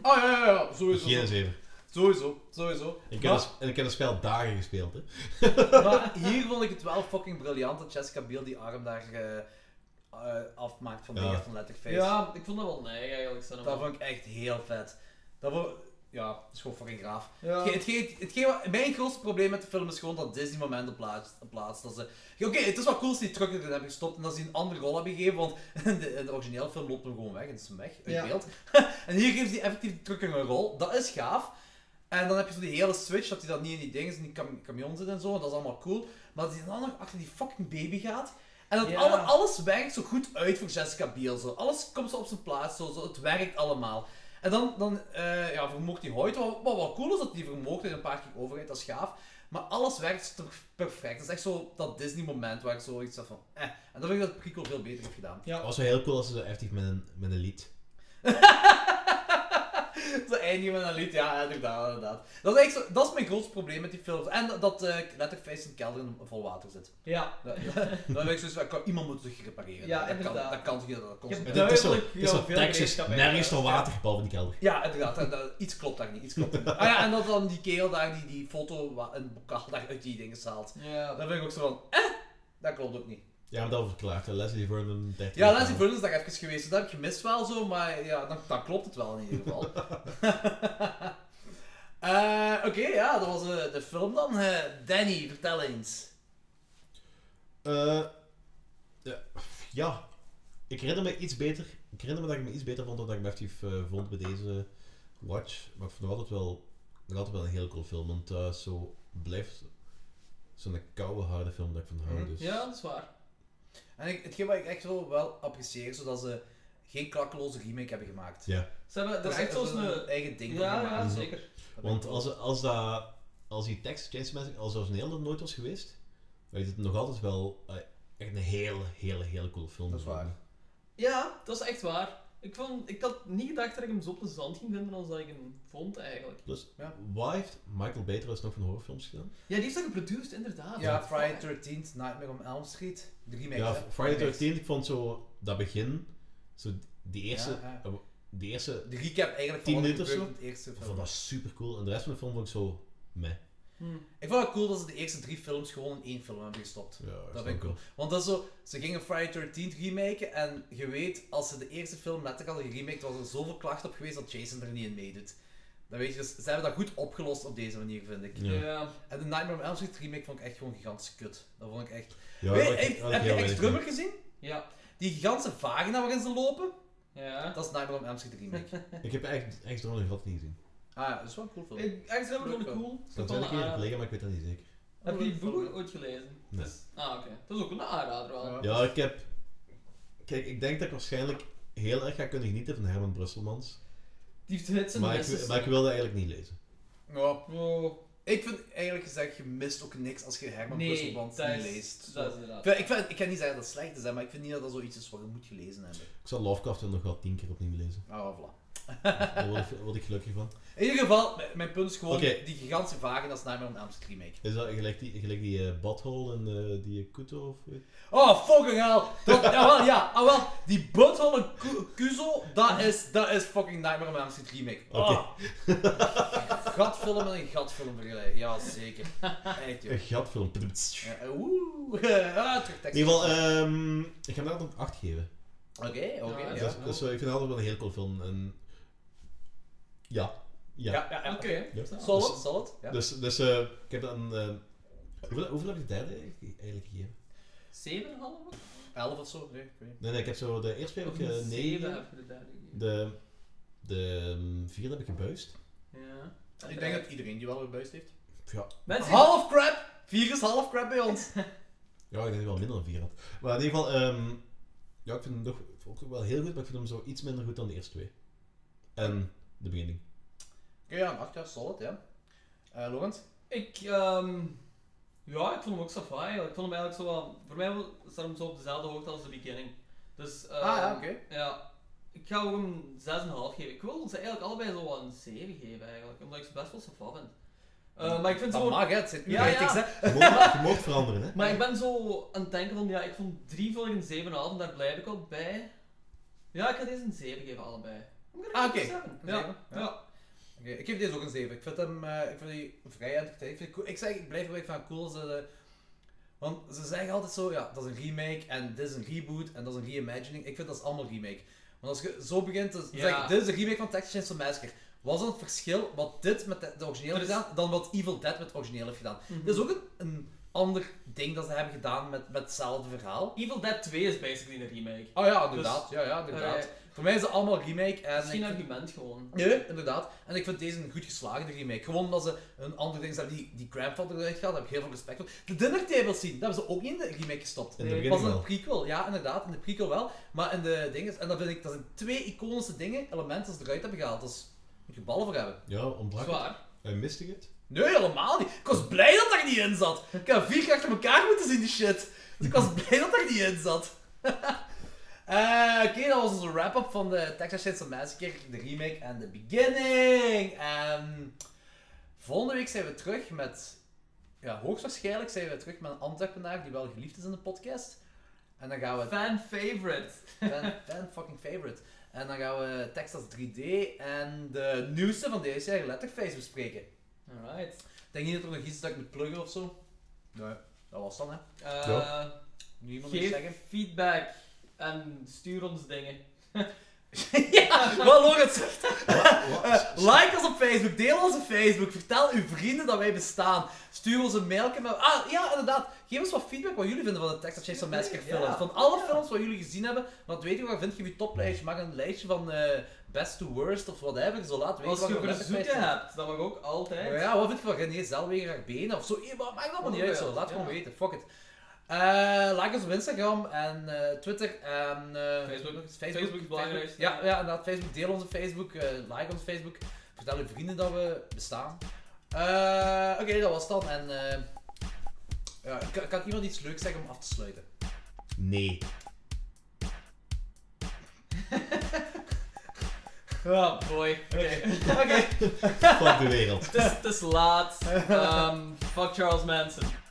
E: Oh ja, ja, ja, sowieso.
C: Geen zeven.
E: Sowieso, sowieso.
C: Ik heb,
E: Maar-
C: dat, en ik heb dat spel dagen gespeeld. Hè.
E: Maar hier vond ik het wel fucking briljant dat Jessica Biel die arm daar eh, eh, afmaakt van
C: Ja.
E: dingen van Letterface.
H: Ja, ik vond dat wel nee eigenlijk. Zijn
E: Dat vond ik echt heel vet. Dat vond... Ja, dat is gewoon fucking graaf.
H: Ja.
E: Hetgeen- hetgeen- hetgeen wat- mijn grootste probleem met de film is gewoon dat Disney momenten plaatst. plaatst dat ze... Oké, het is wel cool dat ze die truck erin hebben gestopt en dat ze die een andere rol hebben gegeven, want in de, in de originele film loopt hem gewoon weg en is hem weg, uit
H: Ja.
E: beeld. en hier geven ze die effectief die trucker een rol, dat is gaaf. En dan heb je zo die hele switch, dat hij dat niet in die dingen, in die cam camion zit en zo, en dat is allemaal cool. Maar dat hij dan nog achter die fucking baby gaat. En dat
H: Ja.
E: alle, alles werkt zo goed uit voor Jessica Biel. Zo. Alles komt zo op zijn plaats, zo, zo. het werkt allemaal. En dan, dan eh, ja, vermoogt hij Hoyt. Wat, wat wel cool is dat hij vermoogt en een paar keer overheid, dat is gaaf. Maar alles werkt ter- perfect. Dat is echt zo dat Disney-moment waar ik zoiets zeg van. Eh. En dat vind ik dat Prico veel beter heeft gedaan.
C: Het was wel heel cool als ze zo effectief met een, met een lied.
E: Zo eindigen met een lied, ja, inderdaad. inderdaad. Dat, is echt zo, dat is mijn grootste probleem met die films. En dat- dat eh Letterface in de kelder in- vol water zit.
H: Ja.
E: Dat, ja. dan ben ik zoiets van, kan- iemand moet zich repareren.
H: Ja,
E: dat, kan,
H: inderdaad.
E: dat kan toch niet, dat
H: Je
E: kan
C: En Het is zo,
H: Duidelijk,
C: het is zo
H: ja, veel
C: Texas,
H: gereedschap
C: nergens
H: eigenlijk.
C: van water behalve in die kelder.
E: Ja, inderdaad. dat- dat- iets klopt daar niet. Iets klopt daar niet. Ah ja, en dat dan die kerel daar die, die foto wa- een bokaal daar uit die dingen haalt.
H: Ja.
E: Dan ben ik ook zo van, eh, dat klopt ook niet.
C: Ja, maar dat verklaart. hè. Leslie Vernon 13
E: Ja, Leslie Vernon is daar even geweest. Dat heb je mis wel zo, maar ja, dan, dan klopt het wel in ieder geval. Eh, Oké, ja, dat was eh, de film dan. Eh, Danny, vertel eens.
C: Eh, ja, ja, ik herinner me iets beter. Ik herinner me dat ik me iets beter vond dan dat ik me effectief eh, vond bij deze watch. Maar ik vond het altijd wel, nog altijd wel een heel cool film. Want eh, zo blijft zo'n koude, harde film dat ik van hou.
E: Mhm.
C: Dus.
H: Ja, dat is waar.
E: En ik, hetgeen wat ik echt wel, wel apprecieer, zodat ze geen klakkeloze remake hebben gemaakt.
C: Ja.
H: Ze hebben er
E: Dat is
H: echt zo'n... eh,
E: een
H: Ja,
E: eigen ding voor gemaakt.
H: ja,
C: Mhm.
H: zeker.
C: Want als, als, dat, als die tekst Chainsaw Massacre als origineel er nooit was geweest, dan is het nog altijd wel eh, echt een hele, hele, hele coole film.
G: Dat is waar.
C: gevonden.
H: Ja, dat is echt waar. Ik, vond, ik had niet gedacht dat ik hem zo plezant ging vinden als dat ik hem vond, eigenlijk.
C: Dus,
G: Ja.
C: wat heeft Michael Bay trouwens nog van horrorfilms gedaan?
H: Ja, die is dat geproduced, inderdaad.
E: Ja, Friday 13th, Nightmare on Elm Street. De remake,
C: Ja,
E: hè?
C: Friday
E: Remakes.
C: 13, ik vond zo dat begin, zo die eerste,
E: Ja, ja.
C: die eerste
E: De recap eigenlijk van
C: 10
E: wat er
C: minuten of
E: gebeurt
C: zo?
E: in het eerste
C: ik vond
E: film.
C: dat super cool en de rest van de film vond ik zo meh.
H: Hm.
E: Ik vond het cool dat ze de eerste drie films gewoon in één film hebben gestopt.
C: Ja,
E: Dat vind ik cool. Want dat is zo, ze gingen Friday 13 remaken en je weet, als ze de eerste film letterlijk hadden geremaked, was er zoveel klacht op geweest dat Jason er niet in meedoet. Dan weet je, dus ze hebben dat goed opgelost op deze manier, vind ik.
C: Ja.
H: Ja.
E: En de Nightmare on Elm Street remake vond ik echt gewoon gigantisch kut. Dat vond ik echt...
C: Ja,
E: weet,
C: dat-
E: heb,
C: dat-
E: heb je
C: heel
E: Ex
C: weinig
E: Drummer gezien?
H: Ja.
E: Die gigantische vagina waarin ze lopen?
H: Ja.
E: Dat is Nightmare on Elm Street remake.
C: mee. Ik heb echt, echt nog een gat niet gezien.
E: ah ja, dat is wel een cool film.
H: Ik- Echt, ze hebben
E: Leuk
H: het
E: wel.
H: cool.
C: Dat
H: wel
C: ben ik
H: een
C: een keer
H: aanrader.
C: gelegen, maar ik weet dat niet zeker.
H: Heb je die boek ooit gelezen?
C: Nee.
H: Dus- ah, oké. Dat is ook een aanrader wel.
E: Ja.
C: Ja, ik heb. Kijk, ik denk dat ik waarschijnlijk heel erg ga kunnen genieten van Herman Brusselmans.
H: Die heeft het zijn
C: Maar
H: beste
C: ik, maar ik wil dat eigenlijk niet lezen.
E: Ja,
H: Oh,
E: Ik vind eigenlijk gezegd, je mist ook niks als je Herman
H: nee,
E: Brusselmans
H: dat
E: niet
H: is,
E: leest.
H: Dat is
E: Ik,
H: inderdaad.
E: vind- ik, vind, ik kan niet zeggen dat het slecht is, hè, maar ik vind niet dat dat zoiets is wat je moet gelezen hebben.
C: Ik zal Lovecraft nog wel tien keer opnieuw lezen.
E: Ah, voilà.
C: Daar word ik, word ik gelukkig van.
E: In ieder geval, m- mijn punt is gewoon
C: Oké.
E: die gigantische vagen als Nightmare on Elm Street remake.
C: Is dat gelijk die, gelijk die eh, butthole en eh, die Kuto of weet-
E: Oh, fucking hell! Dat, jawel, ja, ah, wel, die butthole Ku- Kuzo, dat is, dat is fucking Nightmare on Elm Street remake.
C: Oké.
E: Oh. Gatfilm Ah. met een gatfilm vergelijken, ja zeker. Echt joh.
C: Een gatfilm. In ieder
E: Ja, Oeh, ah, terug tekst.
C: geval, ehm, ik ga hem daar altijd 8 geven.
E: Oké, oké,
H: Ja,
E: ja.
C: Dus dat is- dat is wel- ik vind het altijd wel een heel cool film. En... Ja. Ja.
E: Ja, ja, ja.
H: Oké.
C: Ja.
H: Zo.
E: Solid, solid. Ja.
C: Dus, dus eh, ik heb dan... eh, hoeveel, hoeveel heb ik de derde eigenlijk eigenlijk gegeven?
H: 7,5?
E: 11 of zo, nee, ik weet niet.
C: Nee, nee, ik heb zo de eerste twee ook eh, negen.
H: 7 heb je de derde gegeven.
C: De, de ehm, vierde heb ik gebuist.
H: Ja.
E: Ik denk dat iedereen die wel weer buist heeft.
C: Ja,
H: Mensen,
E: Half crap! Vier is half crap bij ons.
C: ja ik denk dat ik wel minder dan vier had. Maar in ieder geval, ehm, ja, ik vind hem toch ook wel heel goed, maar ik vind hem zo iets minder goed dan de eerste twee. En de beginning.
E: Oké, ja, een 8 jaar solid, ja. Eh Laurens?
H: ik, ehm, ja, ik vond hem ook safai. eigenlijk. Ik vond hem eigenlijk zo wel, voor mij staat hem zo op dezelfde hoogte als de beginning. Dus, ehm,
E: ah ja, oké.
H: Ja, ik ga ook hem 6,5 geven. Ik wil ze eigenlijk allebei zo wel een 7 geven eigenlijk, omdat ik ze best wel safai vind. Eh, maar ik vind
E: Dat
H: ze gewoon...
E: mag, hè. Het zijn
H: Ja,
E: ja, ratings,
H: ja.
E: hè.
C: Je mocht, je mocht veranderen, hè?
H: Maar ik ben zo aan het denken van, ja, ik vond 3 vond ik een 7,5 en daar blijf ik al bij. Ja, ik ga deze een 7 geven, allebei. I'm gonna
E: Ah,
H: give
E: oké.
H: it a seven.
E: Een
H: Ja,
E: zeven, ja.
H: ja.
E: Oké, ik geef deze ook een 7. Ik vind hem eh, ik vind die vrij entertaining. Ik, vind die cool. ik, zeg, ik blijf erbij van cool. Ze, de- want ze zeggen altijd zo, ja, dat is een remake en dit is een reboot en dat is een reimagining. Ik vind dat is allemaal remake. Want als je zo begint te
H: Ja.
E: zeggen, dit is een remake van Texas Chainsaw Massacre. Wat is dan het verschil wat dit met de, de originele
H: Er is-
E: heeft gedaan, dan wat Evil Dead met het origineel heeft gedaan?
H: Mhm.
E: Dat is ook een, een ander ding dat ze hebben gedaan met, met hetzelfde verhaal.
H: Evil Dead 2 is basically een remake.
E: Oh ja, inderdaad. ja, ja, inderdaad.
H: Allee,
E: Voor mij is het allemaal remake en
H: Misschien
E: ik
H: een
E: vind-
H: argument gewoon.
E: Nee, inderdaad. En ik vind deze een goed geslaagde remake. Gewoon omdat ze een ander ding hebben. Die, die Grandfather eruit gaat, daar heb ik heel veel respect voor. De Dinner Table Scene, daar hebben ze ook niet in de remake gestopt.
C: In
H: Nee,
C: de
E: Pas
C: beginning
E: in de
C: wel.
E: prequel, ja, inderdaad. In de prequel wel. Maar in de dingen... En dan vind ik, dat zijn twee iconische dingen, elementen die ze eruit hebben gehaald. Dus moet je ballen voor hebben.
C: Ja, ontbrak het.
H: Zwaar.
C: Hij miste ik het.
E: Nee, helemaal niet. Ik was blij dat dat er niet in zat. Ik heb vier keer achter elkaar moeten zien, die shit. Dus ik was blij dat er niet in zat. Eh, Oké, dat was onze wrap-up van de Texas Chainsaw Massacre, de remake en de beginning. Ehm, volgende week zijn we terug met... Ja, hoogstwaarschijnlijk zijn we terug met een Antwerpenaar die wel geliefd is in de podcast. En dan gaan we...
H: Fan favorite.
E: Fan, fan fucking favorite. En dan gaan we Texas 3D en de nieuwste van deze jaar, Letterface, bespreken.
H: Alright.
E: Ik denk niet dat er nog iets is dat ik moet pluggen of zo. Nee. Dat was dan, hè.
H: Eh,
C: Ja.
E: Nu iemand iets zeggen.
H: Geef feedback en stuur ons dingen.
E: ja, wat Lorenz zegt.
C: Wat?
E: Like ons op Facebook, deel ons op Facebook, vertel uw vrienden dat wij bestaan. Stuur ons een mailje met... Ah, ja, inderdaad. Geef ons wat feedback wat jullie vinden van de Texas Chainsaw Massacre
H: Ja.
E: films. Van alle films wat jullie gezien hebben, want weet je wat je vindt, geef je toplijstje. Maak een lijstje van eh, best to worst of whatever, zo laat weten
H: Als
E: wat
H: je
E: van Letterface
H: verzoeken
E: vindt.
H: hebt, dat mag ook altijd.
E: Oh Ja, wat vind je van René Zellweger haar benen of zo? Eh, maar Maakt allemaal niet uit zo, laat
H: Ja.
E: gewoon weten, fuck it. Eh, like ons op Instagram en eh, Twitter en... eh,
H: Facebook. Facebook
E: Facebook
H: is belangrijk.
E: Ja, ja, inderdaad. Facebook. Deel onze Facebook. eh, like ons Facebook. Vertel uw vrienden dat we bestaan. Eh, Oké, dat was het dan. En... eh, ja, kan, kan iemand iets leuks zeggen om af te sluiten?
C: Nee.
H: Oh boy. Oké.
E: Oké.
C: Fuck de wereld.
H: Het is- Het is laat. Ehm, um, fuck Charles Manson.